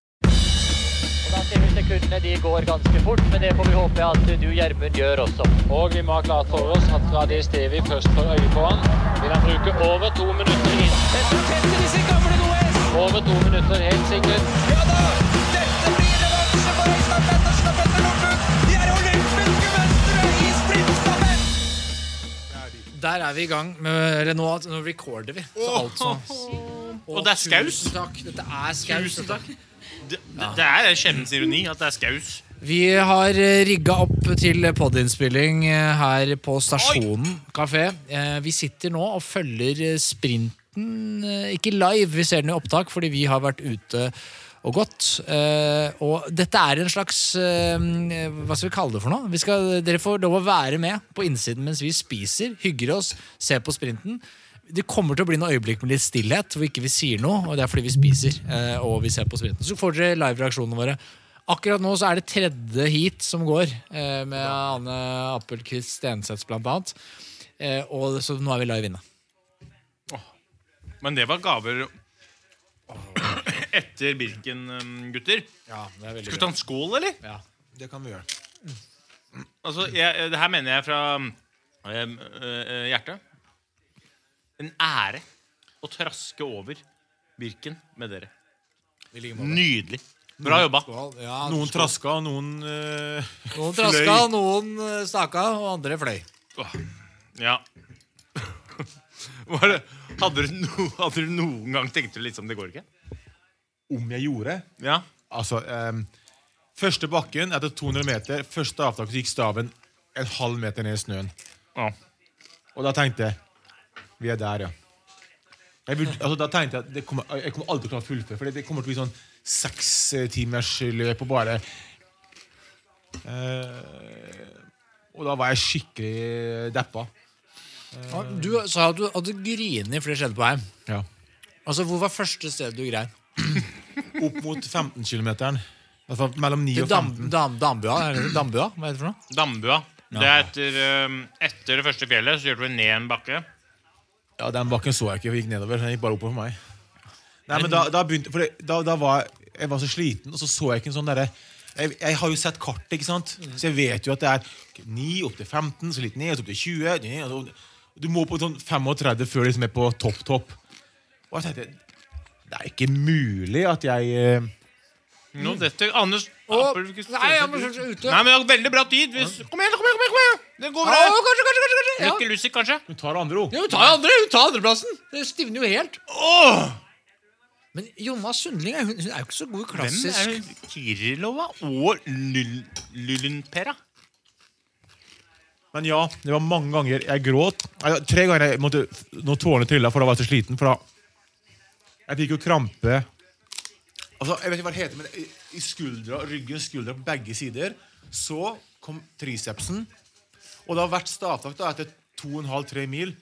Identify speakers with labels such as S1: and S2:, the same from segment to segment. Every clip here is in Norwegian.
S1: Og da ser vi sekundene de går ganske fort, men det får vi håpe at du, Gjermund, gjør også.
S2: Og vi må ha klart for oss at fra det stedet vi først får øye på han, vil han bruke over to minutter inn.
S3: Dette er feltet hvis ikke gamle gode hest!
S2: Over to minutter, helt sikkert.
S3: Ja da! Dette blir revansje for Øystein Pettersen og Petter Northug! De er olympiske mestere i sprintstafett!
S4: Der er vi i gang med Eller nå, nå recorder vi. Så alt sånn.
S5: Og det er skaus.
S4: Tusen takk. Dette er skaus.
S5: Tusen takk. Det, det- det er skjebnens ironi at det er skaus.
S4: Vi har eh, rigga opp til podinnspilling eh, her på Stasjonen kafé. Eh, Vi sitter nå og følger eh, sprinten eh, Ikke live, vi ser den i opptak, fordi vi har vært ute og gått. Eh, Og dette er en slags eh, Hva skal vi kalle det for noe? Vi skal, dere får lov å være med på innsiden mens vi spiser, hygger oss, ser på sprinten. Det kommer til å bli noen øyeblikk med litt stillhet hvor ikke vi sier noe. Og det er fordi vi spiser eh, og vi ser på sprinten. Så får dere live-reaksjonene våre. Akkurat nå så er det tredje heat som går, eh, med Anne Appelquist Stenseth blant annet. Eh, og så nå er vi live inne.
S5: Men det var gaver etter Birken, um, gutter.
S4: Ja, det er
S5: Skal vi ta en skål, eller?
S4: Ja, det kan vi gjøre.
S5: Altså, jeg, det her mener jeg fra um, um, uh, hjertet. En ære å traske over Birken med dere. Nydelig. Bra jobba.
S4: noen
S6: traska, og noen eh,
S4: noen traska, noen eh, staka, og andre fløy.
S5: Ja. Var det, hadde, du no, hadde du noen gang tenkt du liksom Det går ikke?
S6: Om jeg gjorde
S5: Ja.
S6: Altså ehm, Første bakken etter 200 meter, første avtak, så gikk staven en halv meter ned i snøen.
S5: Ja.
S6: Og da tenkte jeg Vi er der, ja. Jeg, burde, altså, da tenkte jeg at det kommer, jeg kommer aldri til å klare å fullføre. For det kommer til å bli sånn seks eh, timers løp og bare Eh, Og da var jeg skikkelig deppa.
S4: Eh, Du sa at du hadde grinet fordi det skjedde på Heim.
S6: Ja.
S4: Altså, Hvor var første stedet du grein?
S6: Opp mot 15 km. Altså mellom 9
S4: Til
S6: og
S4: dam,
S6: 15.
S4: dam, Dambua? Er det Dambua? Hva heter det for noe?
S5: Dambua. Det er etter, um, etter det første fjellet, så gjør du ned en bakke.
S6: Ja, Den bakken så jeg ikke. Jeg gikk nedover. Den gikk bare oppover meg. Nei, men Da, da begynte for det, da, da var jeg, jeg var så sliten, og så så jeg ikke en sånn derre jeg, jeg har jo sett kartet, ikke sant? så jeg vet jo at det er 9 opp til 15, så litt ned, så opp til 20 ned, og så- Du må på sånn 35 før du liksom er på topp, topp. Og jeg tenkte Det er ikke mulig at jeg eh,
S5: Nå dette, Anders
S4: Å,
S5: Appelquist-
S4: Nei, jeg må først ute.
S5: Nei, men det er veldig bra tid. Hvis, kom igjen, kom igjen! kom igjen, kom igjen Det går
S4: Å,
S5: bra.
S4: kanskje, kanskje, kanskje, kanskje.
S5: Lykke Lucy, kanskje?
S6: Hun tar det andre ro.
S4: Ja, hun tar andre, hun tar andreplassen. Det stivner jo helt.
S5: Åh!
S4: Men Jonna Sundling er, hun, hun er jo ikke så god i
S5: Hvem
S4: klassisk.
S5: er hun? Kirilova og Lul- Lulunpera?
S6: Men ja, det var mange ganger jeg gråt. Nei, ja, Tre ganger jeg måtte når tårene trilla, for da var jeg så sliten. For da Jeg fikk jo krampe Altså, Jeg vet ikke hva det heter, men i- i skuldra, ryggen, skuldra på begge sider. Så kom tricepsen. Og da hvert stavtak da, etter 2,5-3 mil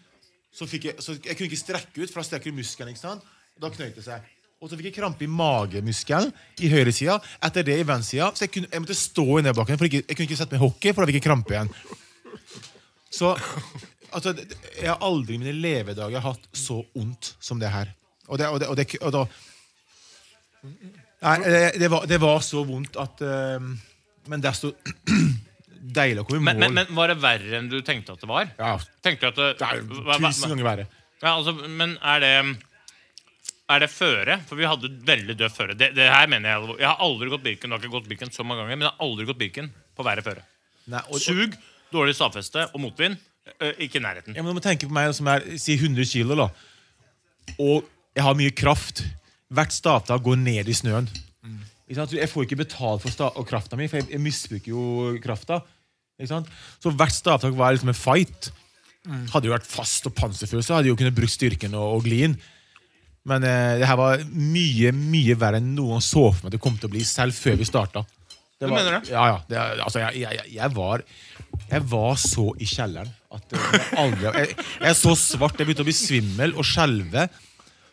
S6: så fikk jeg, så jeg kunne ikke strekke ut, for da strekker du muskelen. ikke sant? Og da knøt det seg. Og så fikk jeg krampe i magemuskelen i høyresida, etter det i venstresida. Så jeg, kunne, jeg måtte stå i nedbakken, for ikke, jeg kunne ikke sette meg i hockey, for da fikk jeg krampe igjen. Så altså, det- jeg har aldri i mine levedager hatt så vondt som det her. Og det, og det, og det, og da, nei, det, det, var, det var så vondt at eh, Men desto deilig å komme i mål.
S5: Men, men, men var det verre enn du tenkte at det var?
S6: ja,
S5: Tenkte du at det,
S6: det er
S5: hva- hva-
S6: tusen ganger verre.
S5: Ja, altså, men er det er det føre? For vi hadde veldig dødt føre. Det, det her mener Jeg alvor- Jeg har aldri gått Birken. Det har ikke gått Birken så mange ganger, men jeg har aldri gått Birken på verre føre.
S6: Nei, og, og,
S5: Sug, dårlig stavfeste og motvind. eh, Ikke i nærheten.
S6: ja, men du må tenke på meg som er si 100 kilo, da. Og jeg har mye kraft. Hvert stavtak går ned i snøen. Ikke sant? Jeg får ikke betalt for sta og krafta mi, for jeg, jeg misbruker jo krafta. Ikke sant? Så hvert stavtak var liksom en fight. Hadde jo vært fast og panserfull, så hadde jeg jo kunnet brukt styrken og, og glien. Men eh, det her var mye mye verre enn noen så for meg det kom til å bli, selv før vi starta.
S5: Du
S6: Det var-
S5: mener det?
S6: Ja, ja. Det, er- altså, jeg, jeg, jeg- jeg, var, jeg var så i kjelleren at eh, jeg aldri jeg, jeg er så svart. Jeg begynte å bli svimmel og skjelve.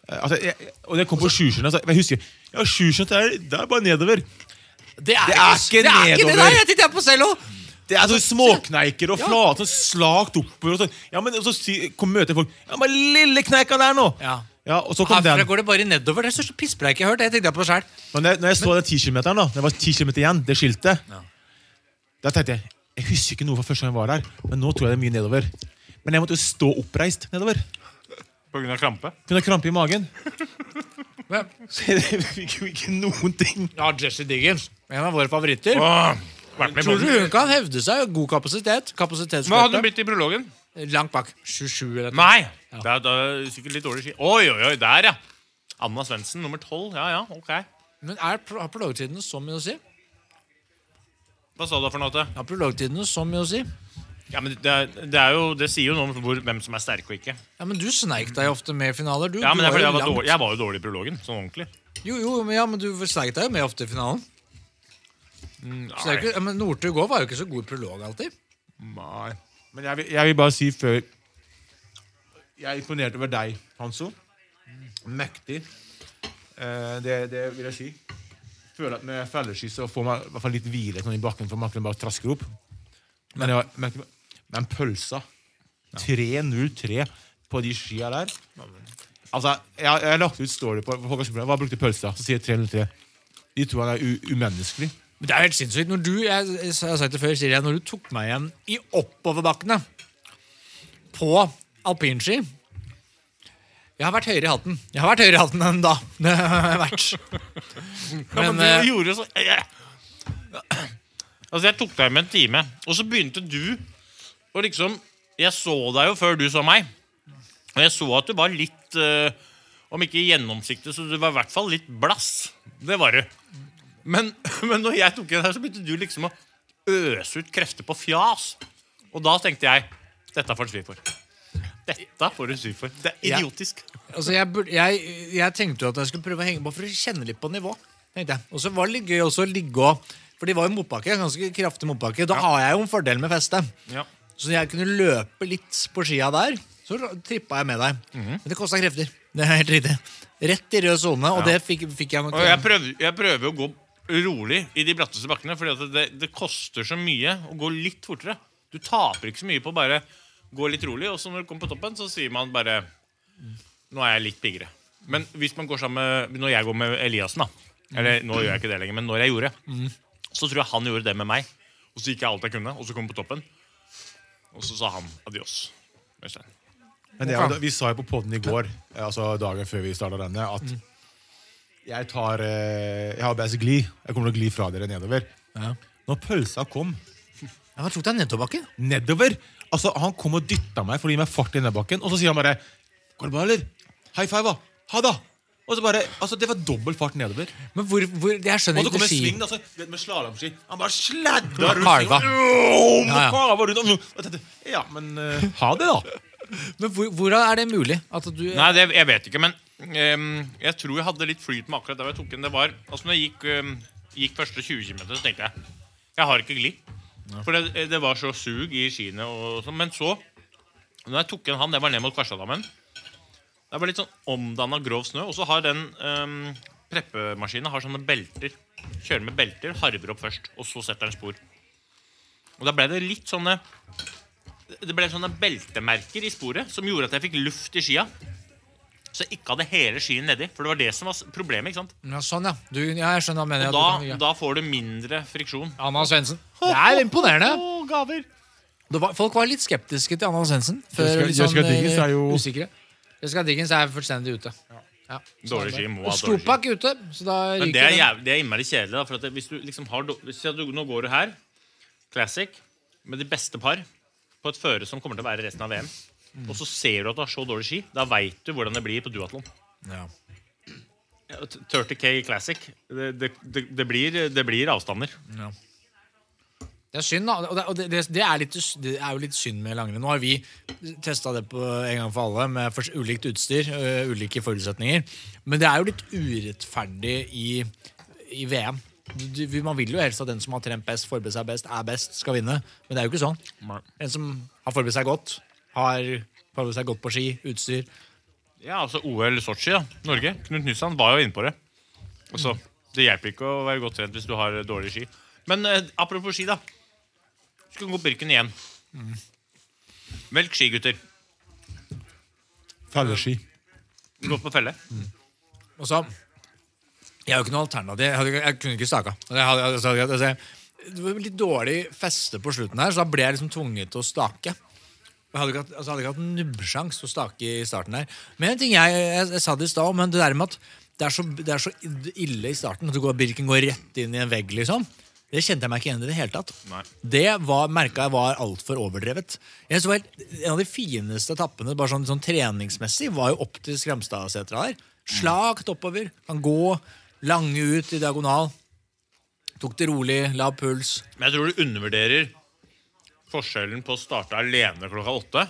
S6: Eh, Altså, jeg, og det kom på sjusjøen. Altså, jeg husker ja, sjusjøen, det, er- det er bare nedover.
S4: Det er,
S6: Det er ikke
S4: det er ikke det
S6: nedover.
S4: der! Jeg titter på selv òg!
S6: Det er sånn småkneiker og flate og slakt oppover. Og sånn. ja, men og så si- kom møter folk Ja, men lille kneika der nå!
S4: Ja.
S6: og så kom
S4: Herfra
S6: den.
S4: går det bare nedover. Det er største pisspreik jeg har hørt. Det tenkte jeg på selv.
S6: Men når jeg, når jeg så den 10 kilometeren da, det var 10 kilometer igjen, det skiltet, da tenkte jeg Jeg husker ikke noe fra første gang jeg var der, men nå tror jeg det er mye nedover. Men jeg måtte jo stå oppreist nedover.
S5: På grunn av krampe.
S6: Kunne ha krampe i magen.
S4: Men-
S6: Så jeg fikk jo ikke noen ting.
S4: Ja, Jesse Diggins. En av våre favoritter.
S5: Åh, vært med i
S4: Tror du hun
S5: båten.
S4: kan hevde seg? God kapasitet.
S5: Hva hadde du
S4: Kapasitetsløpet.
S5: blitt i prologen?
S4: Langt bak. 27 eller noe.
S5: Nei! Det er, det er sikkert litt dårlig ski. Oi, oi, oi, der, ja. Anna Svendsen, nummer tolv. Ja, ja, ok.
S4: Men er, pro- har prologtidene så mye å si?
S5: Hva sa du da for noe? Atte?
S4: Har prologtidene så mye å si?
S5: Ja, men det, er, det, er jo, det sier jo noe om hvor, hvem som er sterk og ikke.
S4: Ja, men Du sneik deg jo ofte med i finaler. Du,
S5: Ja, men
S4: du
S5: det er fordi
S4: jo
S5: jeg var,
S4: langt-
S5: dårlig, jeg var jo dårlig i prologen. Sånn ordentlig.
S4: Jo, jo, men, ja, men du sneik deg jo med ofte i finalen. Så det er
S5: Nei.
S4: ikke, ja, men Northug òg var jo ikke så god i prolog alltid.
S6: Nei. Men jeg vil, jeg vil bare si før Jeg er imponert over deg, Hanso. Mektig. Eh, det, det vil jeg si. Føler at med felleski så får man i hvert fall litt hvile sånn i bakken, for man kan bare trasker opp. Men, jeg, var- men, men pølsa 3.03 på de skia der Altså, Jeg jeg har lagt ut story på på folk har spurt meg, Hva brukte pølsa? Så sier jeg 303. De tror han er u umenneskelig.
S4: Men det er jo helt sinnssykt. Når du jeg, jeg har sagt det før, sier jeg, når du tok meg igjen i oppoverbakkene på alpinski Jeg har vært høyere i hatten Jeg har vært høyere i hatten enn da. Det har jeg vært.
S5: Ja, men
S4: Men, eh,
S5: du gjorde så jeg, Altså, jeg tok deg med en time, og så begynte du å liksom Jeg så deg jo før du så meg, og jeg så at du var litt eh, Om ikke gjennomsiktig, så du var i hvert fall litt blass. Det var du. Men, men når jeg tok igjen her, så begynte du liksom å øse ut krefter på fjas. Og da tenkte jeg Dette får du svi for. Dette får du svi for. Det er
S4: Ja.
S5: idiotisk.
S4: Altså, jeg, burde- jeg, jeg tenkte jo at jeg skulle prøve å henge på for å kjenne litt på nivå. tenkte jeg. Og så var det litt gøy også å ligge og For de var jo motbakke. Ganske kraftig motbakke. Da har jeg jo en fordel med feste.
S5: Ja.
S4: Så jeg kunne løpe litt på skia der, så trippa jeg med deg.
S5: Mhm.
S4: Men det kosta krefter. Det er helt riktig. Rett i rød sone, og det fikk, fikk jeg nok.
S5: Og jeg prøver, jeg prøver å gå rolig i de bratteste bakkene, fordi at det, det koster så mye å gå litt fortere. Du taper ikke så mye på å bare gå litt rolig, og så når du kommer på toppen, så sier man bare Nå er jeg litt piggere. Men hvis man går sammen med Når jeg går med Eliassen, da Eller nå gjør jeg ikke det lenger, men når jeg gjorde så tror jeg han gjorde det med meg. Og så gikk jeg alt jeg kunne, og så kom jeg på toppen. Og så sa han adios. Øystein.
S6: Men det, er jo- vi sa jo på podden i går, eh, altså dagen før vi starta denne, at
S4: Mm.
S6: jeg tar eh, Jeg har best gli. Jeg kommer til å gli fra dere nedover. Når pølsa kom
S4: Ja, Han tok deg nedoverbakke.
S6: nedover Altså, Han kom og dytta meg for å gi meg fart i nedoverbakken, og så sier han bare 'Går det bra, eller?' 'High five, da. Ha det.' Og så bare, altså Det var dobbel fart nedover.
S4: Men hvor, hvor Jeg skjønner
S6: Og så
S4: ikke
S6: kommer
S4: ski.
S6: svingen altså, du vet, med slalåmski. Han bare sladda
S4: Han
S6: rundt.
S4: karva.
S6: svingen.
S4: Ja, ja.
S6: Karva rundt. Og jeg tenkte, Ja, men eh, ha det, da.
S4: Men hvor, hvordan er det mulig at du
S5: Nei, det, jeg vet ikke, men ehm, jeg tror jeg hadde litt flyt med akkurat der jeg tok den. Det var, altså når jeg gikk, ehm, gikk første 20 km, så tenkte jeg jeg har ikke glid. For det, det var så sug i skiene. Og, sånn. men så, når jeg tok igjen han, det var ned mot Kvarsadammen Det var litt sånn omdanna grov snø. Og så har den ehm, preppemaskinen har sånne belter. Kjører med belter, harver opp først, og så setter den spor. Og da ble det litt sånne Det ble sånne beltemerker i sporet som gjorde at jeg fikk luft i skia. Så jeg ikke hadde hele skien nedi. For det var det som var s- problemet. ikke sant?
S4: Ja, sånn, ja. Du, ja. Jeg skjønner hva du mener.
S5: Da,
S4: ja, du kan- ja.
S5: da får du mindre friksjon.
S4: Anna Svendsen. Det er imponerende.
S5: Å, gaver!
S4: Det var, folk var litt skeptiske til Anna Hansensen. Før
S6: Jessica-
S4: litt
S6: Jessica Diggins
S4: eh,
S6: er jo-
S4: usikre. Jessica Diggins er fullstendig ute. Ja.
S5: Dårlig skim, hun
S4: Og
S5: har dårlig skim.
S4: Stupak er ute, så da ryker
S5: Men det er,
S4: den.
S5: jæv, det er innmari kjedelig. da For at det, hvis du liksom har do- hvis du, Nå går du her, classic, med de beste par på et føre som kommer til å være resten av VM. Og så ser du at du har så dårlig ski. Da veit du hvordan det blir på duatlon.
S4: Ja.
S5: Ja, t- 30K Classic. Det, det, det, det, blir, det blir avstander.
S4: Det er synd, da. Og det, og det, det, er litt, det er jo litt synd med langrenn. Nå har vi testa det på en gang for alle, med fors- ulikt utstyr, øh, ulike forutsetninger. Men det er jo litt urettferdig i, i VM. Du- du- Man vil jo helst at den som har trent best, forberedt seg best, er best, skal vinne. Men det er jo ikke sånn. En som har forberedt seg godt, har forberedt seg godt på ski, utstyr
S5: Ja, altså OL Sotsji, da. Norge. Knut Nysand var jo inne på det. Altså, det hjelper ikke å være godt trent hvis du har eh, dårlig ski. Men eh, apropos ski, da. Skal gå Birken igjen. Velg ski, gutter.
S6: Felleski.
S5: Gå på felle.
S4: Og så Jeg har jo ikke noe alternativ. Jeg, hadde, jeg kunne ikke staka. Jeg hadde, altså, jeg- altså, det var litt dårlig feste på slutten her, så da ble jeg liksom tvunget til å stake. Jeg hadde ikke hatt, altså, hadde ikke hatt en nubbesjanse til å stake i starten her. Men en ting jeg, jeg, jeg sa det i stad, men det der med at det er, så, det er så ille i starten at du går, Birken går rett inn i en vegg, liksom. Det kjente jeg meg ikke igjen i det hele tatt.
S5: Nei.
S4: Det var, merka jeg var altfor overdrevet. Jeg så helt, En av de fineste etappene bare sånn, sånn treningsmessig var jo opp til Skramstadsetra der. Slakt oppover. Kan gå lange ut i diagonal. Tok det rolig, lav puls.
S5: Men jeg tror du undervurderer forskjellen på å starte alene klokka åtte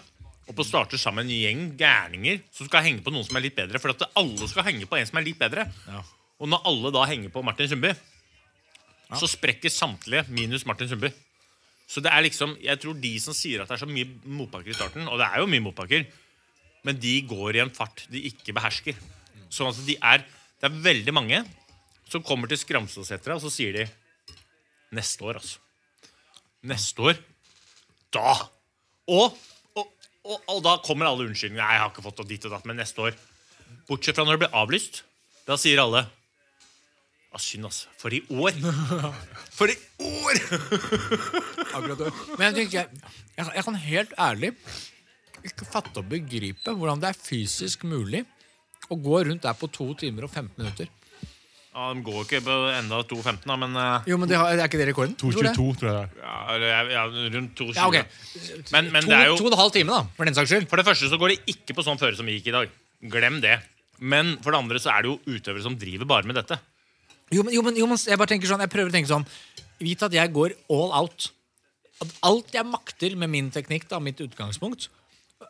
S5: og på å starte sammen med en gjeng gærninger som skal henge på noen som er litt bedre. For at alle skal henge på en som er litt bedre. Og når alle da henger på Martin Sundby, så sprekker samtlige minus Martin Sundby. Så det er liksom, jeg tror de som sier at det er så mye motbakker i starten, og det er jo mye motbakker, men de går i en fart de ikke behersker. Så altså, de er, det er veldig mange som kommer til Skramstadsetra, og så sier de neste år, altså. Neste år. Da! Og, og, og, og da kommer alle unnskyldningene. Nei, jeg har ikke fått det dit og datt, men neste år. Bortsett fra når det blir avlyst. Da sier alle «Ah, Synd, altså. For i år. For i år!
S4: Akkurat det. Men jeg, tenker, jeg, jeg, jeg kan helt ærlig ikke fatte og begripe hvordan det er fysisk mulig å gå rundt der på 2 timer og 15 minutter.
S5: Ja, de går ikke på enda 2.15, da, men eh,
S4: Jo, men det har, Er ikke det rekorden? Tror det.
S6: 2.22, tror jeg det er.
S5: ja, eller, ja, rundt 2.20.
S4: Ja, ok.
S5: Men, men
S4: To,
S5: det er jo
S4: to og en halv time, da, for den saks skyld.
S5: For det første så går det ikke på sånn føre som vi gikk i dag. Glem det. Men for det andre så er det jo utøvere som driver bare med dette.
S4: Jo, men, jo, men, jo, men jeg bare tenker sånn Jeg prøver å tenke sånn Vit at jeg går all out. At alt jeg makter med min teknikk, da, mitt utgangspunkt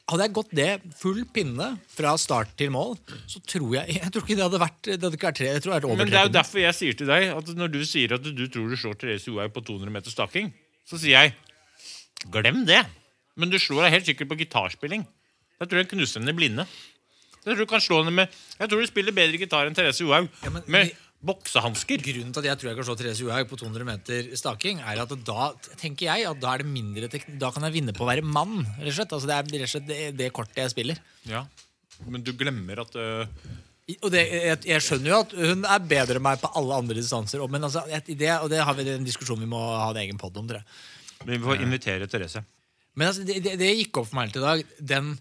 S4: Hadde jeg gått det full pinne fra start til mål, så tror jeg Jeg tror ikke det hadde vært Det hadde ikke vært tre, jeg tror det hadde vært over
S5: Men det er jo
S4: tre timer.
S5: derfor jeg sier til deg at når du sier at du tror du slår Therese Johaug på 200 meter staking, så sier jeg glem det. Men du slår deg helt sikkert på gitarspilling. Jeg tror jeg knuser henne i blinde. Jeg tror du kan slå henne med Jeg tror du spiller bedre gitar enn Therese Johaug
S4: men-
S5: med boksehansker.
S4: Grunnen til at jeg tror jeg kan slå Therese Johaug på 200 meter staking, er at da tenker jeg at da er det mindre tekn- Da kan jeg vinne på å være mann, rett og slett. Altså, det er rett og slett det, det kortet jeg spiller.
S5: Ja. Men du glemmer at øh,
S4: I- Og det, jeg, jeg skjønner jo at hun er bedre enn meg på alle andre distanser, og- men altså, jeg, i det, og det har vi det er en diskusjon vi må ha en egen podd om, tror jeg.
S5: Vi får invitere Therese.
S4: Men altså, det, det, det gikk opp for meg helt i dag, den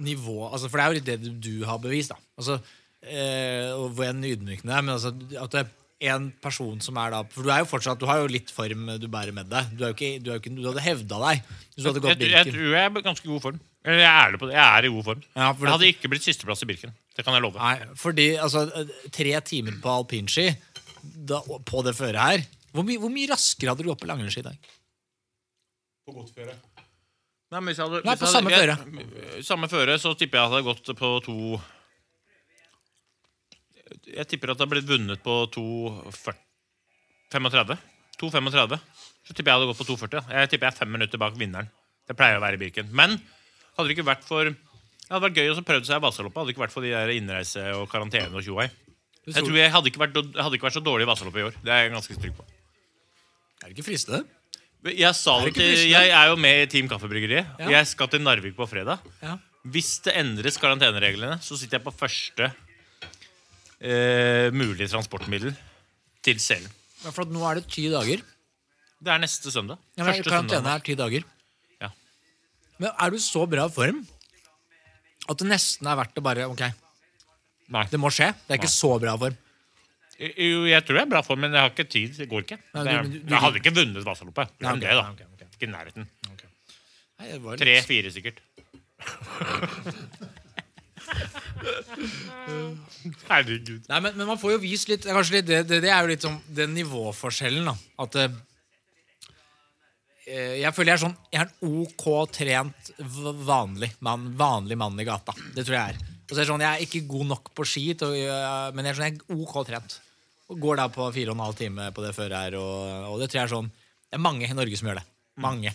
S4: nivå, altså, for det er jo litt det du, du har bevist, da. Altså, eh, og hvor en ydmykende er, men altså, at det er en person som er da For du er jo fortsatt, du har jo litt form du bærer med deg. Du, er jo ikke, du, er jo ikke, du hadde hevda deg hvis du hadde
S5: Jeg,
S4: gått
S5: jeg, jeg
S4: Birken.
S5: tror jeg er i ganske god form. Eller Jeg er ærlig på det. Jeg er i god form.
S4: Ja, for
S5: jeg
S4: det-
S5: hadde ikke blitt sisteplass i Birken. Det kan jeg love.
S4: Nei, fordi altså, tre timer på alpinski da, på det føret her hvor, mye- hvor mye raskere hadde du gått på langrennsski i dag?
S5: Nei, men hvis jeg hadde,
S4: Nei,
S5: hvis
S4: på
S5: jeg
S4: samme
S5: hadde, jeg, Samme føre, så tipper jeg at det hadde gått på to Jeg tipper at det hadde blitt vunnet på 2.35. 2.35. Så tipper jeg hadde gått på 2.40. ja. Jeg tipper jeg er fem minutter bak vinneren. Det pleier å være i Birken. Men hadde det ikke vært for Det hadde vært gøy å prøve seg i Vasaloppet. Hadde det ikke vært for de der innreise og karantene og tjoei. Jeg tror jeg hadde ikke vært, jeg hadde ikke vært så dårlig i Vasaloppet i år. Det er jeg ganske trygg på.
S4: Er det ikke fristende?
S5: Jeg, sa
S4: Er
S5: det
S4: det ikke
S5: til,
S4: fristende?
S5: jeg er jo med i Team Kaffebryggeriet.
S4: Ja.
S5: Jeg skal til Narvik på fredag.
S4: Ja.
S5: Hvis det endres karantenereglene, så sitter jeg på første eh, mulige transportmiddel til Selen.
S4: Ja, For at nå er det ti dager
S5: Det er neste søndag.
S4: Ja, men
S5: Første søndag.
S4: Karantene er ti dager.
S5: Ja.
S4: Men er du så bra form at det nesten er verdt å bare Ok,
S5: Nei. Eh,
S4: det må skje. Det er ikke så bra form.
S5: Jo, jeg tror jeg er bra form, men jeg har ikke tid. Det går ikke.
S4: Nei,
S5: det er,
S4: du- du- du-
S5: jeg hadde ikke vunnet Vasaloppet. Det er
S4: Nei, ok,
S5: det, da.
S4: ok, ok.
S5: Ikke i nærheten.
S4: Nei, det var litt-
S5: Tre-fire, sikkert. Herregud.
S4: Nei, men, men man får jo vist litt, det er kanskje litt det, det, det er jo litt sånn den nivåforskjellen, da. At eh, eh, Jeg føler jeg er sånn Jeg er en OK trent v- vanlig mann, vanlig mann i gata. Det tror jeg er. Og så er det sånn, Jeg er ikke god nok på ski, til å gjøre- men jeg er sånn, jeg er OK trent. Og går da på fire og en halv time på det før her, og, og det tror jeg er sånn Det er mange i Norge som gjør det. Mange.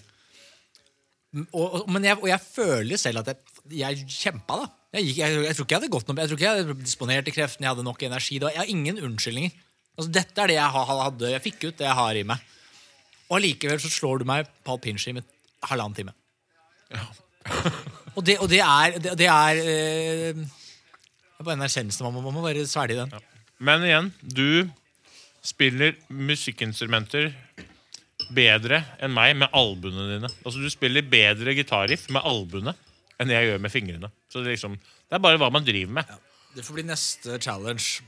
S4: M- Og, og, men jeg, og jeg føler selv at jeg, jeg kjempa, da. Jeg, gikk, jeg, jeg tror ikke jeg hadde gått noe Jeg tror ikke jeg hadde disponert til kreftene, jeg hadde nok energi. Det var, jeg har ingen unnskyldninger. Altså, dette er det jeg ha- hadde. Jeg fikk ut det jeg har i meg. Og allikevel så slår du meg på alpinski med halvannen time. og, det, og det er Det, det er eh, det er bare en erkjennelse man må, man må bare svelge den.
S5: Men igjen, du spiller musikkinstrumenter bedre enn meg med albuene dine. Altså, du spiller bedre gitarriff med albuene enn jeg gjør med fingrene. Så det, er liksom, det er bare hva man driver med.
S4: Det får bli neste challenge.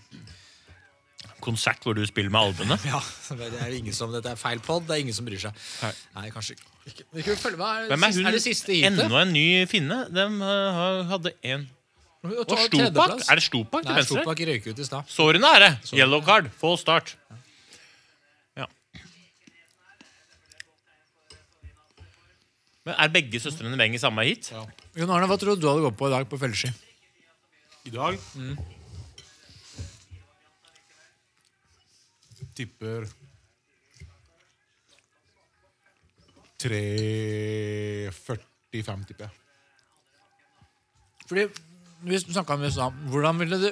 S5: Konsert hvor du spiller med albuene.
S4: Ja, det er jo ingen som, Dette er feil pod, det er ingen som bryr seg. Nei, kanskje ikke. Vi kan jo følge med.
S5: Hvem er
S4: Sist-
S5: hun?
S4: det siste heatet?
S5: Enda en ny finne. De hadde en
S4: Og
S5: Og Stopak? Er det Stopak til
S4: Nei,
S5: venstre?
S4: Stopak røyk ut i stad.
S5: Sårene er det. Yellow card. Full start. Ja. Men Er begge søstrene med i samme heat?
S4: Jon Arne, hva tror du du hadde gått på i dag på felleski?
S6: I dag
S5: Mm.
S6: Tipper 3.45, tipper jeg.
S4: Fordi vi snakka om i stad. Hvordan ville du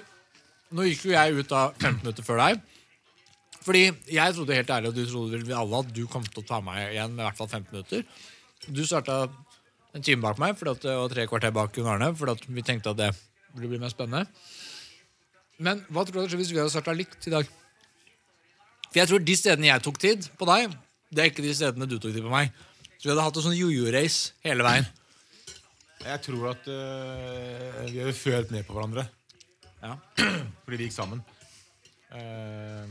S4: Nå gikk jo jeg ut da 15 minutter før deg. Fordi jeg trodde helt ærlig, og du trodde vel vi alle, at du kom til å ta meg igjen med i hvert fall 15 minutter. Du starta en time bak meg fordi at, og tre kvarter bak Jon Arne, fordi at vi tenkte at det ville bli mer spennende. Men hva tror du hadde skjedd hvis vi hadde starta likt i dag? For jeg tror de stedene jeg tok tid på deg, det er ikke de stedene du tok tid på meg. Så vi hadde hatt en sånn jojo-race hele veien.
S6: Jeg tror at øh, vi hadde følt ned på hverandre.
S4: Ja.
S6: Fordi vi gikk sammen. Eh,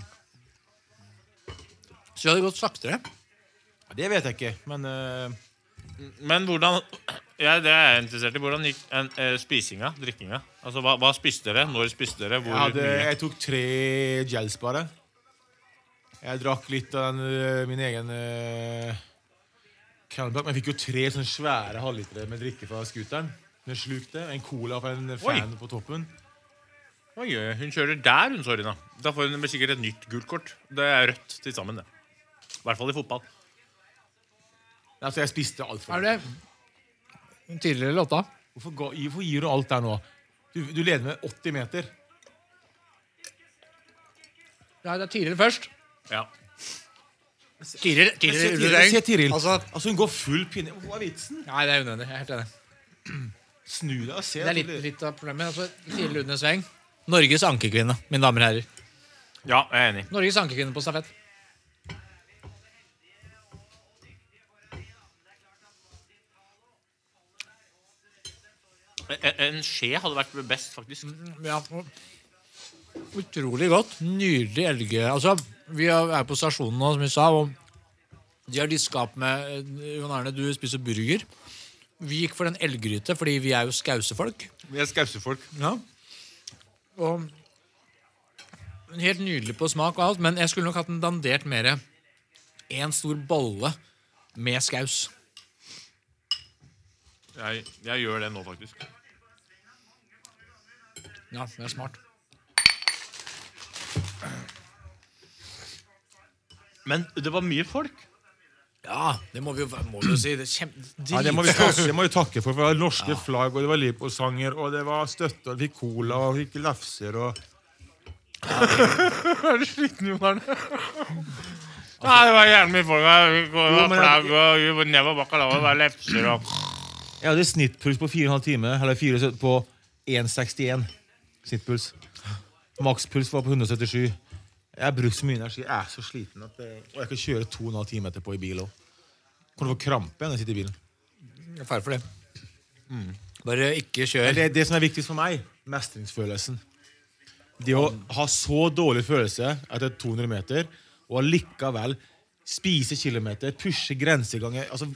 S4: Så vi hadde gått saktere.
S6: ja, det vet jeg ikke, men øh,
S5: Men hvordan ja, Det er jeg interessert i. Hvordan gikk en, eh, spisinga? Drikkinga? Altså, hva, hva spiste dere? Når spiste dere? Hvor
S6: jeg, hadde,
S5: mye?
S6: jeg tok tre gels bare. Jeg drakk litt av den, øh, min egen øh, Cannonbach, men jeg fikk jo tre sånne svære halvlitere med drikke fra scooteren. Den slukte. En cola fra en fan på toppen.
S5: Oi, oi, hun kjører der, hun Sorina. Da får hun sikkert et nytt gult kort. Det er rødt til sammen, det. I hvert fall i fotball.
S6: Altså, jeg spiste alt for
S4: Er det tidligere låta?
S6: Hvorfor, ga, hvorfor gir du alt der nå? Du, du leder med 80 meter.
S4: Nei, det er tidligere først.
S5: Ja.
S4: Tidligere,
S6: Se Tiril. Se Tiril. Altså, hun går full pinne. Hva er vitsen?
S4: nei, det er unødvendig. Jeg er helt enig.
S6: Snu deg og se.
S4: Det er litt, litt av problemet. Altså, tidligere under sveng. Norges ankekvinne, mine damer og herrer.
S5: ja, jeg er enig.
S4: Norges ankekvinne på stafett.
S5: En, en skje hadde vært best, faktisk.
S4: Ja. Utrolig godt. Nydelig elge... Altså, vi er er på stasjonen nå, som vi sa, og de har diska opp med eh, Jon Arne, du spiser burger. Vi gikk for den elggryte, fordi vi er jo skausefolk.
S5: Vi er skausefolk.
S4: Ja. Og Helt nydelig på smak og alt, men jeg skulle nok hatt den dandert mer. En stor bolle med skaus.
S5: Jeg, jeg gjør det nå, faktisk.
S4: Ja, det er smart.
S5: Men det var mye folk.
S4: Ja, det må vi jo, må vi jo si. Det er kjempe...
S6: Ja, det, må vi takke, det må vi takke for. for Det var norske flagg, og det var Liverpool-sanger, og det var støtte, og vi fikk cola, og vi fikk lefser og
S5: Er du sliten, Jon Arne? Nei, det var jævlig mye folk her. Vi går-
S6: Jo, men jeg-
S5: flagg og vi var ned på bacalao, det var lefser og
S6: Jeg hadde snittpuls på 4,5 time, eller 4, på 1,61. Snittpuls. Makspuls var på 177. Jeg har brukt så mye energi. Jeg er så sliten. At, eh, og jeg kan kjøre 2,5 timer etterpå i bil òg. Kan du få krampe når jeg sitter i bilen?
S4: Det er fare for det. Mm. Bare ikke
S6: Men
S4: kjør.
S6: Det, det som er viktigst for meg, mestringsfølelsen. Det å ha så dårlig følelse etter 200 meter, og allikevel spise kilometer, pushe grenseganger altså,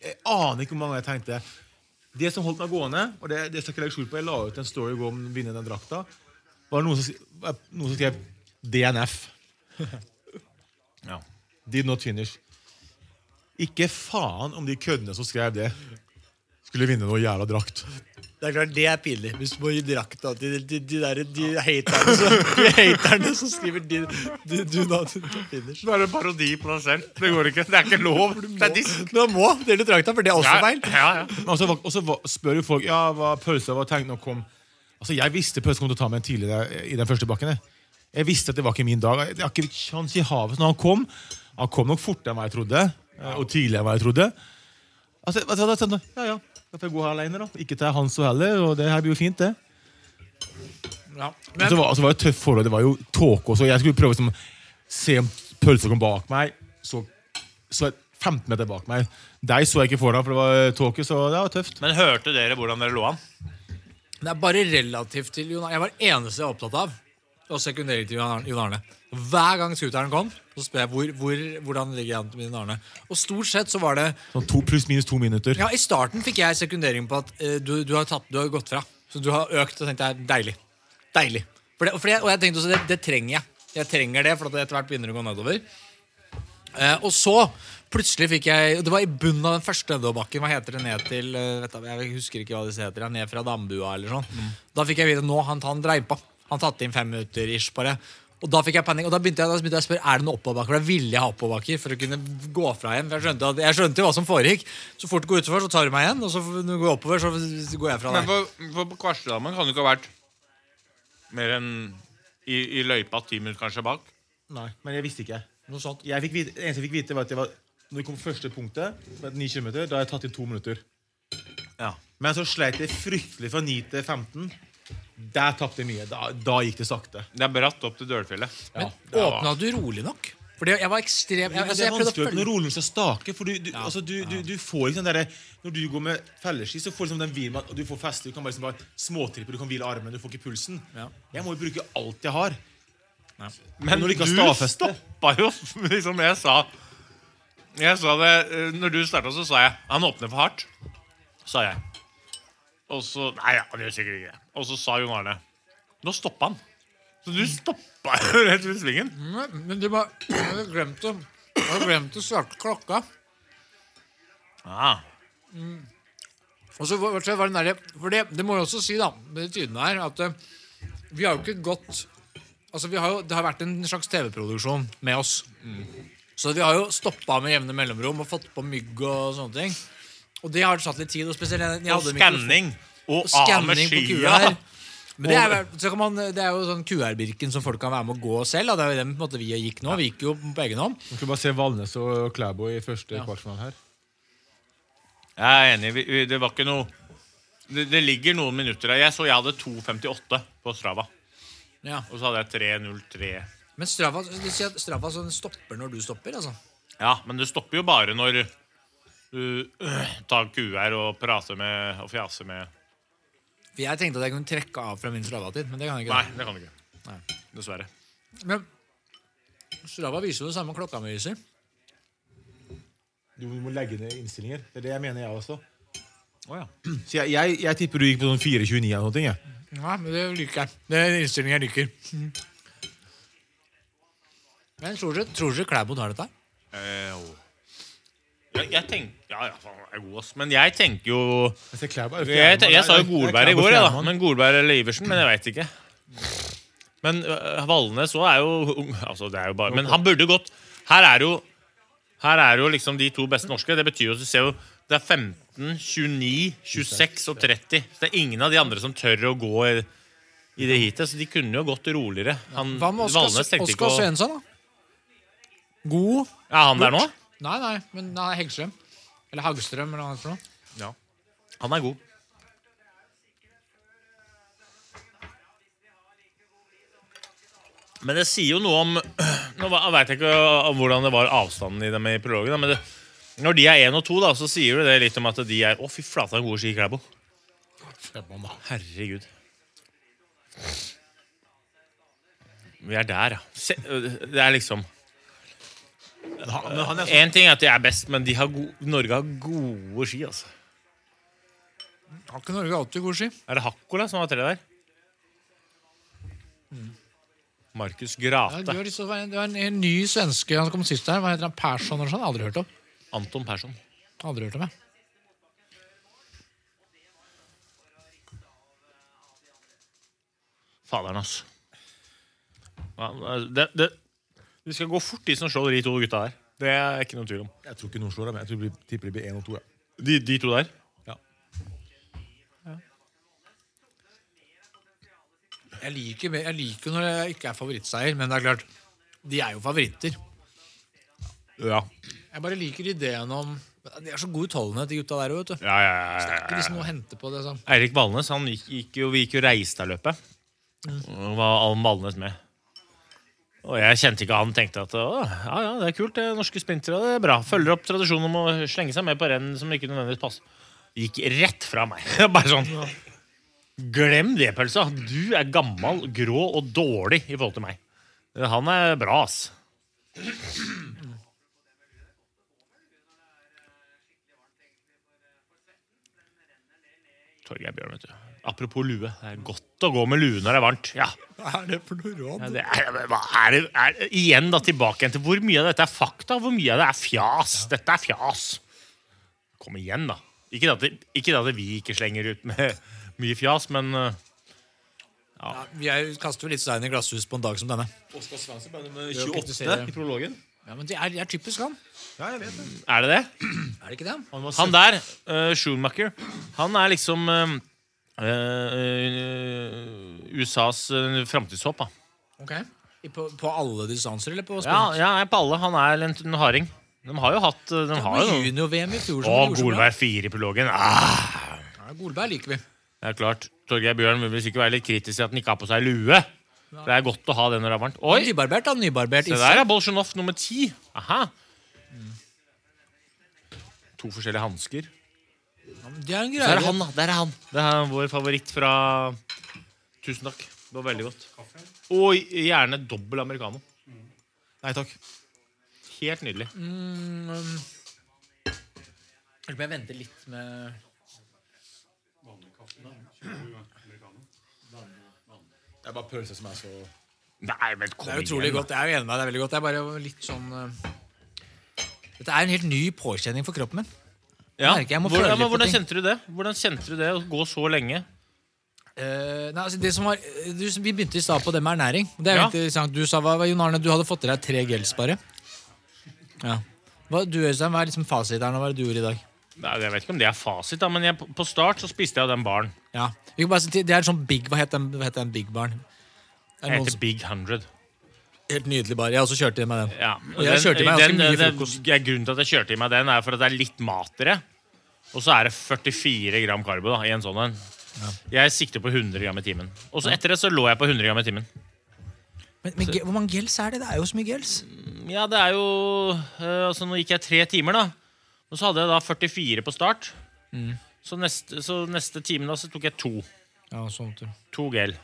S6: Jeg aner ikke hvor mange ganger jeg tenkte Det som holdt meg gående, og det, det skal ikke jeg legge skjul på, jeg la ut en story i går om å vinne den drakta, var noen som, sk- var noen som skrev DNF. Did not finish. Ikke faen om de køddene som skrev det, skulle vinne noe jævla drakt.
S7: Det er klart, det er pinlig. Hvis du må gi drakta til de, de, de, der, de, haterne, som, de haterne som skriver de, de, du da, du da finish.
S5: Du er en parodi på deg selv. Det går ikke. Det er ikke lov. Det er diss.
S7: Da må dele drakta, for det er også feil.
S5: Ja, ja.
S6: Og så, og så va- spør jo folk Ja, hva pølsa var tenkt når kom Altså, jeg visste pølsa kom til å ta meg en tidligere i den første bakken. jeg. Jeg visste at det var ikke min dag. Jeg har ikke sjans i havet. Så Når han kom, han kom nok fortere enn hva jeg trodde, eh, og tidligere enn hva jeg trodde. Altså, altså, da tenkte jeg, ja, ja, da får jeg gå her alene, da. Ikke til Hans og heller, og det her blir jo fint, det.
S4: Ja.
S6: Men så var, altså, det var jo tøft forhold, det var jo tåke også. Jeg skulle prøve liksom, se om pølsa kom bak meg. Så, så 15 meter bak meg. Deg så jeg ikke foran, for det var eh, tåke, så det var tøft.
S5: Men hørte dere hvordan dere lå an?
S4: Det er bare relativt til Jon Arne. Jeg var den eneste jeg var opptatt av. Og sekundært til Jon Arne- Jon Arne. Hver gang scooteren kom, så spør jeg hvor, hvor, hvordan ligger jeg an til Jon Arne. Og stort sett så var det
S6: Sånn to pluss minus to minutter.
S4: Ja, I starten fikk jeg sekundering på at eh, du, du, har tatt, du har gått fra. Så du har økt, og tenkte jeg deilig. Deilig. For det, for det, og jeg tenkte også det, det trenger jeg. Jeg trenger det, for at det etter hvert begynner å gå nedover. Eh, og så plutselig fikk jeg og Det var i bunnen av den første nedoverbakken. Hva heter det ned til eh, vet du, Jeg husker ikke hva disse heter. ja, Ned fra Dambua eller sånn. Da fikk jeg vite nå han, han dreipa. Han tatt inn fem minutter ish på det. Og da fikk jeg panikk, og da begynte jeg, da begynte jeg å spørre er det noe oppoverbakker. For Da ville jeg ha oppoverbakker for å kunne gå fra igjen. For jeg skjønte, at, jeg skjønte jo hva som foregikk. Så fort du går utfor, så tar du meg igjen. Og så når du går oppover, så går jeg fra
S5: Men
S4: deg.
S5: for, for på Kvarstadammen kan du ikke ha vært mer enn i, i løypa ti minutter kanskje bak.
S6: Nei, men jeg visste ikke.
S4: Noe sånt.
S6: Jeg fikk vite, det eneste jeg fikk vite, var at jeg var, når det kom første punktet, som het 9 km, da har jeg tatt inn to minutter.
S5: Ja.
S6: Men så sleit jeg fryktelig fra 9 til 15. Der tapte jeg mye. Da, da gikk det sakte.
S5: Det er bratt opp til Dølfjellet.
S4: Men åpna du rolig nok? Fordi jeg var ekstrem jeg,
S6: Men
S4: altså,
S6: det
S4: jeg
S6: er
S4: prøvde å
S6: vanskelig
S4: følge
S6: når rollen skal stake. For du, du, altså, du, du, du får ikke den derre Når du går med felleski, så får du liksom den hvilen med at du får feste. Du kan bare, liksom bare småtrippe, du kan hvile armen, du får ikke pulsen.
S4: Ja.
S6: Jeg må jo bruke alt jeg har.
S5: Men
S6: Når du
S5: du
S6: ikke har stavfeste.
S5: stoppa jo liksom jeg sa Jeg sa det eh, Når du starta, så sa jeg Han åpner for hardt. Sa jeg. Og så Nei, han gjør sikkert ikke det. Og så sa Jon Arne Nå stoppa han. Så du stoppa jo rett ved svingen.
S4: Men, men de var, jeg hadde glemt å jeg hadde glemt å starte klokka.
S5: Ah.
S4: Og så var så var den der, for det, det må jeg også si, da, med de tidene her, at eh, vi har jo ikke gått Altså, vi har jo, Det har vært en slags TV-produksjon med oss.
S5: Mm.
S4: Så vi har jo stoppa med jevne mellomrom og fått på mygg og sånne ting. Og det har tatt litt tid. Og spesielt jeg, jeg
S5: Og
S4: hadde mikrofon-
S5: skanning. Og av med
S4: skanning på
S5: skia.
S4: QR. Men det er, vel- så kan man, det er jo sånn QR-birken som folk kan være med å gå selv. Da. Det er jo den på en måte, vi gikk nå. Vi gikk jo på egen hånd.
S6: Du skal bare se Valnes og Klæbo i første kvartfinale her.
S5: Jeg er enig. Vi, vi, det var ikke noe det, det ligger noen minutter der. Jeg så jeg hadde 2,58 på Strava.
S4: Ja.
S5: Og så hadde jeg 3,03.
S4: Men Strava, du sier at Strava sånn stopper når du stopper, altså?
S5: Ja, men det stopper jo bare når du øh, tar QR og prater med og fjaser med
S4: For jeg tenkte at jeg kunne trekke av fra min Strava-tid, men det kan jeg
S5: Nei,
S4: ikke.
S5: det kan du ikke. Dessverre.
S4: Men Strava viser jo det samme klokka mi viser.
S6: Du må legge ned innstillinger. Det er det jeg mener, jeg også. Så jeg, jeg, jeg tipper du gikk på sånn 4,29 eller noe. ting, Jeg.
S4: Ja, men det liker jeg. Det er en innstilling jeg liker. Mm. Men tror dere, tror dere Klæbo tar dette? her?
S5: Eh, jo. jeg, jeg tenker Ja, ja, faen, han er god, ass. Men jeg tenker jo
S6: Jeg, ser Klæbo er
S5: Jeg,
S6: fjerde-
S5: te- jeg sa jo
S6: Nei,
S5: Golberg i
S6: Klæbo
S5: går, jeg, da.
S6: fjerdemann.
S5: Men Golberg eller Iversen. Men jeg veit ikke. Men øh, Valnes òg er jo ung. Altså, det er jo bare Men han burde gått Her er jo Her er jo liksom de to beste norske. Det betyr jo at du ser jo Det er 15, 29, 26 og 30. Så det er ingen av de andre som tør å gå i, i det heatet. Så de kunne jo gått roligere. Han,
S4: Hva med Oskar,
S5: Valnes tenkte ikke å
S4: Oskar
S5: Er
S4: Svensson, da? God?
S5: han der nå?
S4: Nei, nei, men nei, Hegstrøm. Eller Hagstrøm, eller hva det er for noe.
S5: Han er god. Men det sier jo noe om Nå veit jeg ikke øh, om hvordan det var avstanden i dem i prologen, da, men det, når de er én og to, da, så sier du det litt om at de er Å, fy flata, gode ski, Klæbo. Herregud. Vi er der, ja. Se, det er liksom Én ting er at de er best, men de har go Norge har gode ski, altså.
S4: Har ikke Norge alltid gode ski?
S5: Er det Hakkola som har tre der? Mm. Markus Grate.
S4: Ja, det, var liksom, det var en, en ny svenske han kom sist her. Hva heter han? Persson eller sånn? Aldri hørt om.
S5: Anton Persson.
S4: Aldri hørt om, jeg.
S5: Faderen, ass. Ja, det, det, de skal gå fort, de som slår de to gutta der. Det er ikke noen tvil om.
S6: Jeg tror ikke noen slår dem. Jeg tror de tipper de blir én og to. Ja.
S5: De, de to der?
S4: Jeg liker, mer- jeg liker når det ikke er favorittseier, men det er klart, de er jo favoritter.
S6: Ja.
S4: Jeg bare liker ideen om De er så gode i tollenhet, de gutta der òg, vet du.
S5: Ja, ja, ja,
S4: Så det er
S5: ja,
S4: ikke liksom
S5: ja.
S4: noe å hente på det. Sånn.
S5: Eirik Valnes, han gikk, gikk jo, vi gikk jo Reistad-løpet. Og var Alm Valnes med. Og jeg kjente ikke han tenkte at å, ja, ja, det er kult, det er norske sprintere, det er bra. Følger opp tradisjonen om å slenge seg med på renn som ikke nødvendigvis passer. Gikk rett fra meg. Bare sånn. Glem det, pølsa. Du er gammel, grå og dårlig i forhold til meg. Han er bra, ass. Torgeir Bjørn, vet du. Apropos lue. Det er godt å gå med lue når det er varmt. Ja.
S7: Hva er det for noe
S5: Ja,
S7: råd?
S5: det er, hva er det, er, igjen da tilbake igjen til hvor mye av dette er fakta, hvor mye av det er fjas. Dette er fjas. Kom igjen, da. Ikke at, det, ikke at vi ikke slenger ut med mye fjas, men eh,
S4: Ja, vi er, kaster jo litt stein i glasshus på en dag som denne.
S5: Oskar Svensson ble nummer
S4: Det er jo
S5: 28
S4: kritisere.
S5: i prologen.
S4: Ja, men Det er, det er typisk han.
S6: ja, jeg vet det.
S5: Er det det?
S4: Er det ikke det?
S5: Han der, eh, Schumacher, han er liksom eh, eh, USAs uh, framtidshåp, da.
S4: Ok. I- På, på alle distanser, eller på
S5: Ja,
S4: sprint?
S5: ja, jeg er på alle. Han er en, en harding. De har jo hatt eh, De har
S4: På
S5: jo
S4: junior-VM i fjor. som
S5: Å,
S4: de gjorde så bra.
S5: Golberg 4 i prologen. Ah!
S4: Ja, Golberg liker vi.
S5: Det er klart, Torgeir Bjørn vil sikkert være litt kritisk til at han ikke har på seg lue. For Det er godt å ha det når det er varmt. Oi,
S4: Nybarbert, da. Nybarbert.
S5: se
S4: Isse.
S5: der er Bolsjunov nummer ti. Aha. To forskjellige hansker.
S4: Det er en
S5: Der
S4: greie.
S5: er han, da. Der er han. Det er vår favoritt fra Tusen takk. Det var veldig godt. Og gjerne dobbel americano.
S6: Nei takk.
S5: Helt nydelig.
S4: Mm. Eller må um, jeg vente litt med
S6: Det er bare pølse som er så
S5: Nei, men kom
S4: Det er utrolig
S5: igjen.
S4: godt. Jeg er jo enig med deg. Det er veldig godt. Det er bare litt sånn eh, Dette er en helt ny påkjenning for kroppen min.
S5: Ja.
S4: Jeg merker jeg må
S5: Hvor,
S4: føle
S5: ja,
S4: litt
S5: men
S4: på
S5: hvordan
S4: ting.
S5: kjente du det? Hvordan kjente du det å gå så lenge?
S4: Eh, nei, altså det som var, eh, du, vi begynte i stad på det med ernæring. Det er jo
S5: Ja.
S4: helt interessant. Du sa, hva, hva, Jon Arne, du hadde fått i deg tre gels bare. Ja. Hva, du, Øystein, hva er liksom fasiten? Hva er det du gjorde i dag?
S5: Nei, Jeg vet ikke om det er fasit, da, men jeg, på- på start så spiste jeg av den baren.
S4: Ja. Vi kan bare si, det er en sånn big, hva heter den, hva heter den big baren? Det er
S5: Den
S4: noen
S5: heter
S4: som,
S5: Big 100.
S4: helt nydelig bar. Jeg også kjørte i meg den.
S5: Ja.
S4: Og jeg kjørte i meg ganske
S5: den,
S4: mye
S5: den-
S4: frokost.
S5: ja, Grunnen til at jeg kjørte i meg den, er for at det er litt mat i det. Og så er det 44 gram karbo da, i en sånn en. Jeg sikter på 100 gram i timen. Og så etter det så lå jeg på 100 gram i timen.
S4: Men, men ge- hvor mange gels er det? Det er jo så mye gels.
S5: Ja, det er jo øh, Altså, nå gikk jeg tre timer, da. Og så hadde jeg da 44 på start.
S4: Mm.
S5: Så, neste, så neste time da, så tok jeg to.
S4: Ja, sånn tror jeg.
S5: To gel.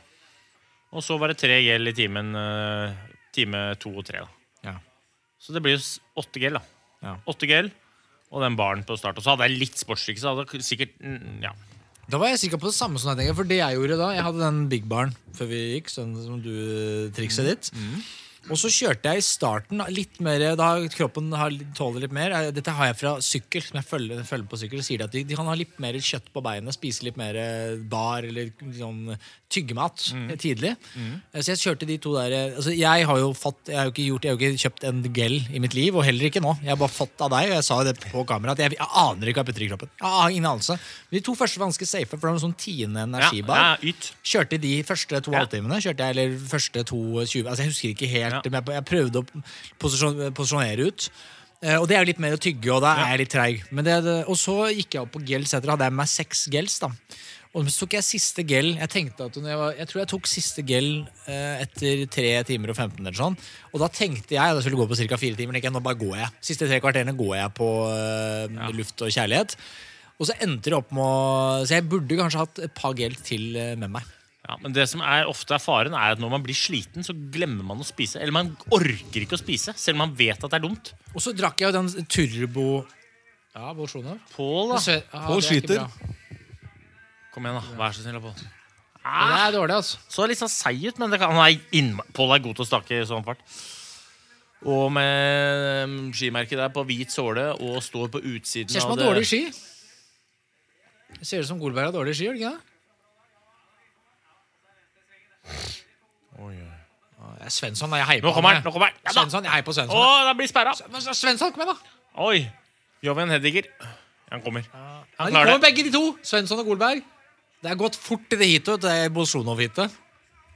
S5: Og så var det tre gel i timen øh, time to og tre, da.
S4: Ja.
S5: Så det blir jo s- åtte gel, da.
S4: Ja.
S5: Åtte gel og den baren på start. Og så hadde jeg litt sportsdrikk, så hadde jeg sikkert mm, Ja.
S4: Da var jeg sikker på det samme som deg, Inge, for det jeg gjorde da Jeg hadde den big baren før vi gikk, sånn som du trikset ditt. Og så kjørte jeg i starten da, litt mer Da har kroppen har, tåler litt mer. Eh, Dette har jeg fra sykkel. Som jeg følger, følger på sykkel Sier de at de, de kan ha litt mer kjøtt på beinet, spise litt mer eh, bar eller sånn tyggemat
S5: Mm.
S4: eh, tidlig. Eh, Så jeg kjørte de to der eh, altså Jeg har jo fått Jeg har jo ikke, gjort, jeg har jo ikke kjøpt en gel i mitt liv, og heller ikke nå. Jeg har bare fått av deg, og jeg sa jo det på kamera, at jeg, jeg aner ikke hva jeg putter i kroppen. Jeg har ingen anelse. Men de to første var ganske safe, for det var en sånn tiende energibar.
S5: ja, ja, yt.
S4: Kjørte de første to halvtimene. Kjørte jeg, eller første to 20 Altså Jeg husker ikke helt,
S5: Ja.
S4: men jeg, jeg prøvde å posisjon, posisjonere ut. Eh, Og det er jo litt mer å tygge, og da er jeg litt treig. Men det, det, og så gikk jeg opp på gels etter, hadde jeg med meg seks gels. da. Og så tok jeg siste gel. Jeg tenkte at når jeg, var, jeg tror jeg tok siste gel eh, etter 3 timer og 15 eller sånn. Og da tenkte jeg, det skulle gå på ca. 4 timer, tenkte jeg, nå bare går jeg. Siste tre kvarterene går jeg på eh, luft og kjærlighet. Og så endte det opp med å Så jeg burde kanskje hatt et par gel til eh, med meg.
S5: Ja, men det som er ofte er faren, er at når man blir sliten, så glemmer man å spise. Eller man orker ikke å spise, selv om man vet at det er dumt.
S4: Og så drakk jeg jo den turbo Ja, Bolsjunov.
S5: Pål, da. Kom igjen, da. Vær så snill, Pål.
S4: Det er dårlig, altså.
S5: Så litt sånn seig ut, men det kan, han er innma- Pål er god til å snakke i sånn fart. Og med um, skimerket der på hvit såle og står på utsiden
S4: Ser ut som han har dårlige ski. Det ser ut som Golberg har dårlige ski, gjør det ikke det? Det er Svensson, da. Jeg heier på
S5: Nå kommer
S4: han,
S5: han!
S4: jeg.
S5: nå kommer han ja, da.
S4: Svensson, jeg heier på Svensson.
S5: Å, den blir sperra!
S4: Svensson, kom igjen, da!
S5: Oi! Joven Hediger. Han kommer.
S4: Ja,
S5: Han
S4: de
S5: klarer
S4: kommer
S5: det.
S4: begge de to. Svensson og Golberg. Det er gått fort til det hito, til det Bolsjunov-hitet.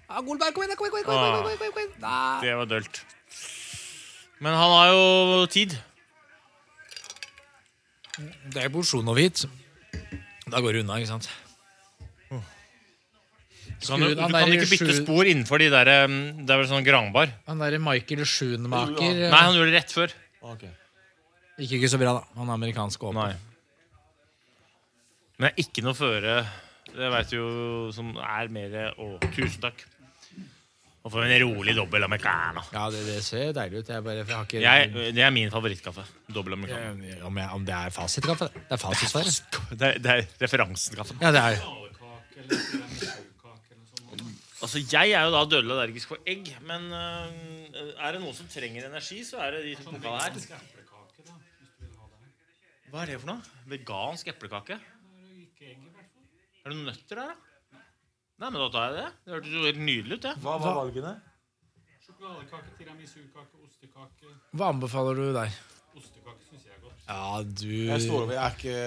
S4: Ja, Golberg, kom igjen, da, kom igjen, kom igjen, kom igjen, kom igjen, kom igjen, kom igjen. Nei.
S5: Ah, Det var dølt. Men han har jo tid.
S4: Det er Bolsjunov-hit. Da går det unna, ikke sant?
S5: Så kan du,
S4: Skru-
S5: du
S4: han
S5: kan
S4: er i
S5: ikke bytte
S4: sju-
S5: spor innenfor de der um, Det er vel sånn granbar.
S4: Han derre Michael Schoonmaker
S5: Nei, han gjorde det rett før.
S4: gikk ikke så bra, da. Han er amerikansk åpen.
S5: Nei. Men det er ikke noe føre Det veit du jo som er mer Å, tusen takk. Og for en rolig dobbel americano.
S4: Ja, det, det ser deilig ut. Jeg bare jeg har ikke
S5: Jeg, det er min favorittkaffe. Dobbel americano.
S4: Eh, om, jeg, om det er fasitkaffe? Det er fasitsvar.
S5: Det, er- det er referansenkaffen.
S4: Ja, det er jo.
S5: Altså, jeg er jo da dødelig allergisk for egg, men øh, er det noen som trenger energi, så er det de som boka her. Hva er det for noe? Vegansk eplekake? Er det noen nøtter der, da? Nei, men da tar jeg det. Det hørtes jo helt nydelig ut, det.
S6: Hva var valgene?
S4: Hva anbefaler du der? Ja,
S6: Jeg står
S4: du
S6: over. Jeg er ikke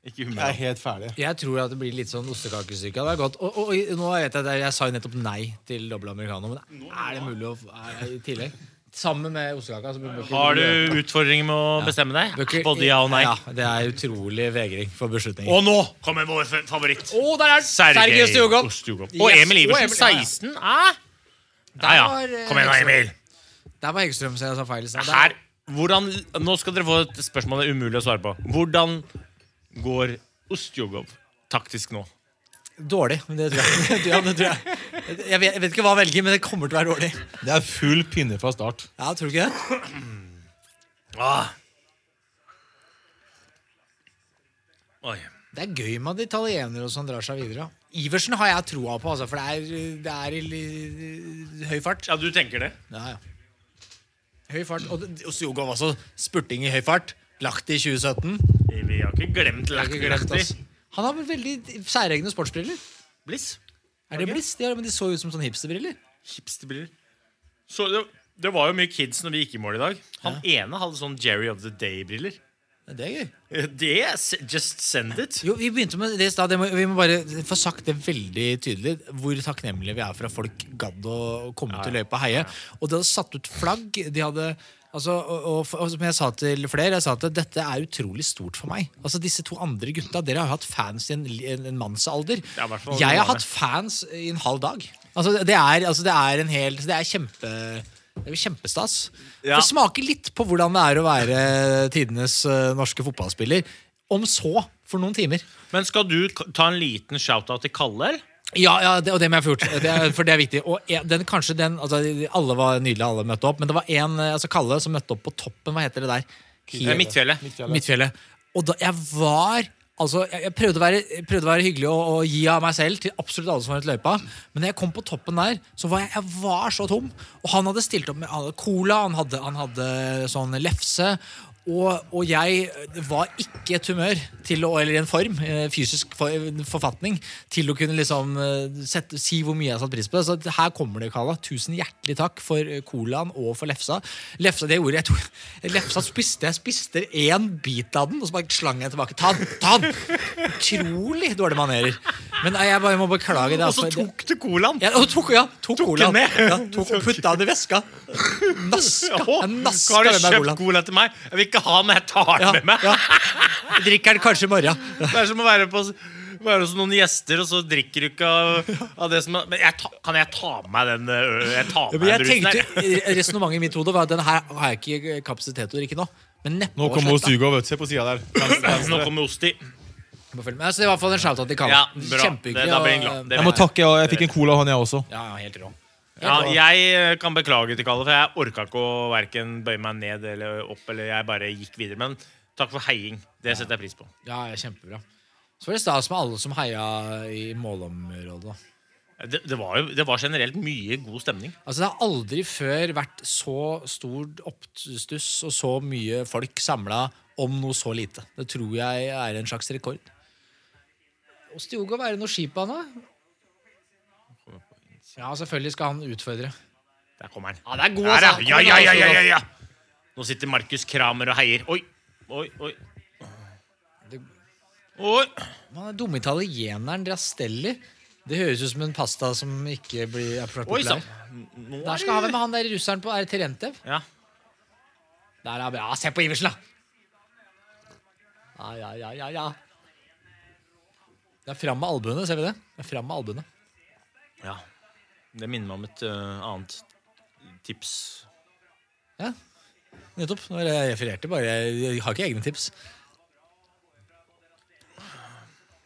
S5: Ikke
S6: Jeg er
S5: humør.
S6: helt ferdig.
S4: Jeg tror at det blir litt sånn ostekakesyke. Det er godt. Og, og, og nå vet jeg det, jeg sa jo nettopp nei til dobbel americano, men er det mulig å f- er- i tillegg? Sammen med ostekaka. så bør ikke-
S5: Har du utfordringer med å bestemme
S4: bør
S5: deg?
S4: ikke-
S5: Både ja og nei.
S4: Ja, det er utrolig vegring for beslutninger.
S5: Og nå kommer vår f- favoritt.
S4: Å, der er den! Sergej Ostiugov.
S5: Og
S4: Yes,
S5: Emil Iversen,
S4: ja, ja.
S5: 16. Hæ? Ja, ja.
S4: Der var, eh,
S5: Kom igjen, da, Emil.
S4: Der var Hegstrøm, så jeg sa feil. i stad. Der-
S5: Her, hvordan, nå skal dere få et spørsmål det er umulig å svare på. Hvordan går Ostjogov taktisk nå?
S4: Dårlig. men Det tror jeg. Ja, det tror jeg. Jeg, vet, jeg vet ikke hva jeg velger, men det kommer til å være dårlig.
S6: Det er full pinne fra start.
S4: Ja, tror du ikke det?
S5: Ah. Oi.
S4: Det er gøy med at italienere og sånn drar seg videre. Iversen har jeg troa på, altså, for det er, det er i li- høy fart.
S5: Ja, du tenker det?
S4: Ja, ja. Høy fart. Og det- og Sjogov også. Spurting i høy fart. Lagt i 2017.
S5: Vi har ikke glemt
S4: Jeg har ikke glemt, ass. Han har vel veldig særegne sportsbriller.
S5: Bliss.
S4: Er det bliss? De, har- men de så ut som sånne hipsterbriller.
S5: Hipsterbriller. Så det, det var jo mye kids når vi gikk i mål i dag. Han ene hadde sånn Jerry of the Day-briller.
S4: Ja, Det er gøy.
S5: Det er s- Just send it.
S4: Jo, Vi begynte med det i stad. det må- Vi må bare få sagt det veldig tydelig hvor takknemlige vi er for at folk gadd å komme til løypa og heie. Og de hadde satt ut flagg. De hadde Altså, og, og, og som jeg sa til flere, jeg sa at dette er utrolig stort for meg. Altså, Disse to andre gutta, dere har jo hatt fans i en, li- en, en mannsalder.
S5: Ja, i hvert fall
S4: jeg har
S5: noen
S4: hatt fans i en halv dag. Altså, det- det er, altså, det er en hel Det er kjempe... Det er jo kjempestas.
S5: Ja.
S4: Det smaker litt på hvordan det er å være tidenes eh, norske fotballspiller. Om så for noen timer.
S5: Men skal du k- ta en liten shout-out til Kalle? eller?
S4: Ja, ja det, og det må jeg få gjort. Det er, for det er viktig. Og en- den, kanskje den, altså, Alle var nydelige, alle møtte opp. Men det var en, eh, altså Kalle som møtte opp på toppen. Hva heter det der?
S5: Det er Eh, Midtfjellet.
S4: Midtfjellet. Og da jeg var Altså, jeg, jeg, prøvde å være, jeg prøvde å være hyggelig og, og gi av meg selv til absolutt alle som var rundt løypa. Men da jeg kom på toppen der, så var jeg, jeg var så tom. Og han hadde stilt opp med han hadde cola, han hadde, han hadde sånn lefse. Og, og jeg var ikke i et humør til å, eller i en form, eh, fysisk for, en forfatning, til å kunne liksom eh, sette, si hvor mye jeg har satt pris på det. Så her kommer det, Kala. Tusen hjertelig takk for eh, colaen og for lefsa. Lefsa, det ordet jeg tok, lefsa spiste jeg spiste én bit av den, og så bare slang jeg tilbake. Ta den! ta den Utrolig dårlige manerer. Men nei, jeg bare må beklage det.
S7: Og så tok
S4: du colaen? Ja, og tok, ja, tok, colaen.
S7: den med?
S4: Ja, tok, putta den i veska. Naska. Jeg naska
S5: Har du
S4: den der
S5: kjøpt
S4: colaen.
S5: cola til meg? Jeg vil ikke ha den, jeg tar den
S4: Ja,
S5: med meg.
S4: ja. Jeg drikker den kanskje i morgen.
S5: Det er som å være, på, være hos noen gjester, og så drikker du ikke av, av det som er Men jeg ta, kan jeg ta med meg den eh, ø, Jeg tar
S4: Ja,
S5: med
S4: men
S5: meg
S4: jeg
S5: brusen her.
S4: tenkte, Resonnementet i mitt hode var at den her har jeg ikke kapasitet til å drikke nå. Men neppe
S6: Nå
S4: var
S6: kommer
S4: slett, da.
S6: Ostugo, vet du. Se på sida der.
S5: Nå kommer Osti.
S4: På filmen. Altså, det var i hvert fall en shout-out til Kalle.
S5: Ja, bra.
S4: Kjempehyggelig.
S5: Det- da blir jeg
S4: og- eh,
S5: glad. Det
S6: Jeg må takke, og jeg fikk en cola av han, jeg også.
S4: Ja, ja, helt rå.
S5: Ja, jeg eh, kan beklage til Kalle, for jeg orka ikke å verken bøye meg ned eller opp. Eller jeg bare gikk videre. Men takk for heiing. Det setter jeg pris på.
S4: Ja, ja, kjempebra. Så var det stas med alle som heia i målområdet. da.
S5: Det, det, var jo, det var generelt mye god stemning.
S4: Altså, Det har aldri før vært så stor oppstuss og så mye folk samla om noe så lite. Det tror jeg er en slags rekord. Ostiogo, hva er det noe skip han har? Ja, selvfølgelig skal han utfordre.
S5: Der kommer han.
S4: Ja, det er god,
S5: Der,
S4: altså.
S5: ja. Ja, ja, ja, ja, ja. Nå sitter Markus Kramer og heier. Oi, oi, oi. Oi.
S4: Han er dumme italieneren Drastelli. Det høres ut som en pasta som ikke blir er
S5: Oi
S4: populær.
S5: sann. Nå
S4: Der
S5: er
S4: skal han
S5: det-
S4: med han der russeren på. Er det Terentev?
S5: Ja.
S4: Der er, ja, se på Iversen, da! Ja, ja, ja, ja, ja. Det er fram med albuene, ser vi det? Det er fram med albuene.
S5: ja. Det minner meg om et ø, annet tips.
S4: Ja, nettopp. Nå er jeg refererte bare. Jeg har ikke egne tips.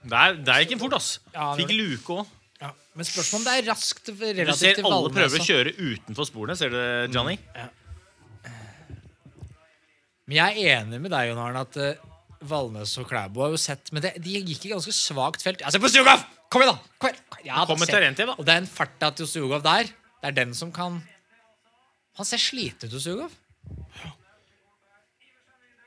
S5: Der, der gikk den fort, ass.
S4: Ja, det
S5: Fikk luke òg.
S4: Ja, Men spørsmålet om det er raskt
S5: Du
S4: relativt altså. Mm.
S5: ser
S4: til
S5: alle prøver å
S4: Valnesa.
S5: kjøre utenfor sporene. Ser du det, Johnny?
S4: Men jeg er enig med deg, Jon Arne, at eh, Valnes og Klæbo har jo sett Men det, de gikk i ganske svakt felt. Ja, se på Stjugov! Kom igjen, da! Kom igjen. Ja,
S5: Kom med
S4: se.
S5: Terentiev, da.
S4: Og det er en farta til Stjugov der. Det er den som kan Han ser sliten ut, Stjugov.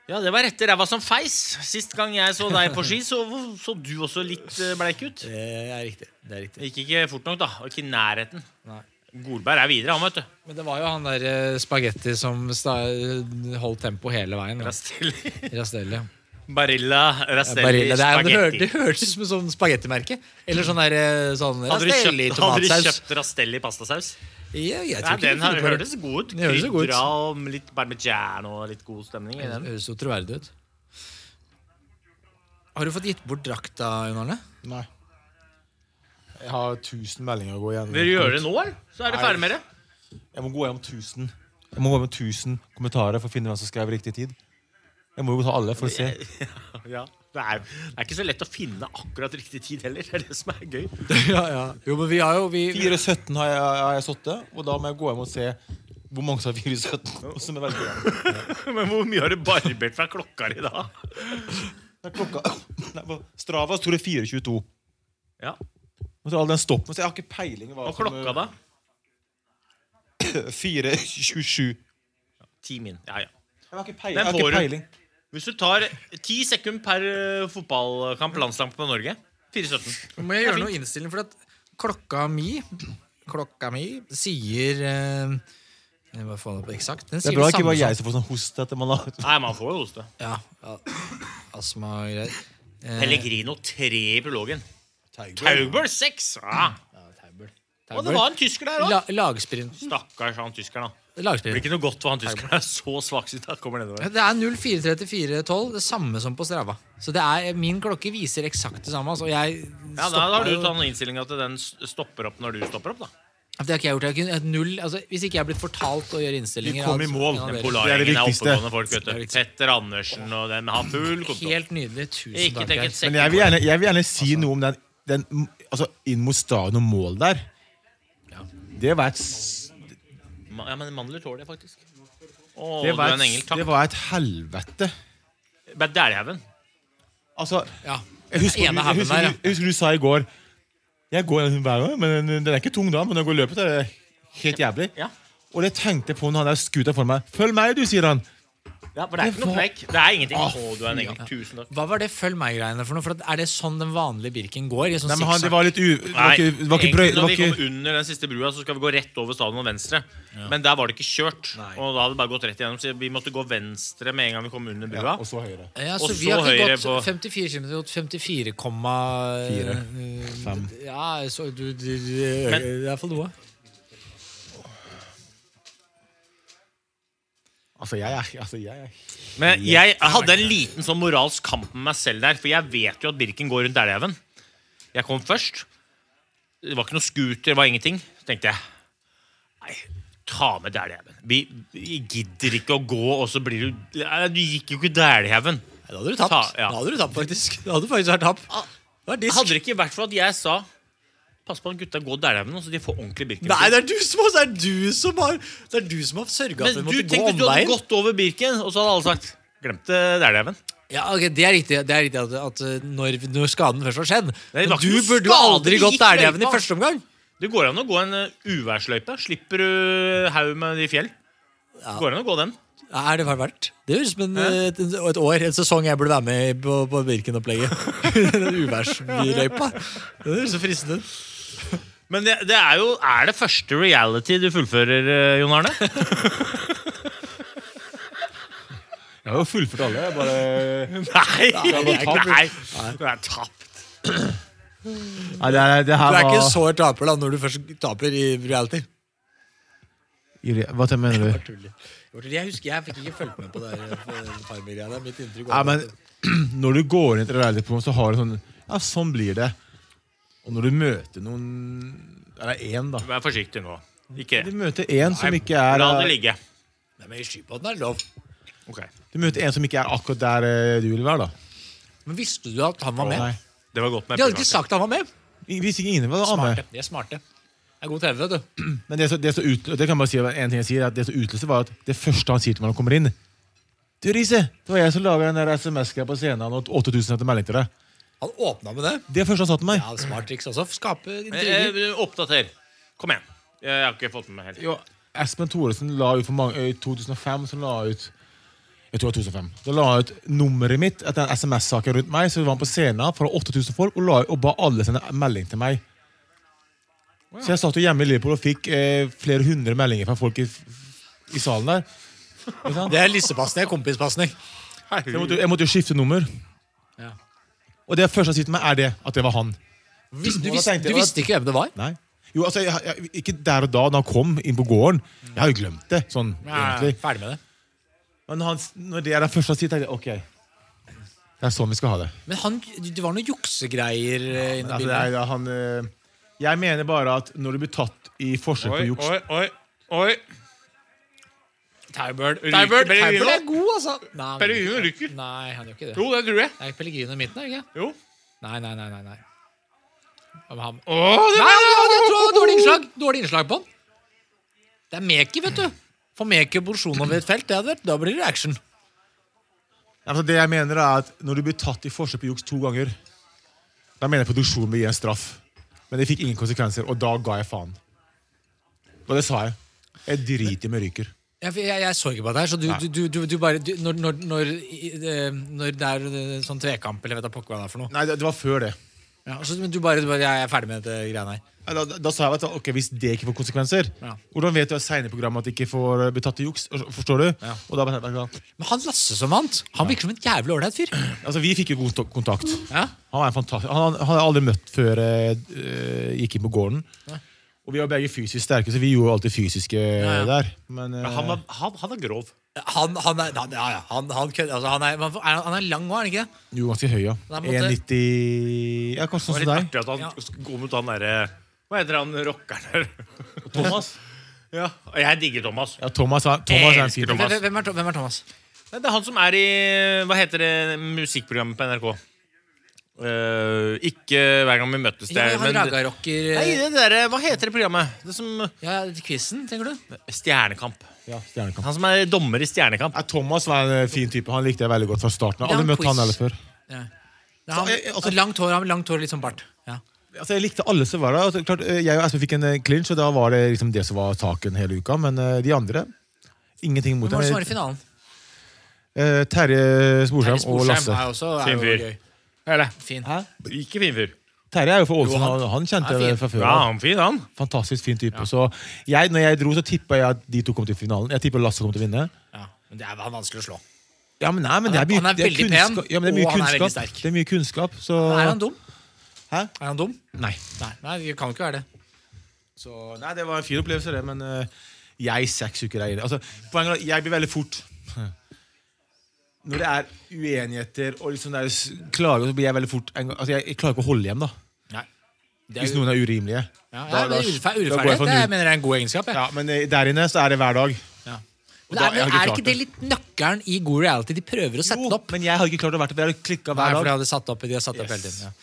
S5: Ja, det var rette ræva som feis. Sist gang jeg så deg på ski, så så du også litt eh, bleik ut.
S4: Det er riktig. Det er riktig.
S5: Det gikk ikke fort nok, da. Og ikke i nærheten.
S4: Nei.
S5: Golberg er videre, han, vet du.
S4: Men det var jo han der eh, spagetti som sta eh, holdt tempo hele veien. da.
S5: Rastelli.
S4: Rastelli.
S5: Barilla Rastelli
S4: Barilla. Det, er, det, hør, det
S5: spagetti.
S4: hørtes ut som et sånt spagettimerke. Eller sånn der, eh, sånn
S5: Hadde du kjøpt, hadde du
S4: Rastelli-tomatsaus.
S5: kjøpt Rastelli pastasaus?
S4: Ja, jeg
S5: Nei,
S4: tror ikke
S5: den
S4: det
S5: her
S4: funnet på det.
S5: hørtes god ut.
S4: Den høres jo god ut.
S5: Krydra og litt parmesan og litt god stemning i
S4: Det
S5: den.
S4: høres jo troverdig ut. Har du fått gitt bort drakta, Jon Arne?
S6: Nei. Jeg har 1000 meldinger å gå igjennom.
S5: Vil du gjøre det nå, eller? Så er du ferdig med det.
S6: Jeg må gå gjennom 1000 Jeg må gå gjennom 1000 kommentarer for å finne hvem som skrev riktig tid. Jeg må jo ta alle for å se.
S5: Ja. Det er, det er ikke så lett å finne akkurat riktig tid heller. Det er det som er gøy.
S4: ja, ja. Jo, men vi har jo vi,
S6: 417 har jeg, har jeg sittet, og da må jeg gå hjem og se hvor mange som har 417. Som er veldig bra.
S5: Men hvor mye har du barbert fra klokka di da?
S6: Det er klokka Nei, på Strava står det 422.
S5: Ja.
S6: Og så er all den stoppen, så jeg har ikke peiling. Hva
S5: Og klokka, da?
S6: 427.
S5: Ti min. Ja, ja.
S6: Jeg har ikke
S5: Den
S6: peiling. Jeg har
S5: får du.
S6: ikke peiling.
S5: Hvis du tar ti sekunder per eh, fotballkamp, landskamp på Norge 4-17.
S4: Må jeg gjøre noe innstilling, for at klokka mi Klokka mi sier eh, jeg må få det opp eksakt. Den
S6: Det
S4: sier
S6: er bra
S4: det
S6: ikke
S4: samme
S6: bare
S4: som
S6: jeg som får sånn hoste etter man har
S5: Nei, man får jo hoste.
S4: ja, ja, astma og greier. Eh.
S5: Pellegrino tre i prologen. Taugbøl seks! Ja. Og det var en tysker der
S4: La,
S5: òg.
S4: lagsprinten.
S5: Stakkars han tyskeren, da. Det blir
S4: lagsprinten.
S5: ikke noe godt for han tyskeren. Det er så svaksynt. Han kommer nedover.
S4: Det er 043412, det samme som på Strava. Så det er, min klokke viser eksakt det samme. Altså, og jeg
S5: Ja, Da
S4: stoppa
S5: har du
S4: jo-
S5: tatt innstillinga til den s- stopper opp når du stopper opp, da.
S4: Det har ikke jeg gjort. Jeg kunne, et null, altså, hvis ikke jeg er blitt fortalt å gjøre innstillinger
S6: Vi kom i
S4: altså,
S6: mål.
S4: ja,
S5: Den
S4: dere-
S5: Polargjengen er
S6: viktigste.
S5: oppegående folk, vet
S4: Det er
S5: du.
S4: viktig.
S5: Petter Andersen og den har full kontroll.
S4: Helt nydelig. Tusen
S5: Ikke tenk
S4: takk.
S5: et
S4: Geir.
S6: Men
S5: sekund.
S6: jeg vil gjerne, jeg vil gjerne si noe om den, den altså, inn mot stadion og mål der. Det var et, s-
S5: Ma- Ja, men mandler tåler det, faktisk. Å, du
S6: det
S5: er
S6: var
S5: en engel.
S6: et, det
S5: Takk.
S6: var et helvete.
S5: Bad Daddyhaugen.
S6: Altså,
S4: Ja.
S6: jeg husker,
S4: Den
S6: jeg,
S4: ene haugen
S6: husker,
S4: der, ja.
S6: jeg, husker du sa i går Jeg går gjennom hver gang, men den er ikke tung da, men når jeg går løpet, er det helt jævlig.
S5: Ja.
S6: Og det tenkte jeg på når han der skuta for meg. Følg meg, du, sier han.
S5: Ja, for det er ikke noe knekk. Det er ingenting. Å, du er en engel. Tusen takk.
S4: Hva var det følg meg-greiene for noe? For at Er det sånn den vanlige Birken går? I sånn
S6: Nei, men han, det var litt u... Det var
S5: Nei,
S6: ikke, det var ikke, brøy,
S5: egentlig
S6: det
S5: Når
S6: var
S5: vi
S6: ikke
S5: kom under den siste brua, så skal vi gå rett over stadion og venstre. Men der var det ikke kjørt. Og da hadde det bare gått rett igjennom. Så vi måtte gå venstre med en gang vi kom under brua.
S6: Og så høyre.
S4: Ja,
S5: og
S4: så vi
S5: så
S4: har ikke
S5: høyre
S4: gått
S5: på-
S4: 54 km mot 54,4
S6: eh,
S4: Ja, så du, du, du
S5: Men-
S4: Det er iallfall noe.
S6: Altså, jeg er altså, jeg er-
S5: Men jeg hadde en liten sånn moralsk kamp med meg selv der, for jeg vet jo at Birken går rundt Elghaugen. Jeg kom først. Det var ikke noe scooter, det var ingenting. tenkte jeg. Nei, ta med Dælhaugen. Vi, vi gidder ikke å gå, og så blir du Nei, Du gikk jo ikke Dælhaugen.
S7: Nei, Da hadde du tapt.
S5: Ta- ja. Ah.
S7: Da hadde du tapt, faktisk. Da hadde du faktisk vært tapt. Det var disk.
S5: Hadde det ikke vært for at jeg sa Pass på at gutta går Dælhaugen, nå, så de får ordentlig Birken.
S7: Nei, det er du som har, det er du som har, det er du som har sørga for at vi
S5: Men du
S7: måtte gå
S5: tenkte du hadde
S7: omveien.
S5: gått over Birken, og så hadde alle sagt Glemte Dælhaugen.
S4: Ja, ok, Det er riktig, det er riktig at, at
S7: eh,
S4: uh, når, når skaden først var skjedd.
S5: Nei, det
S4: Men
S5: var
S4: du
S5: ikke noe
S4: burde jo
S5: skade,
S4: aldri
S5: det
S4: gått
S5: gikk
S4: til Elghaugen i
S5: løypa.
S4: første omgang.
S5: Det går an å gå en eh, uværsløype. Slipper du eh, haug med de fjell. Det går an å gå den.
S7: Ja, Er det vel verdt? Det høres ut som en, eh, et, et år, en sesong jeg burde være med i på, på Birken-opplegget. Den Uværsløypa. Det høres så fristende ut.
S5: Men det, det er jo Er det første reality du fullfører, eh, Jon Arne?
S6: Jeg har jo fullført alle. Jeg bare
S5: Nei! Nei,
S6: det er tapt.
S5: du er tapt.
S6: Nei, det, er- det
S7: Du
S6: her
S7: er ikke en
S6: var
S7: sår taper da når du først taper i reality.
S6: Iri- Hva tenker- mener du?
S7: Jeg husker jeg fikk ikke fulgt med på det farmegreiene. Mitt inntrykk
S6: Ja, men når du går inn til et reality-program, så har du sånn Ja, sånn blir det. Og når du møter noen Eller én, da.
S5: Vær forsiktig nå. Ikke
S6: Du møter én som ikke er
S5: La det
S6: eh,
S5: ligge.
S7: men Skibotn er lov.
S5: Ok.
S6: Du møter en som ikke er akkurat der eh, du vil være, da.
S4: Men visste du at han var med?
S6: Nei.
S5: Det var godt med
S4: De hadde ikke sagt han var med.
S6: Ingen- Hvis ikke ingen var
S4: Smarte.
S6: med.
S4: De er smarte. Det er god TV, vet du.
S6: Men det som, det som utlø- det kan jeg bare si, en ting jeg sier, er at det som utløste, var at det første han sier til meg når han kommer inn Du, Riise, det var jeg som laga den der SMS-greia på scenen og 8000 etter melding til deg.
S7: Han åpna med det.
S6: Det er første han sa til meg.
S7: Ja, Smart triks også. Skape intriger.
S5: Eh, eh, Oppdater. Kom igjen. Jeg, jeg har ikke fått med meg helt.
S6: Jo, Espen Thoresen la ut for mange, i 2005 så la han ut jeg tror det var 2005. Da la han ut nummeret mitt etter en SMS-sak rundt meg. Så var han på scenen foran 8000 folk og, la, og ba alle sende melding til meg. Så jeg satt jo hjemme i Liverpool og fikk eh, flere hundre meldinger fra folk i, i salen der. Ikke sant?
S7: Det er lissepasning. Kompispasning.
S6: Så Jeg måtte, jo- jeg måtte jo skifte nummer. Og det første jeg sier til meg, er det at det var han.
S4: Vis- Du
S6: Og da
S4: visste,
S6: tenkte jeg
S4: du
S6: at-
S4: visste ikke hvem det var?
S6: Nei. Jo, altså, jeg, jeg, Ikke der og da, da han kom inn på gården. Jeg har jo glemt det. sånn, egentlig.
S4: Ferdig med det.
S6: Men han, når det er den første han sier, tenker jeg ok. Det er sånn vi skal ha det.
S4: Men han, det var noen juksegreier eh, inne i
S6: Altså, det
S4: bildet.
S6: er, da han, eh, jeg mener bare at når du blir tatt i forsøk på juks
S5: oi, oi.
S4: Tybird.
S5: Tybird.
S4: Tybird
S5: Tybird
S4: er god, altså. Nei, han-
S5: Pellegrino ryker.
S4: Nei, han gjør ikke det.
S5: Jo, det tror jeg.
S4: Det er Pellegrino i midten, er det ikke?
S5: Jo.
S4: Nei, nei, nei. nei, nei. Om han...
S5: Å, det
S4: Nei, nei, nei, jeg tror det var dårlig innslag Dårlig innslag på han. Det er Meki, vet du. Få Meki og Bolsjunov over et felt, det hadde vært, da blir det action.
S6: altså, Det jeg mener er at når du blir tatt i forsøk på juks to ganger, da mener jeg produksjonen bør gi en straff. Men det fikk ingen konsekvenser, og da ga jeg faen. Og det sa jeg. Jeg driter i om jeg ryker.
S4: Jeg, jeg, jeg så ikke på det her, så du, du, du, du, du bare du, når, når, når, i- eh, når det er eh, sånn tvekamp, eller vet jeg pokker hva det er for noe
S6: Nei, det, det var før det.
S4: ja, og så, men du bare, du bare 'Jeg er ferdig med dette greiene her'.
S6: Ja, Da, da, da sa jeg at ok, hvis det ikke får konsekvenser,
S4: Ja.
S6: hvordan vet du at senere i programmet at det ikke får eh, bli tatt i juks? Forstår du?
S4: Ja.
S6: Og da bare tenkte jeg,
S4: Men han Lasse som vant, han virker som en jævlig ålreit fyr.
S6: Altså, Vi fikk jo god to- kontakt.
S4: Ja.
S6: Han er fantastisk. Han, han har jeg aldri møtt før jeg eh, gikk inn på gården. Og vi var begge fysisk sterke, så vi gjorde alltid fysiske
S4: ja.
S6: der. Men, eh,
S5: Han var, han, han var grov.
S4: Han, han er han, Ja, ja. Han, han, kødder- altså, han, er, han er- han er lang òg, er han ikke det?
S6: jo ganske høy, ja.
S4: Nei, måtte-
S6: 1,90 Ja, kanskje
S5: Det var
S6: sånn
S5: litt
S6: som deg.
S5: artig at han
S4: Ja.
S5: går mot han derre Hva heter han rockeren der?
S6: Thomas.
S5: Ja, og jeg digger Thomas.
S6: Ja, Thomas, er- Thomas er
S5: elsker
S6: en fin
S5: Thomas.
S4: Hvem- Hvem er, Tho- hvem er Thomas?
S5: Nei, Det er han som er i Hva heter det musikkprogrammet på NRK? Eh, ikke hver gang vi møtes
S4: Ja,
S5: der,
S4: han Raga-rocker
S5: Nei,
S4: eh,
S5: det derre Hva heter det programmet? Det som
S4: Ja, quizen, tenker du?
S5: Stjernekamp.
S6: Ja, Stjernekamp.
S5: Han som er dommer i Stjernekamp.
S6: Ja, Thomas var en eh, fin type. Han likte jeg veldig godt fra starten. Jeg har
S4: Ja,
S6: aldri møtt
S4: quiz.
S6: han heller før.
S4: Ja, han,
S6: Så, eh, altså-
S4: han, langt hår, han, langt hår litt sånn bart. Ja.
S6: Altså, Jeg likte alle som var der. Altså, klart, eh, jeg og Espen fikk en eh, clinch, og da var det liksom det som var saken hele uka. Men eh, de andre Ingenting mot
S4: Hvem var det som var
S6: dem.
S4: i finalen?
S6: Eh, Terje Sporsheim
S4: Terje
S6: og Lasse.
S4: er også er
S5: Fin
S4: jo
S5: fyr.
S4: gøy. Eller, fin.
S5: Ikke fin fyr.
S6: Terje er jo fra Ålesund.
S4: Jo, han-
S6: Han, han kjente
S4: han er fin.
S6: det fra før.
S5: Ja, han er fin, han.
S6: Fantastisk fin type. Så jeg, når jeg dro, så tippa jeg at de to kom til finalen. Jeg tippa Lasse kom til å vinne.
S4: Ja. Men det er han er vanskelig å slå.
S6: Ja, men nei, men det
S4: Han er-
S6: er mye,
S4: han er
S6: det
S4: veldig pen,
S6: kunnskap, ja, men det er mye
S4: og han er veldig
S6: kunnskap.
S4: sterk.
S6: Det er mye kunnskap, så
S4: Er han dum?
S6: Hæ?
S4: Er han dum?
S6: Nei.
S4: Nei, nei det kan ikke være det.
S6: Så, nei, det var en fin opplevelse, det, men eh, jeg seks uker er inne. Altså, poenget er at jeg blir veldig fort Når det er uenigheter og liksom det er s- klager, så blir jeg veldig fort en gang, altså, jeg, jeg klarer ikke å holde igjen, da.
S4: Nei. Det
S6: Hvis
S4: er,
S6: noen er urimelige.
S4: ja,
S6: Da-
S4: ja,
S6: da-
S4: det er urettfer-
S6: da går jeg
S4: urettferdighet.
S6: for
S4: Det
S6: null.
S4: mener jeg er en god egenskap. Jeg.
S6: Ja, men eh, der inne så er det hver dag.
S4: Ja.
S6: Og
S4: Men er, men
S6: da- jeg har ikke
S4: er
S6: klart
S4: ikke det
S6: det.
S4: litt nøkkelen i god reality? De prøver å sette
S6: Jo,
S4: det opp.
S6: men jeg hadde ikke klart å være det, for jeg hadde klikka
S4: Nei,
S6: hver
S4: for de
S6: dag.
S4: hadde satt det opp, de har satt det opp hele
S6: Yes.
S4: tiden.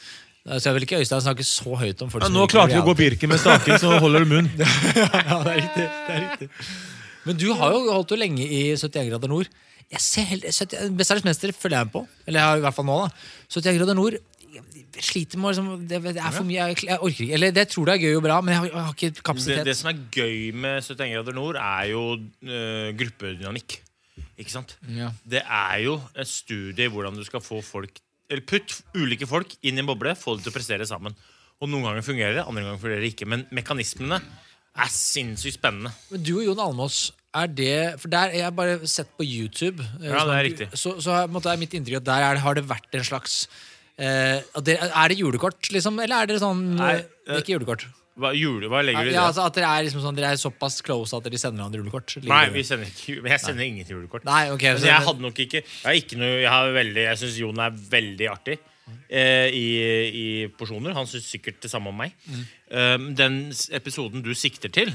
S4: Ja. Så jeg vil ikke Øystein snakke så høyt om folk
S6: Ja,
S4: som
S6: nå
S4: liker
S6: klarte du å gå
S4: reality.
S6: Birken med staking, så holder du munn.
S4: ja, det er riktig. Det er riktig. Men du har jo holdt jo lenge i 71 grader nord. Jeg ser heller, 70 Mesternes mester følger jeg med på. Eller jeg har i hvert fall nå, da. 71 grader nord jeg sliter med å liksom, det, det er for mye. Jeg, jeg orker ikke. Eller det tror det er gøy og bra, men jeg har, jeg har ikke
S5: Det,
S4: kapasitet.
S5: det som er gøy med 71 grader nord, er jo øh, gruppedynamikk. Ikke sant?
S4: Ja.
S5: Det er jo et studie i hvordan du skal få folk Eller putt ulike folk inn i en boble, få dem til å prestere sammen. Og noen ganger fungerer det, andre ganger fungerer det ikke. Men mekanismene er sinnssykt spennende.
S4: Men du og Jon Almås, er det For der er jeg bare sett på YouTube. eh,
S5: Ja,
S4: hvis
S5: det
S4: man-
S5: er riktig.
S4: Så, så er- på en måte er mitt inntrykk at der er, det- har det vært en slags eh, at det, Er det julekort, liksom? Eller er dere sånn
S5: Nei,
S4: eh, det er Ikke julekort.
S5: Hva, jule, hva legger du i det?
S4: Ja, altså, at dere er, liksom sånn, dere er såpass close at dere sender hverandre julekort? Ligger
S5: Nei,
S4: dere-
S5: vi sender ikke, jule- jeg sender ingen til julekort.
S4: Nei, ok
S5: Altså, jeg hadde nok ikke Jeg, har ikke noe, jeg, har veldig, jeg syns Jon er veldig artig eh, i, i porsjoner. Han syns sikkert det samme om meg. Um, den s- episoden du sikter til,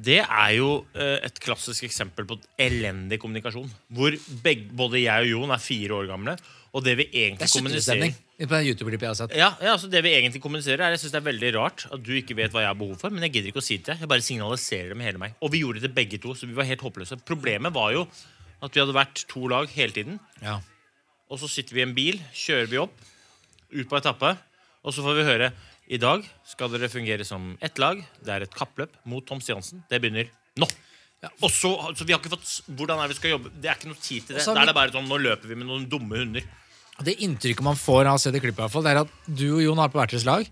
S5: det er jo eh, et klassisk eksempel på elendig kommunikasjon. Hvor begge, både jeg og Jon er fire år gamle, og det vi
S4: Det
S5: egentlig
S4: er
S5: kommuniserer
S4: sutrestemning på den YouTube-klippet jeg har sett.
S5: ja, ja, altså det vi egentlig kommuniserer er Jeg synes det er veldig rart at du ikke vet hva jeg har behov for Men jeg gidder ikke å si det til deg Jeg bare signaliserer det med hele meg Og vi gjorde det begge to Så vi var helt håpløse Problemet var jo at vi hadde vært to lag hele tiden
S4: Ja.
S5: Og så sitter vi i en bil Kjører vi opp Ut på etappe Og så får vi høre I dag skal dere fungere som ett lag Det er et kappløp mot Tom Stiansen Det begynner nå Og så så vi har ikke fått s- Hvordan er det vi skal jobbe Det er ikke noe tid til det
S4: så
S5: Da
S4: har
S5: er
S4: vi-
S5: det bare sånn Nå løper vi med noen dumme hunder
S4: Det inntrykket man får av å se det klippet, i hvert fall, det er at du og Jon har på hvert deres lag,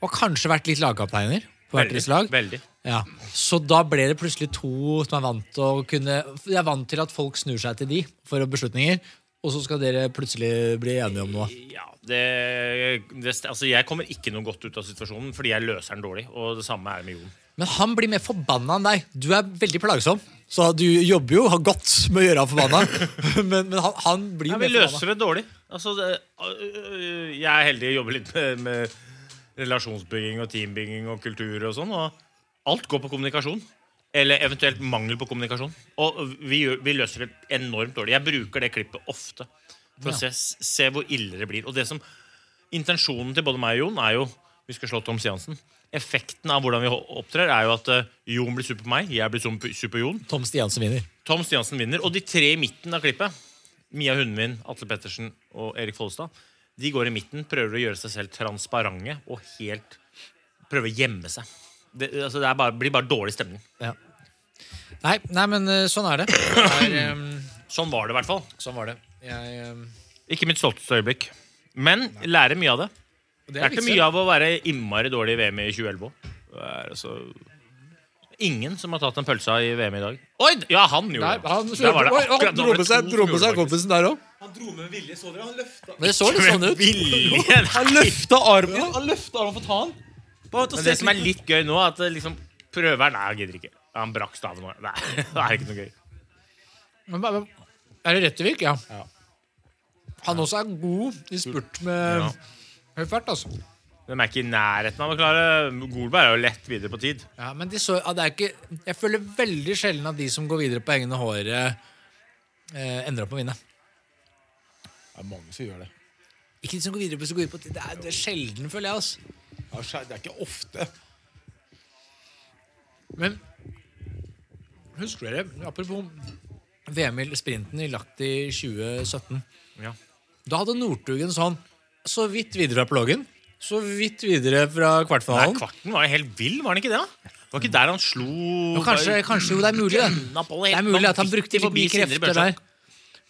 S4: og kanskje vært litt lagkapteiner på hvert deres lag.
S5: Veldig
S4: Ja, Så da ble det plutselig to som er vant til å kunne Jeg er vant til at folk snur seg til de for beslutninger, og så skal dere plutselig bli enige om noe.
S5: Ja, det, det, altså Jeg kommer ikke noe godt ut av situasjonen fordi jeg løser den dårlig. Og det samme er det med Jon.
S4: Men han blir mer forbanna enn deg. Du er veldig plagsom. Så du jobber jo har godt med å gjøre han forbanna, men, men han, han blir
S5: Ja,
S4: jo
S5: vi
S4: mer forbanna.
S5: løser det dårlig. Altså, det, øh, jeg er heldig og jobber litt med, med relasjonsbygging og teambygging og kultur og sånn. Og alt går på kommunikasjon. Eller eventuelt mangel på kommunikasjon. Og vi, gjør, vi løser det enormt dårlig. Jeg bruker det klippet ofte for å se, se hvor ille det blir. Og det som intensjonen til både meg og Jon er jo Vi skal slå Tom Stiansen. Effekten av hvordan vi ho- opptrer, er jo at øh, Jon blir super meg, jeg blir super super Jon.
S4: Tom Stiansen vinner.
S5: Tom Stiansen vinner, og de tre i midten av klippet, Mia Hundvin, Atle Pettersen og Erik Follestad, de går i midten, prøver å gjøre seg selv transparente og helt prøver å gjemme seg. Det, altså, det er bare, blir bare dårlig stemning.
S4: Ja. Nei, nei, men eh, sånn er det. Det er, eh,
S5: Sånn var det i hvert fall.
S4: sånn var det. Jeg, eh,
S5: Ikke mitt stolteste øyeblikk. Men lærer mye av det.
S4: det
S5: Lærte
S4: viktig.
S5: mye av å være innmari dårlig i VM i 2011 òg. Altså, ingen som har tatt en pølse i VM i dag. Oi! Ja, han gjorde
S4: Nei,
S5: det.
S4: han
S5: Der var det
S4: Oi, han
S5: akkurat- da
S4: dro
S5: var det
S4: med seg,
S5: to
S4: dro
S5: som
S4: med
S5: gjorde
S4: seg
S5: det, faktisk.
S4: kompisen der òg.
S6: Han dro med vilje, så dere? Han løfta
S4: Men det så litt sånn ut.
S5: Vilje!
S6: Han løfta armen Han løfta armen for å ta han Bare til å
S5: Men
S6: se
S5: det som er litt gøy nå, er at det liksom prøver Nei, jeg gidder ikke. Han brakk staven nå. Nei, det er ikke noe gøy.
S4: Men, hva- hva- er det Rettervik? Ja. Han også er god i spurt med
S5: Ja.
S4: høy fart, altså.
S5: De er ikke i nærheten av å klare Golberg er jo lett videre på tid.
S4: Ja, men de så, ja, det er ikke, jeg føler veldig sjelden at de som går videre på egne håret, eh, ender opp med å vinne.
S6: Det er mange som gjør det
S4: Ikke de som går videre på, som går videre på det, er, det er sjelden, føler jeg. Altså.
S6: Ja, skje- Det er ikke ofte
S4: Men husker dere, apropos VM i sprinten i Lagt i 2017,
S5: Ja.
S4: da hadde Northugen sånn så vidt videre fra ploggen, så vidt videre fra
S5: Nei,
S4: kvartfinalen.
S5: kvarten var jo helt vill, var den ikke det? da? Det var ikke der han slo
S4: Jo, kanskje, kanskje jo det er mulig, det.
S5: Napoli
S4: Det
S5: helt
S4: er mulig at han
S5: vanvittig
S4: brukte litt
S5: forbi
S4: mye
S5: Sindre
S4: krefter
S5: Børsson.
S4: der.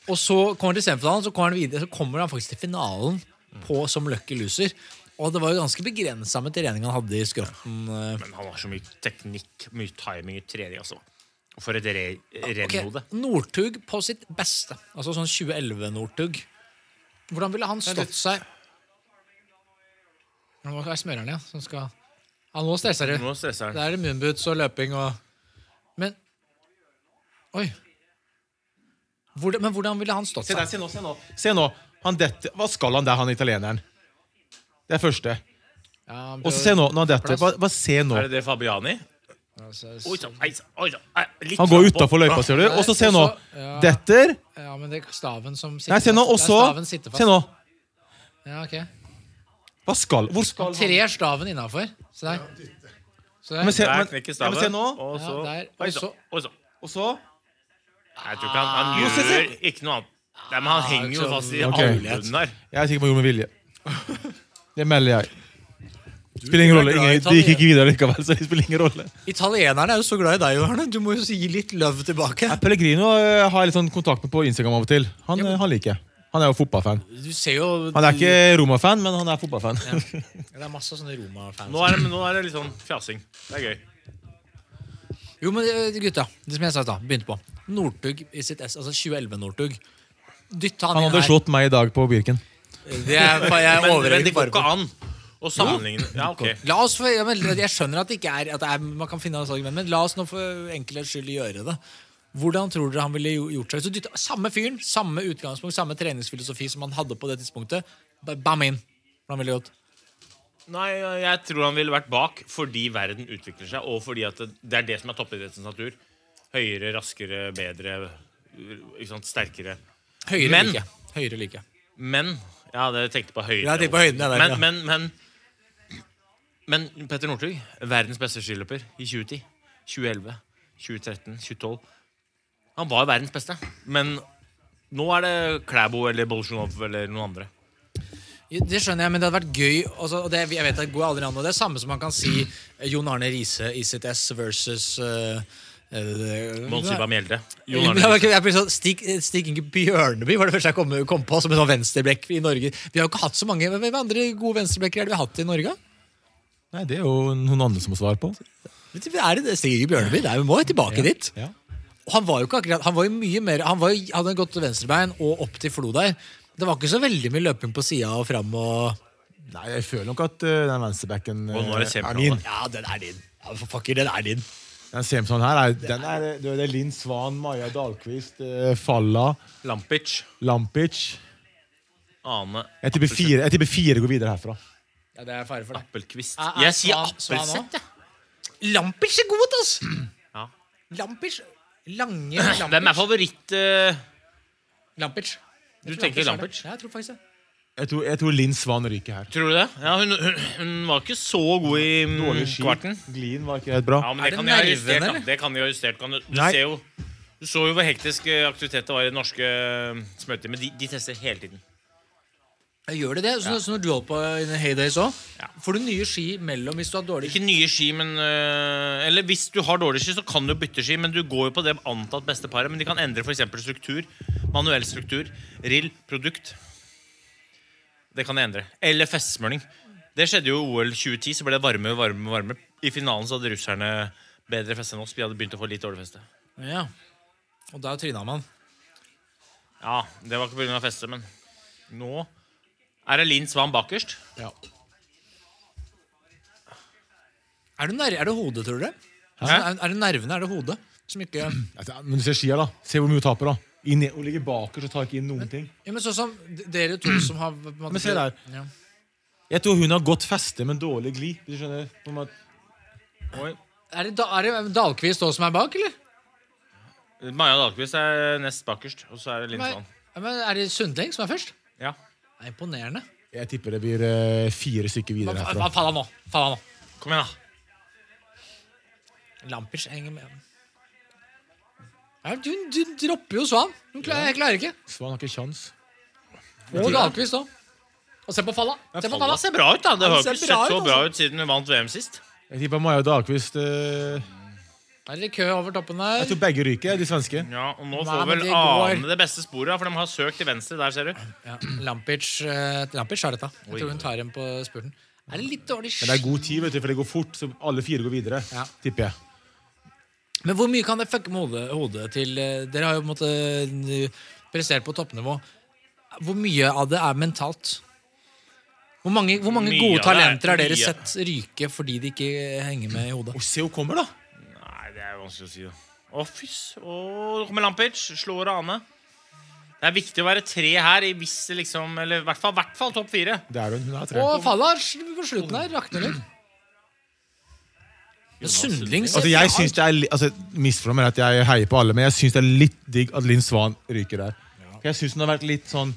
S4: Og så kommer han til semifinalen, så kommer han videre Så kommer han faktisk til finalen på, som lucky loser. Og det var jo ganske begrensa med trening han hadde i skrotten. eh.
S5: Men han har så mye teknikk, mye timing i trening, altså. Og For et re-
S4: Ok,
S5: rennhode.
S7: E.
S4: Northug på sitt beste. Altså sånn 2011-Northug. Hvordan ville han
S5: Det er litt-
S4: stått seg Nå er det smøreren, ja. Som skal ja, Nå stresser det.
S5: Nå stresser han.
S4: Da er det moonboots og løping og Men Oi. Hvordan, men hvordan ville han stått
S6: Se
S4: seg?
S6: der, se nå, se nå. Se nå. Han detter. Hva skal han der, han italieneren? Det er første.
S4: Ja, han
S6: Og
S4: prøver-
S6: se nå, når han detter. Bare, bare se nå.
S5: Er det det Fabiani?
S4: Ja, så-
S5: Oi sann, ei sann, oi sann. ei, litt
S6: Han
S5: frampå.
S6: går utafor løypa, ser du. Og så se nå.
S4: Ja.
S6: Detter.
S4: Ja, men det er staven som sitter
S6: Nei, se
S4: fast.
S6: nå. Og
S4: Det er
S6: så
S4: staven sitter fast.
S6: Se nå.
S4: Ja, ok.
S6: Hva skal Hvor skal
S4: Han trer staven innafor. Se der. Se der.
S6: Men se,
S5: Der
S6: men,
S5: knekker
S6: ja, men se
S5: staven.
S6: nå.
S5: Og så
S4: Ja, der.
S5: Oi
S4: Og så-
S5: sann. Oi sann.
S6: Og så
S5: Nei, Jeg tror ikke han,
S6: Jo,
S5: han
S6: se, Ah. se. Ah,
S5: gjør ikke noe annet. Nei, men han henger jo fast i
S6: Ok.
S5: albuen der.
S6: Jeg er sikker på at han gjorde med vilje. Det melder jeg. Spiller ingen rolle.
S7: glad i
S6: Ingen, de gikk ikke videre likevel, så det spiller ingen rolle.
S7: Italienerne er jo så glad i deg, Arne. Du må jo gi litt løv tilbake.
S6: Ja, Pellegrino eh, har jeg litt sånn kontakt med på Instagram av og til. Han, eh, han liker jeg. Han er jo fotballfan.
S4: Du ser jo
S6: Han er ikke Roma-fan, men han er fotballfan.
S4: Det er masse sånne Roma-fans.
S5: Nå er, det, nå er det litt sånn fjasing. Det er gøy.
S4: Jo, men eh, gutta, det som jeg sa i stad, begynte på. Northug i sitt S, altså 2011-Northug. Dytt han,
S6: Han
S4: inn
S6: hadde
S4: her.
S6: slått meg i dag på Birken.
S4: Det er, jeg
S5: Men,
S4: overrekker
S5: men det går
S4: bare på-
S5: ikke an å sammenligne Ja, ok.
S4: La oss få, ja, men Jeg skjønner at det ikke er, at det er man kan finne hans argument, men la oss nå for enkelhets skyld gjøre det. Hvordan tror dere han ville jo- gjort seg? Så dytt, samme fyren, samme utgangspunkt, samme treningsfilosofi som han hadde på det tidspunktet. Ba- Bam inn. Hvordan ville det gått?
S5: Nei, jeg tror han ville vært bak fordi verden utvikler seg, og fordi at det, det er det som er toppidrettens natur. Høyere, raskere, bedre, ikke sant, sterkere.
S4: Høyere
S5: Men-
S4: like. Høyere like.
S5: Men Jeg hadde tenkt på høyde.
S7: Jeg tenkte på høyden, jeg der,
S5: men,
S7: ja.
S5: men, men, men, Petter Northug, verdens beste skiløper i 2010, 2011, 2013, 2012 Han var verdens beste, men nå er det Klæbo eller Bolsjunov eller noen andre.
S4: Det skjønner jeg, men det hadde vært gøy. Altså, og det, jeg vet at det går aldri an, og det er samme som man kan si eh, Jon Arne Riise i sitt S versus uh,
S5: Monsiba Mjelde. Jon Arne Riise.
S4: jeg blir sånn, Stig, Stig Inge Bjørneby var det første jeg kom, kom på som en sånn venstreblekk i Norge. Vi har jo ikke hatt så mange Hvem andre gode venstreblekker er det vi har hatt i Norge?
S6: Nei, det er jo noen andre som må svare på.
S4: Vet du, Er det det Stig Inge Bjørneby? Nei, vi må jo tilbake dit.
S6: Ja.
S4: Og han var jo ikke akkurat Han var jo mye mer Han var jo, hadde en godt venstrebein og opp til Flo der. Det var ikke så veldig mye løping på sida og fram og
S6: Nei, jeg føler nok at eh, den venstrebacken eh,
S5: Og nå er det
S6: er
S5: semifinale.
S6: min.
S4: Ja, den er din. Ja, for fucker, den er din.
S6: Den semifinalen her er, den er, det er Linn Svan, Maja Dahlqvist, eh, Falla,
S5: Lampic.
S6: Lampic.
S5: Ane
S6: Jeg tipper fire, jeg tipper fire går videre herfra.
S4: Ja, det er fare for det.
S5: Appelkvist.
S4: Er- er
S5: Jeg sier
S4: Svan- Svan
S5: Appelsett, jeg.
S4: Lampic er god, ass!
S5: Ja.
S4: Lampic. Lange Lampic.
S5: Hvem er favoritt eh,
S4: Lampic.
S5: Du tenker Lampic?
S4: Ja, jeg tror faktisk det.
S6: Jeg tror, jeg tror Linn Svan ryker her.
S5: Tror du det? Ja, hun, hun, hun var ikke så god i mm,
S6: ski.
S5: kvarten.
S6: Glien var ikke helt bra.
S5: Ja, men
S4: Er
S5: det
S4: det
S5: kan de ha
S4: nervene,
S5: justert. da.
S4: eller?
S5: Det kan de ha justert. Kan du, du,
S6: Nei.
S5: ser jo, du så jo hvor hektisk eh, aktivitet det var i det norske eh, smørteamet. Men de, de tester hele tiden.
S4: Ja, Gjør det det? Så, så når du holder på i the Heydays òg, får du nye ski mellom hvis du har dårlig
S5: Ikke nye ski, men eh, Eller hvis du har dårlige ski, så kan du bytte ski. Men du går jo på det antatt beste paret. Men de kan endre f.eks. struktur. Manuell struktur. Rill. Produkt. Det kan de endre. Eller festsmøring. Det skjedde jo i OL 2010. Så ble det varme, varme, varme. I finalen så hadde russerne bedre feste enn oss. Vi hadde begynt å få litt dårlig feste.
S4: Ja. Og da tryna man.
S5: Ja, det var ikke pga. feste, men nå er det Linn Svan bakerst.
S4: Er det, ner er det hodet, tror dere? Altså, er, er det nervene? Er det hodet? Som ikke ja,
S6: Altså, Men du ser skia, da. Se hvor mye hun taper, da. Inn, i- hun ligger bakerst og tar ikke inn noen ting.
S4: men Sånn som d- dere to som har på en måte-
S6: Men se der.
S4: Ja.
S6: Jeg tror hun har godt feste, men dårlig gli. Hvis du skjønner? På en måte.
S4: Er det, da, er det Dahlqvist òg som er bak, eller?
S5: Maja Dahlqvist er nest bakerst, og så er det Linn
S4: Men,
S5: Svan.
S4: ja, men er det Sundling som er først?
S5: Ja.
S4: Det er imponerende.
S6: Jeg tipper det blir eh, fire stykker videre
S4: Hva-
S6: herfra.
S4: hva- Faen av nå. Faen av nå.
S5: Kom igjen, da.
S4: Lampic henger med. Ja, du, du dropper jo Svan. Hun klarer, jeg klarer ikke.
S6: Svan har ikke kjans.
S4: Og Dahlqvist òg. Og se på Falla. Se på Falla.
S5: Falla ser bra ut, altså. da. Det
S4: Han
S5: har
S4: ser
S5: ikke
S4: bra
S5: sett så
S4: ut,
S5: bra ut siden hun vant VM sist.
S6: Jeg tipper Maja Dahlqvist eh,
S4: Er det kø over toppen der?
S6: Jeg tror begge ryker, de svenske.
S5: Ja, og nå
S4: Nei,
S5: får
S4: men
S5: vel
S4: det går.
S5: Ane det beste sporet, da, for de har søkt til venstre. Der, ser du.
S4: Ja, Lampic, eh, Lampic har dette. Jeg
S5: Oi.
S4: tror hun tar en på spurten. Er det litt dårlig
S6: Men det er god tid, vet du, for det går fort, så alle fire går videre. Tipper jeg.
S4: Men hvor mye kan det fucke med hodet, hodet til eh, Dere har jo på en måte eh, prestert på toppnivå. Hvor mye av det er mentalt? Hvor mange, hvor mange
S5: Mye
S4: gode
S5: av det er-
S4: talenter har dere
S5: mye.
S4: sett ryke fordi de ikke henger med i hodet?
S6: se hun kommer, da!
S5: Nei, det er vanskelig å si. da. Å, fy s- Å, nå kommer Lampic. Slår Ane. Det er viktig å være tre her, i hvis det liksom Eller i hvert fall, hvert fall topp fire.
S6: Det er hun. Hun er
S4: Å,
S6: tre.
S4: faller på slutten her. Rakner litt. Men Sundling ser
S6: Altså, jeg
S4: bra
S6: synes
S4: ut.
S6: det er li- altså, Misforstå meg rett, jeg heier på alle, men jeg syns det er litt digg at Linn Svan ryker der. For Jeg syns hun har vært litt sånn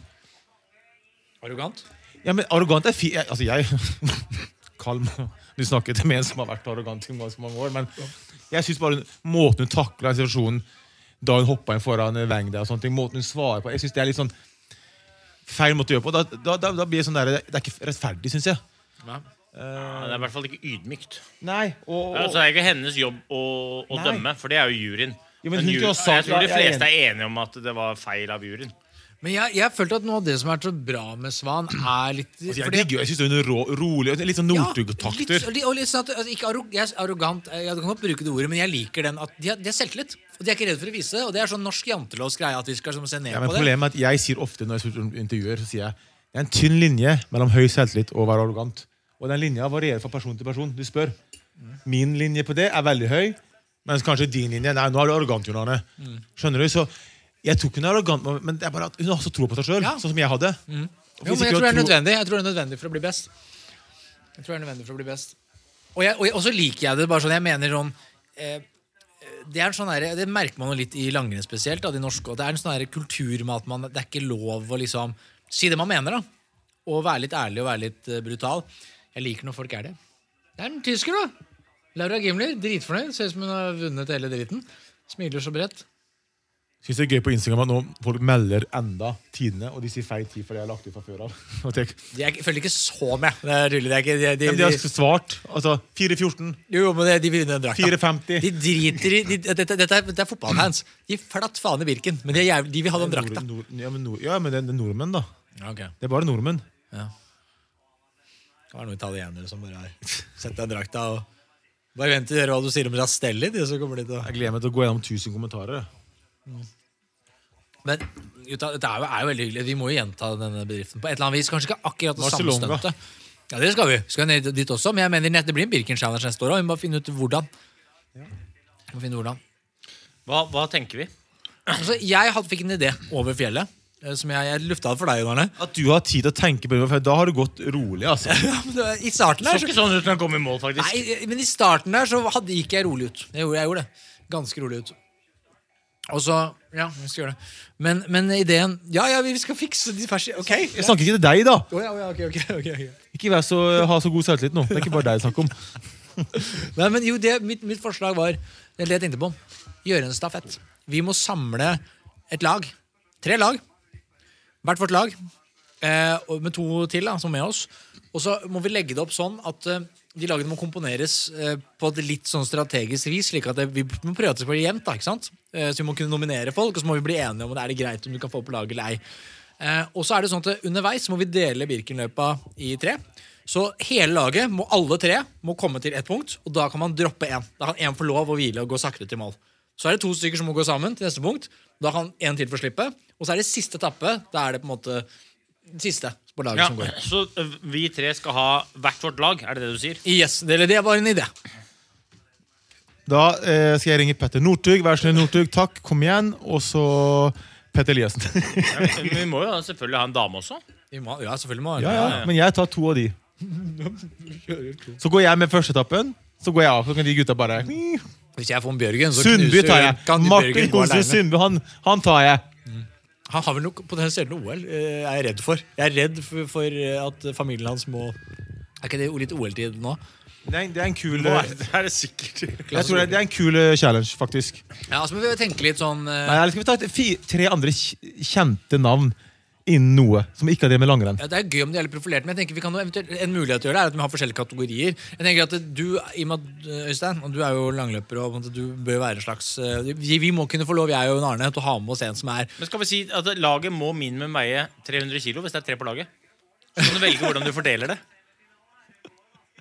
S4: Arrogant.
S6: Ja, men arrogant er fint Altså, jeg Kalm. Du snakker til meg som har vært arrogant i ganske mange år, men jeg syns bare måten hun takla situasjonen da hun hoppa inn foran Wang der, og sånne ting, måten hun svarer på Jeg synes det er litt sånn feil måte å gjøre på. Da, da, da, da blir det sånn der, Det er ikke rettferdig, syns jeg.
S5: Ja, det er i hvert fall ikke ydmykt.
S6: Nei,
S5: Ja,
S6: og, og,
S5: så Altså, det er ikke hennes jobb å, å
S6: Nei.
S5: dømme, for det er jo juryen.
S6: Ja, men
S5: men
S6: hun
S5: jury,
S6: kunne ha sagt-
S5: jeg tror de
S6: Ja, jeg er
S5: fleste er enige om at det var feil av juryen.
S4: Men jeg, jeg følte at noe av det som er så bra med Svan, er litt
S6: altså, jeg
S4: fordi-
S6: digger jo Jeg syns hun er rå, rolig. og Litt sånn
S4: Ja,
S6: Northug-takter.
S4: litt- og litt- og litt sånn at- altså, ikke arro, jeg er arrogant, eh, jeg kan godt bruke det ordet, men jeg liker den at de har, de har selvtillit. Og de er ikke redd for å vise det. Og det er sånn norsk jantelovs greie at vi skal liksom, se ned
S6: Ja, men
S4: på det.
S6: problemet er at jeg sier ofte når jeg spør om intervjuer, så sier jeg det er en tynn linje mellom høy selvtillit og å være arrogant. Og den linja varierer fra person til person. Du spør. Min linje på det er veldig høy, mens kanskje din linje Nei, nå er du arrogant, Jon Arne.
S4: Mm.
S6: Skjønner du? Så jeg tror ikke hun er arrogant, men det er bare at hun har så tro på seg sjøl,
S4: Ja. Mm.
S6: sånn som jeg hadde.
S4: Jo,
S6: Og hvis
S4: men jeg tror
S6: ikke
S4: det er
S6: hun har
S4: nødvendig Jeg tror det er nødvendig for å bli best. Jeg tror det er nødvendig for å bli best. Og, jeg, og, jeg, og så liker jeg det bare sånn. Jeg mener sånn eh, det, er en sånn der, det merker man jo litt i langrenn spesielt, av de norske. Og det er en sånn der kultur med at man, det er ikke lov å liksom si det man mener. da Og være litt ærlig og være litt eh, brutal. Jeg liker når folk er det. Det er en tysker, da! Laura Gimler. Dritfornøyd. Ser ut som hun har vunnet hele driten. Smiler så bredt.
S6: Synes det er gøy på Instagram at nå folk melder enda tidene, og de sier feil tid for det jeg har lagt ut fra før av. Og tenk,
S4: De er, ikke- følger ikke så med. Det er tydelig. Det er ikke, de,
S6: ja,
S4: de,
S6: men de har svart. Altså 4.14,
S4: jo, jo, men det- de vil vinne den drakta.
S6: 4.50
S4: De driter i de, dette, dette, er, dette er fotballfans. De gir flatt faen i Birken, men de, er jævlig, de vil ha den drakta.
S6: Nord, nord, ja, men nord, ja, men det det er nordmenn, da.
S4: Ja, ok.
S6: Det er bare nordmenn.
S4: Det var noen italienere som bare har sett den drakta og bare vent til å høre hva du sier om Rastelli. De som kommer dit og...
S6: Jeg gleder meg til å gå gjennom 1000 kommentarer.
S4: Men gutta, dette er jo, er jo veldig hyggelig. Vi må jo gjenta denne bedriften på et eller annet vis. Kanskje ikke akkurat det samme
S6: Barcelona.
S4: stuntet. Ja, det skal vi. Vi Skal ned dit også. Men jeg mener nett- det blir en Birken Challenge neste år òg. Vi må bare finne ut hvordan. Vi må finne ut hvordan.
S5: Hva, hva tenker vi?
S4: Altså, jeg hadde, fikk en idé over fjellet. eh, Som jeg, jeg lufta for deg, Jon Arne.
S6: At du har tid til å tenke på det, for da har du gått rolig, altså.
S4: Ja, men det- I starten
S5: Det
S4: her
S5: så ikke sånn ut når han kom i mål, faktisk.
S4: Nei, men i starten der så hadde, gikk jeg rolig ut. Jeg gjorde, jeg gjorde det. Ganske rolig ut. Og så Ja, vi skal gjøre det. Men, men ideen Ja, ja, vi skal fikse de ferske Ok.
S6: Jeg snakker ikke til deg, da.
S4: Å ja, å ja, ok, ok, ok, ok.
S6: Ikke vær så, ha så god selvtillit nå. Det er ikke bare deg jeg snakker om.
S4: Nei, men jo, det, mitt, mitt forslag var Eller det jeg tenkte på. Gjøre en stafett. Vi må samle et lag. Tre lag. Hvert vårt lag. Eh, og med to til, da, som er med oss. Og så må vi legge det opp sånn at eh, de lagene må komponeres eh, på et litt sånn strategisk vis. slik at det, Vi må prøve at det skal bli jevnt. da, ikke sant? Eh, så vi må kunne nominere folk, og så må vi bli enige om det er det greit om du kan få på laget eller ei. Eh, og så er det sånn at Underveis må vi dele Birkenløpa i tre. Så hele laget, må, alle tre, må komme til ett punkt, og da kan man droppe én. Da kan én få lov å hvile og gå sakte til mål. Så er det to stykker som må gå sammen til neste punkt. Da kan én til få slippe. Og så er det siste etappe. Da er det på en måte siste på laget
S5: Ja,
S4: som går.
S5: så ø, vi tre skal ha hvert vårt lag, er det det du sier?
S4: Yes, det, det var en idé.
S6: Da eh, skal jeg ringe Petter Northug. Vær så snill, Northug. Takk, kom igjen. Og så Petter Eliassen.
S5: Ja, men vi må jo selvfølgelig ha en dame også.
S4: Vi må, ja, selvfølgelig må
S6: Ja, ja, men jeg tar to av de. Så går jeg med førsteetappen. Så går jeg av, så kan de gutta bare
S4: Hvis jeg får en Bjørgen, så
S6: Sundby tar jeg.
S4: kan
S6: Martin
S4: Bjørgen gå
S6: Olsen
S4: alene.
S6: Sundby, han, han tar jeg.
S4: Han har vel nok potensielt noe OL, eh, er jeg redd for. Jeg er redd for, for eh, at familien hans må Er ikke det litt OL-tid nå?
S6: Nei, det er en kul
S5: Nå
S6: Jeg
S5: er- Det er det sikkert.
S6: tror det, det er en kul eh, challenge, faktisk.
S4: Ja, altså, men vi tenke litt sånn eh,
S6: Nei, eller skal vi ta et, fi, tre andre kj- kjente navn? innen noe som ikke har det med langrenn.
S4: Ja, det er gøy om de er litt profilerte, men jeg tenker vi kan jo eventuelt, en mulighet til å gjøre det er at vi har forskjellige kategorier. Jeg tenker at du, i og med at, øh, Øystein, og du er jo langløper og på en måte du bør være en slags øh, vi, vi må kunne få lov, jeg og Arne, til å ha med oss en som er
S5: Men skal vi si at laget må minimum veie 300 kilo hvis det er tre på laget? Så kan du velge hvordan du fordeler det.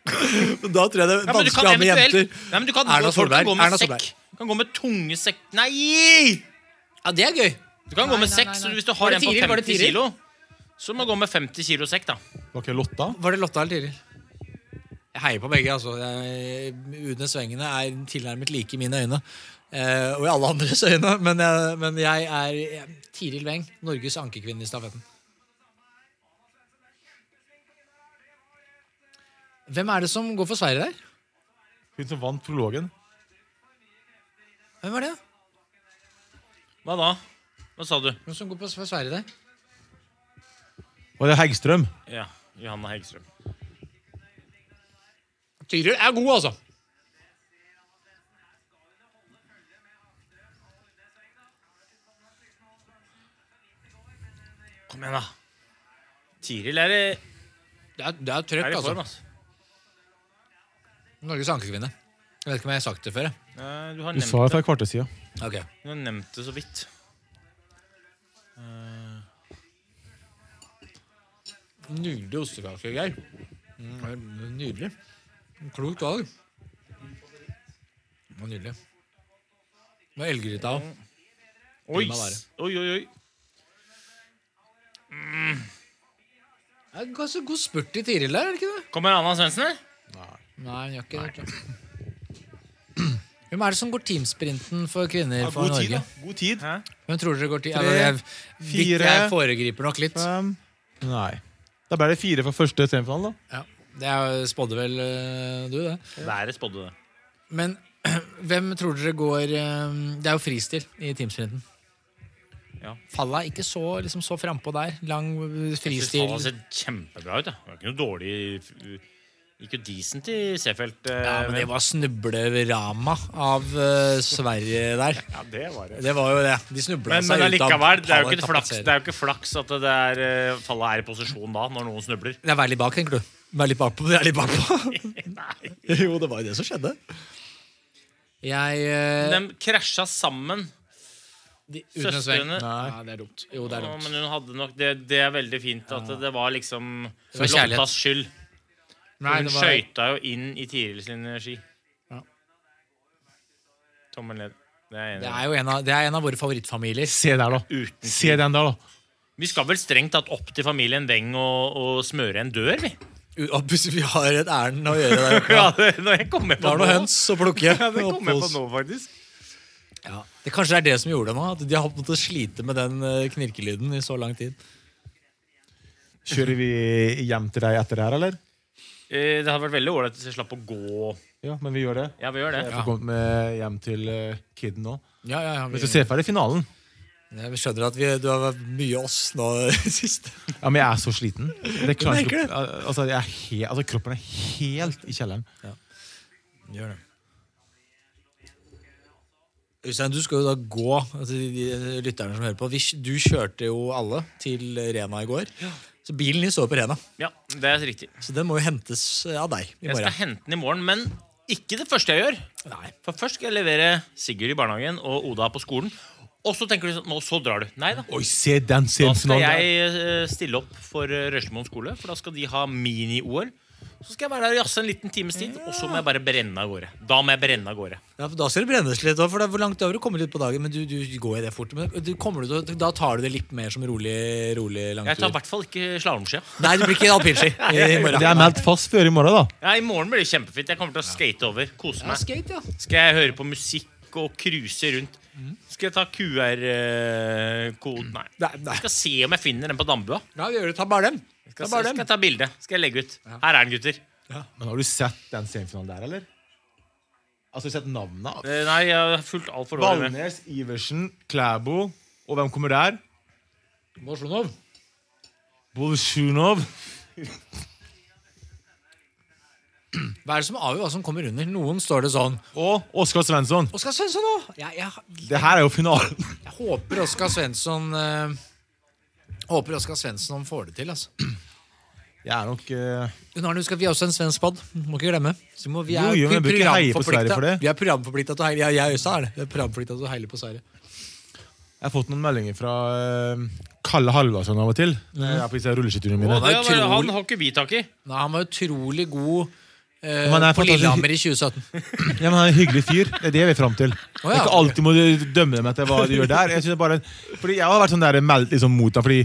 S7: Da tror jeg det er
S5: Ja, men du
S7: vanskelig
S5: kan
S7: å ha med
S5: eventuelt
S7: jenter.
S5: Nei, men du kan,
S7: Erna
S5: Folk kan
S7: Solberg,
S5: gå med
S7: Erna
S5: sekk.
S7: Solberg.
S5: Kan gå med tunge sekk Nei!
S4: Ja, det er gøy.
S5: Du kan gå med sekk så hvis du har
S4: Var
S5: en
S4: det
S5: på
S4: Tiril? Var det
S5: 50
S4: Tiril?
S5: kilo. Så må du gå med 50 kilo sekk, da.
S6: Var ikke Lotta?
S4: Var det Lotta eller Tiril? Jeg heier på begge, altså. Jeg- Une Svengene er tilnærmet like i mine øyne. eh, og i alle andres øyne. Men jeg, men jeg er jeg, Tiril Weng, Norges ankekvinne i stafetten. Hvem er det som går for Sverige der?
S6: Hun som vant prologen.
S4: Hvem er det?
S5: Hva da? Hva sa du?
S4: Hvem som går på for Sverige der?
S6: Var det Heggstrøm?
S5: Ja, Johanna Hegstrøm.
S4: Tiril er god, altså.
S5: Kom igjen, da. Tiril er, i-
S4: Det er, det er
S5: er
S4: trøkk,
S5: i form,
S4: altså.
S5: altså.
S4: Norges ankekvinne. Jeg vet ikke om jeg har sagt det før. jeg.
S5: Eh, Du har
S6: Du sa det
S5: nevnt
S6: for
S5: det.
S6: et kvarter siden.
S4: Ok.
S5: Du har nevnt det så vidt.
S4: Nydelig ostekake, Geir. Mm, Nydelig. Klokt valg. Det var nydelig. Det var elggryta òg.
S5: Oi,
S4: Kunne
S5: s- oi, oi. oi.
S4: Ganske god spurt i Tiril der, er det ikke det?
S5: Kommer Anna Svendsen, eller?
S4: Nei, hun gjør ikke det. Hvem er det som går teamsprinten for kvinner for
S6: god tid,
S4: Norge?
S6: da. God tid.
S5: Hæ?
S4: Hvem tror dere går ti-
S6: Tre,
S4: Eller, jeg-
S6: fire.
S4: Jeg foregriper nok litt.
S6: Fem. Nei. Da ble det fire for første semifinale, da.
S4: Ja. Det er- spådde vel øh, du, det.
S5: Været spådde det.
S4: Men hvem tror dere går eh, Det er jo fristil i teamsprinten.
S5: Ja.
S4: Fallet er ikke så, liksom, så frampå der. Lang eh,
S5: Fristil
S4: fristil.
S5: ser kjempebra ut. da. Det var ikke noe dårlig Gikk jo decent i Seefeld. eh,
S4: Ja, men det
S5: men-
S4: var snublerama av eh, Sverige der.
S5: Ja, det var det.
S4: Det var jo det. De snubla
S5: Men, men
S4: seg ut av
S5: allikevel, det er jo
S4: pallet
S5: ikke flaks,
S4: tapetserer.
S5: det er jo ikke flaks at det er, eh, fallet er i posisjon da, når noen snubler.
S4: Det er vær litt bak, tenker du. Vær litt bakpå. Vær litt bakpå.
S7: Jo, det var jo det som skjedde.
S4: Jeg eh,
S5: De krasja sammen.
S4: de- uten en sveng.
S5: søstrene-
S4: Nei. det er dumt. Jo, det er
S5: Ja,
S4: dumt.
S5: Men hun hadde nok Det, det er veldig fint at det var liksom
S4: var kjærlighet.
S5: Lottas skyld.
S4: Nei,
S5: hun
S4: det var,
S5: skøyta jo inn i Tiril sin ski.
S4: Ja.
S5: Tommel ned. Det er jeg enig i.
S4: det er jo en av, det er en av våre favorittfamilier.
S6: Se der, da. Se den der, da.
S5: Vi skal vel strengt tatt opp til familien Weng og, og smøre en dør, vi.
S7: U- og plutselig, Vi har et ærend å gjøre der oppe.
S5: Ja, det, når jeg kommer
S7: Vi
S5: på
S7: har noen høns å plukke.
S5: Ja, det kom jeg på
S7: oppholds-
S5: nå, faktisk.
S4: Ja. Det kanskje det er det som gjorde det nå. At de har måttet slite med den eh, knirkelyden i så lang tid.
S6: Kjører vi hjem til deg etter det her, eller?
S5: Eh, Det hadde vært veldig ålreit hvis jeg slapp å gå.
S6: Ja, men vi gjør det.
S5: Ja, vi gjør det.
S6: Jeg får kommet med hjem til eh, kidden nå.
S4: Ja, ja, ja,
S6: Hvis du
S4: vi,
S6: ser ferdig finalen
S7: Jeg skjønner at vi, du har vært mye oss nå sist.
S6: Ja, men jeg er så sliten. Det klarer
S7: merker
S6: ikke å- Al- altså, jeg er he, altså, kroppen er helt i kjelleren.
S7: Gjør det.
S4: Øystein, du skal jo da gå altså, de, de lytterne som hører på. Vi, du kjørte jo alle til Rena i går. Så bilen din står på Rena.
S5: Ja, det er riktig.
S7: Så den må jo hentes av deg i
S5: Jeg skal
S7: morgen.
S5: hente den i morgen, men ikke det første jeg gjør.
S4: Nei.
S5: For først skal jeg levere Sigurd i barnehagen og Oda på skolen. Og så tenker du sånn, nå så drar du. Nei da.
S6: Oi, se den
S5: Da skal
S6: semifinalen! der.
S5: jeg eh, stille opp for eh, Røslemoen skole, for da skal de ha mini-OL. Så skal jeg være der og jazze en liten times tid, og så må jeg bare brenne av gårde. Da må jeg brenne av gårde.
S7: Ja, for da skal det brennes litt òg, for det er hvor langt over du kommer ut på dagen. Men du, du går i det fort. Men du kommer du, til å- da tar du det litt mer som rolig, rolig
S5: Jeg tar i
S7: langtur.
S5: hvert fall ikke slalåmskia.
S7: Nei, det blir ikke alpinski i morgen.
S6: Det er meldt fast før i morgen, da.
S5: Ja, I morgen blir det kjempefint. Jeg kommer til å skate over. Kose
S4: Ja,
S5: meg.
S4: skate, ja.
S5: Skal jeg høre på musikk og cruise rundt? Skal jeg ta QR-koden? Nei.
S4: Mhm. Nei, nei.
S5: Jeg skal se om jeg finner den på Dambua.
S4: Ja, vi gjør det. Ta bare dem.
S5: Skal,
S4: Ta bare
S5: skal
S4: dem.
S5: jeg ta bilde. Skal jeg legge ut. Her er den, gutter.
S6: Men har du sett den semifinalen der, eller? Altså, har du sett navnet?
S5: Eh, Nei, jeg har fulgt altfor dårlig med.
S6: Valnes, Iversen, Klæbo. Og hvem kommer der?
S4: Morsjonov.
S6: Bolsjunov.
S4: Hva er det som avgjør hva som kommer under? Noen står det sånn.
S6: Og Oskar Svensson.
S4: Oskar Svensson òg! Jeg, jeg,
S6: Det her er jo finalen.
S4: jeg håper Oskar Svensson eh, Håper Oskar Svendsen han får det til. altså
S6: Jeg er nok eh,
S4: Hun har husk at vi er også en svensk pod. Må ikke glemme. Så må, vi er
S6: Jo, jo, men jeg bør ikke heie på Sverige
S4: programforpliktet-
S6: for det.
S4: Vi er programforplikta til å heile. Jeg, jeg også er det. Vi er programforplikta til å heile på Sverige.
S6: Jeg har fått noen meldinger fra eh, Kalle Halvarsson av og til.
S4: Ja.
S6: Jeg er på disse rulleskiturene mine.
S4: Å, det er
S6: Utrolig-
S4: utrolig-
S5: Han har ikke vi tak i.
S4: Nei, han var utrolig god eh,
S6: Men han er
S4: på
S6: fantastisk-
S4: Lillehammer i 2017.
S6: Ja, men Han er en hyggelig fyr. Det er det jeg vil fram til.
S4: ja.
S6: Ikke alltid må du dømme dem etter hva de gjør der. Jeg synes det er bare, fordi jeg har vært sånn der meldt liksom mot deg fordi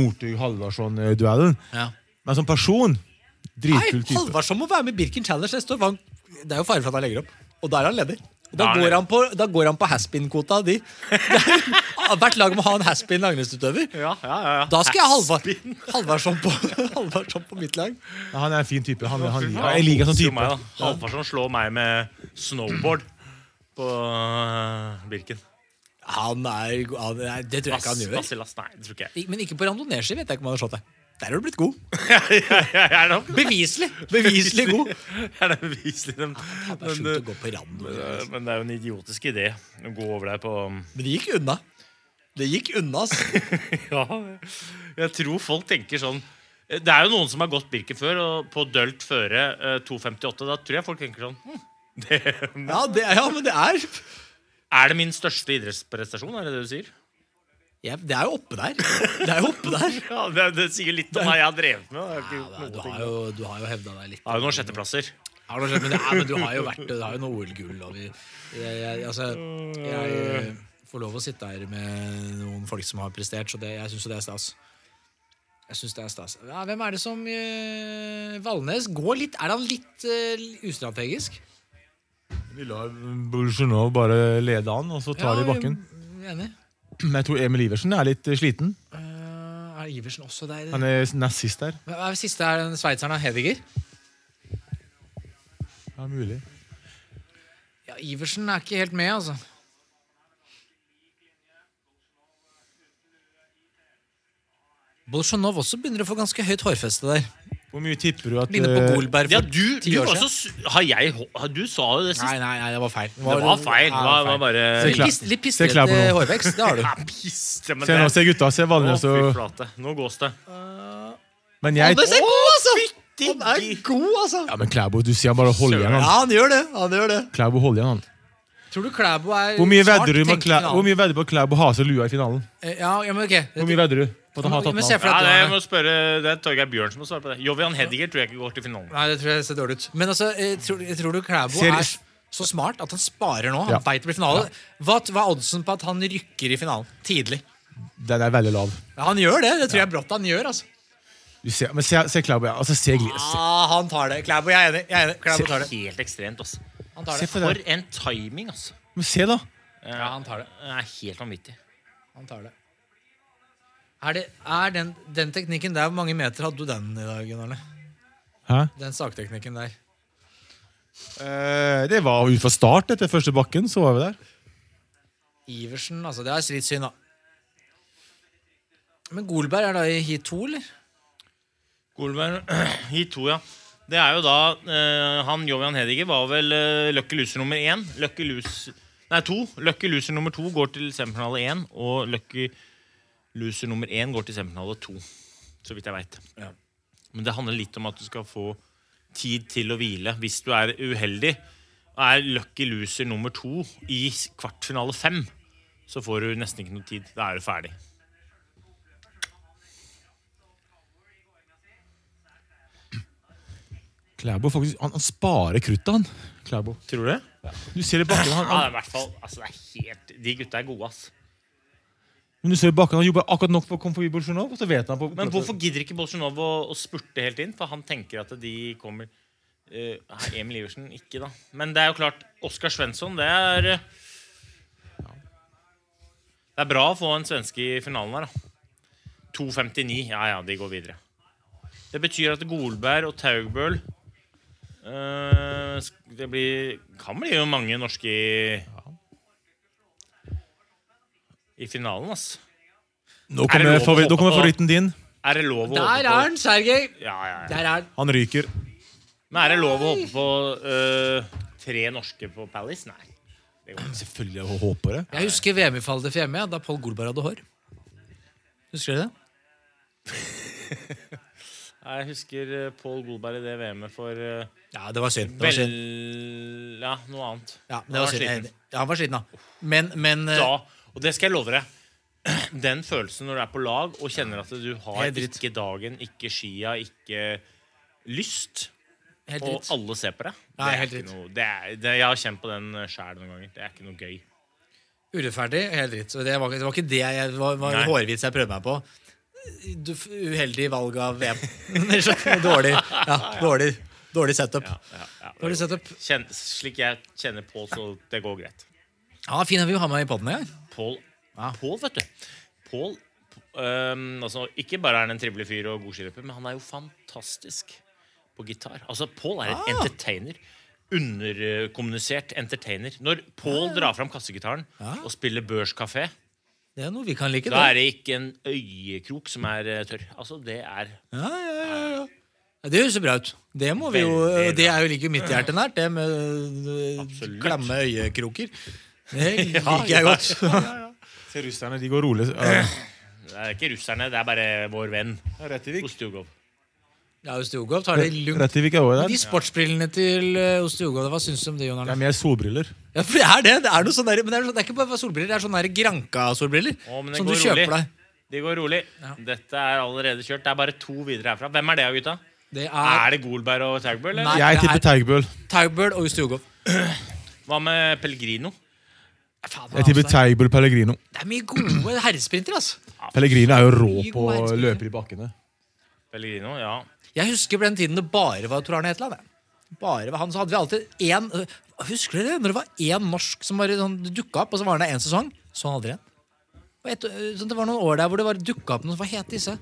S6: Northug-Halvarsson-duellen.
S4: Ja.
S6: Men som person
S7: Nei,
S6: dritkul type.
S7: Halvarsson må være med i Birken Challenge neste år. for Han, det er jo fare for at han legger opp. Og da er han leder. Og da,
S5: Da er han
S7: går
S5: leder.
S7: han på, da går han på haspin-kvota di. Hvert lag må ha en haspin langrennsutøver.
S5: Ja, ja, ja, ja.
S7: Da skal jeg ha Halvar, Halvarsson, på, Halvarsson på mitt lag.
S6: Ja, han er en fin type. Han, han, jeg liker sånn type.
S5: Halvarsson slår meg med snowboard på øh, Birken.
S7: Han er, go- han er Det tror jeg ikke han
S5: Bass-
S7: gjør.
S5: Basillas, nei, det tror ikke jeg.
S4: I- Men ikke på randoneeski, vet jeg ikke om han har slått deg.
S7: Der har du blitt god.
S5: Jeg er nok
S7: Beviselig Beviselig god.
S5: Jeg er da beviselig. Men,
S7: Det er
S5: men,
S7: sjukt å gå på rando.
S5: øh, men det er jo en idiotisk idé å gå over der på
S7: Men det gikk unna. Det gikk unna, ass.
S5: Ja, jeg tror folk tenker sånn Det er jo noen som har gått Birken før, og på dølt føre eh, 2,58. Da tror jeg folk tenker sånn hm, det,
S7: Ja, det, ja men det er
S5: Er det min største idrettsprestasjon? Er det det du sier?
S7: ja, Det er jo oppe der. Det er jo oppe der.
S5: Ja, Det, det sier litt om hva jeg har drevet med. Jeg har ikke gjort
S4: Du
S5: noe ting.
S4: har jo, du har jo hevda deg litt.
S5: Jeg har jo noen sjetteplasser.
S4: Ja, men, men, ja, men du har jo vært Du har jo noe OL-gull. og vi- Jeg, jeg, altså, jeg eh, får lov å sitte her med noen folk som har prestert, så det, jeg syns jo det er stas. Jeg synes det er stas ja, Hvem er det som eh, Valnes går litt Er han litt eh, ustrategisk?
S6: Vi lar Bolsjunov bare lede an, og så tar de bakken.
S4: jeg er Enig.
S6: Men jeg tror Emil Iversen er litt eh, sliten.
S4: Eh, er Iversen også der?
S6: Han er nest sist der.
S4: Hvem er det siste er den sveitseren av Hediger?
S6: Ja, mulig.
S4: Ja, Iversen er ikke helt med, altså. Bolsjunov også begynner å få ganske høyt hårfeste der.
S6: Hvor mye tipper du at
S4: Ligner på
S6: eh,
S4: Golberg for
S5: Ja, du, du,
S4: ti år
S5: var
S4: siden.
S5: så s- har jeg, hå- har- du sa jo det
S4: Nei,
S5: sist.
S4: nei, nei, det var feil.
S5: Det var feil. Det var, var bare
S6: Se
S4: Litt,
S6: klær-
S4: pis- litt
S6: se
S4: pislete
S6: klær på nå.
S4: hårvekst, det har du.
S5: Ja, pist, ja, men
S6: Se nå,
S5: det-
S6: se gutta. Se
S5: Å,
S6: Valnes
S5: fy
S6: og
S5: flate. Nå gås det.
S6: Men jeg
S7: Det er god, altså! Han er god, altså.
S6: Ja, men Klæbo, du sier han bare holder igjen.
S7: Ja,
S6: han.
S7: han gjør det. Han gjør det.
S6: Klæbo holder igjen, han.
S4: Tror du Klæbo er
S6: Hvor mye
S4: smart
S6: vedder du med
S4: tenkende
S6: Klæbo, hvor mye vedder du på Klæbo har seg lua i finalen?
S4: Eh, Ja, ja, men ok.
S6: Hvor mye vedder du på at han har
S4: Men-
S6: tatt
S4: men
S6: den
S4: se
S6: av?
S4: for
S5: Ja,
S4: deg at
S5: det, jeg må
S4: du har-
S5: spørre, det er Torgeir Bjørn som må svare på det. Jovian Hediger tror jeg ikke går til finalen.
S4: Nei, det tror jeg ser dårlig ut. Men altså, eh, tror, tror du Klæbo
S6: Ser-
S4: er så smart at han sparer nå? Han
S6: Ja.
S4: vet veit det blir finale. Hva, hva er oddsen på at han rykker i finalen tidlig?
S6: Den er veldig lav.
S4: Ja, han gjør det. Det tror jeg brått han gjør. altså
S6: Du ser, men se, se Klæbo, ja. Altså, se Gli- se-
S4: ah, Han tar det. Klæbo, jeg er enig. Jeg er enig. Klæbo tar det.
S5: Helt ekstremt, altså.
S4: Han tar
S6: Se
S4: det.
S6: for
S5: For
S6: deg.
S5: en timing, altså.
S6: Men se, da.
S4: Ja, han tar det.
S5: Det er helt vanvittig.
S4: Han tar det. Er, det, er den, den teknikken der Hvor mange meter hadde du den i dag, Gunn Arne?
S6: Hæ?
S4: Den sakteknikken der.
S6: Eh, det var ut fra start etter første bakken, så var vi der.
S4: Iversen, altså. Det er litt synd, da. Men Golberg er da i heat 2, eller?
S5: Golberg i to, ja. Det er jo da eh, Han Jovian Hediger var vel eh, Lucky Loser nummer én. Lucky Loser Nei, to. Lucky Loser nummer to går til semifinale én, og Lucky Loser nummer én går til semifinale to. Så vidt jeg veit. Men det handler litt om at du skal få tid til å hvile hvis du er uheldig. Og er Lucky Loser nummer to i s- kvartfinale fem, så får du nesten ikke noe tid. Da er du ferdig.
S6: Klæbo faktisk, han, han sparer kruttet, han. Klæbo.
S5: Tror du det?
S6: Du ser i bakken, han,
S5: Ja, det er i hvert fall altså, det er helt, De gutta er gode, ass.
S6: men du ser i bakken, han jobber akkurat nok for å komme forbi Bolsjunov, og så vet han på
S5: Men hvorfor gidder ikke Bolsjunov å, å spurte helt inn? For han tenker at de kommer eh, nei, Emil Iversen ikke, da. Men det er jo klart, Oskar Svensson, det er eh, Det er bra å få en svenske i finalen her, da. 2.59. Ja ja, de går videre. Det betyr at Golberg og Taugbøl eh, sk- Det blir, kan bli jo mange norske i, i finalen, ass.
S6: Nå
S5: Er det
S6: kommer,
S5: lov å
S6: favori, nå
S5: håpe
S6: kommer
S5: på?
S6: favoritten din.
S5: Er det lov å
S4: Der er
S5: håpe på
S4: han, Sergej!
S5: ja, ja, ja.
S4: Der er han.
S6: Han ryker.
S5: Men er det lov å håpe på øh, tre norske på Palace? Nei.
S6: Selvfølgelig jeg håper det.
S4: Jeg husker VM i Falde Fjemme, ja, da Pål Golberg hadde hår. Husker dere det?
S5: Nei, Jeg husker eh, Pål Golberg i det VM-et for Ja,
S4: det var synd. Det var synd.
S5: Ja, noe annet.
S4: Ja, men
S5: Han
S4: det var synd.
S5: sliten.
S4: Jeg- ja, Han var sliten, da. Men, men eh,
S5: Da, og det skal jeg love deg. Den følelsen når du er på lag og kjenner at du har
S4: Helt dritt.
S5: ikke dagen, ikke skia, ikke lyst,
S4: Helt
S5: og
S4: dritt.
S5: alle ser på deg
S4: Nei,
S5: det er
S4: helt
S5: ikke
S4: dritt.
S5: noe, det er, det, Jeg har kjent på den sjæl noen ganger. Det er ikke noe gøy.
S4: Urettferdig, helt dritt. Så det, var, det var ikke det jeg det var, var
S5: Nei.
S4: hårvits jeg prøvde meg på. Du, f- uheldig valg av VM. dårlig, ja, dårlig, dårlig setup. dårlig setup.
S5: Kjen, slik jeg kjenner Pål, så det går greit.
S4: Ja, fin at vi har med i poden i dag.
S5: Pål, Pål vet du. Pål øhm, altså, Ikke bare er han en trivelig fyr og god skiløper, men han er jo fantastisk på gitar. Altså, Pål er en
S4: Ah.
S5: entertainer. Underkommunisert entertainer. Når Pål
S4: Ah.
S5: drar fram kassegitaren og spiller børskafé,
S4: Det er noe vi kan like.
S5: da er det ikke en øyekrok som er eh, tørr. Altså, det er
S4: Ja, ja, ja, ja. Ja, Det høres jo bra ut. Det må vi jo,
S5: Veldig
S4: det
S5: bra.
S4: er jo like mitt hjerte nært, det med øh, klamme øyekroker. Det liker jeg godt.
S6: Se russerne, de går rolig. Eh, Ja.
S5: Det er ikke russerne, det er bare vår venn. Ostjogov.
S4: Ja, Osteogov tar det lugnt.
S6: Rett i Vik er også
S4: Men
S6: der.
S4: De sportsbrillene til øh, Osteogov, hva syns du om det, Jon
S6: Det
S4: Arne?
S6: er mer solbriller.
S4: Ja, for det er det. Det er noe sånn der, men det er, sånn, det er ikke bare solbriller, det er sånne der Granka-solbriller.
S5: Å, men det
S4: Som du
S5: går
S4: kjøper
S5: rolig.
S4: deg.
S5: De går rolig. Dette er allerede kjørt. Det er bare to videre herfra. Hvem er det, gutta?
S4: Det
S5: Er,
S4: er
S5: det Golberg og Taugbøll? eller?
S4: Nei,
S6: Jeg
S4: det er-
S6: tipper Taugbøl.
S4: Taugbøl og Osteogov.
S5: Hva med Pellegrino?
S4: Faen, altså.
S6: Jeg tipper Taugbøl Pellegrino.
S4: Det er mye gode herresprinter, altså.
S6: Pellegrino er jo rå
S4: Mye
S6: på
S4: gode
S6: å
S4: herrespillere.
S6: løpe i bakkene.
S5: Pellegrino, ja.
S4: Jeg husker på den tiden det bare var Tor Arne Hetland. jeg. Bare var han, så hadde vi alltid én Husker dere det? Når det var én norsk som bare sånn, dukka opp, og så var han der én sesong? Så han aldri igjen. Og et, øh, sånn, det var noen år der hvor det bare dukka opp noen Hva het disse?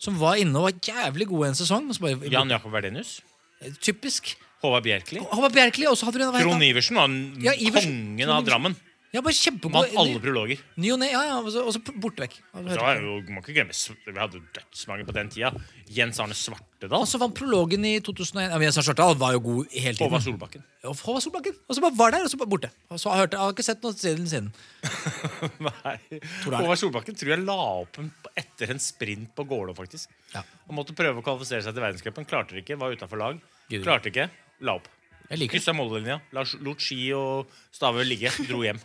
S4: Som var inne og var jævlig gode en sesong. Og så bare,
S5: Jan Jakob Verdenius.
S4: Typisk.
S5: Håvard Bjerkeli.
S4: Håvard Bjerkeli, og så hadde du en hva het
S5: Trond
S4: han?
S5: Iversen var
S4: Ja, Iversen.
S5: kongen av Drammen.
S4: Ja, bare
S5: Vant
S4: kjempegod.
S5: alle prologer.
S4: Ny og ne, ja, ja, og så- og så borte vekk.
S5: Så er det jo, må ikke glemme, s- Vi hadde jo dødsmange på den tida. Jens Arne Svartedal.
S4: Og så vant prologen i 2001. Ja, men Jens Arne Svartdal var jo god hele tiden.
S5: Håvard Solbakken.
S4: Ja, Håvard Solbakken. Og så bare var der, og så bare borte. Og så har jeg, hørt, jeg har ikke sett noe siden siden.
S5: Nei.
S4: Tror det er det.
S5: Håvard Solbakken tror jeg la opp en, etter en sprint på Gålå, faktisk.
S4: Ja.
S5: Han måtte prøve å kvalifisere seg til verdenscupen. Klarte det ikke, var utenfor lag.
S4: Gidder.
S5: Klarte ikke, la opp.
S4: Jeg liker det.
S5: Kryssa mållinja, la- lot ski og Stavø ligge, dro hjem.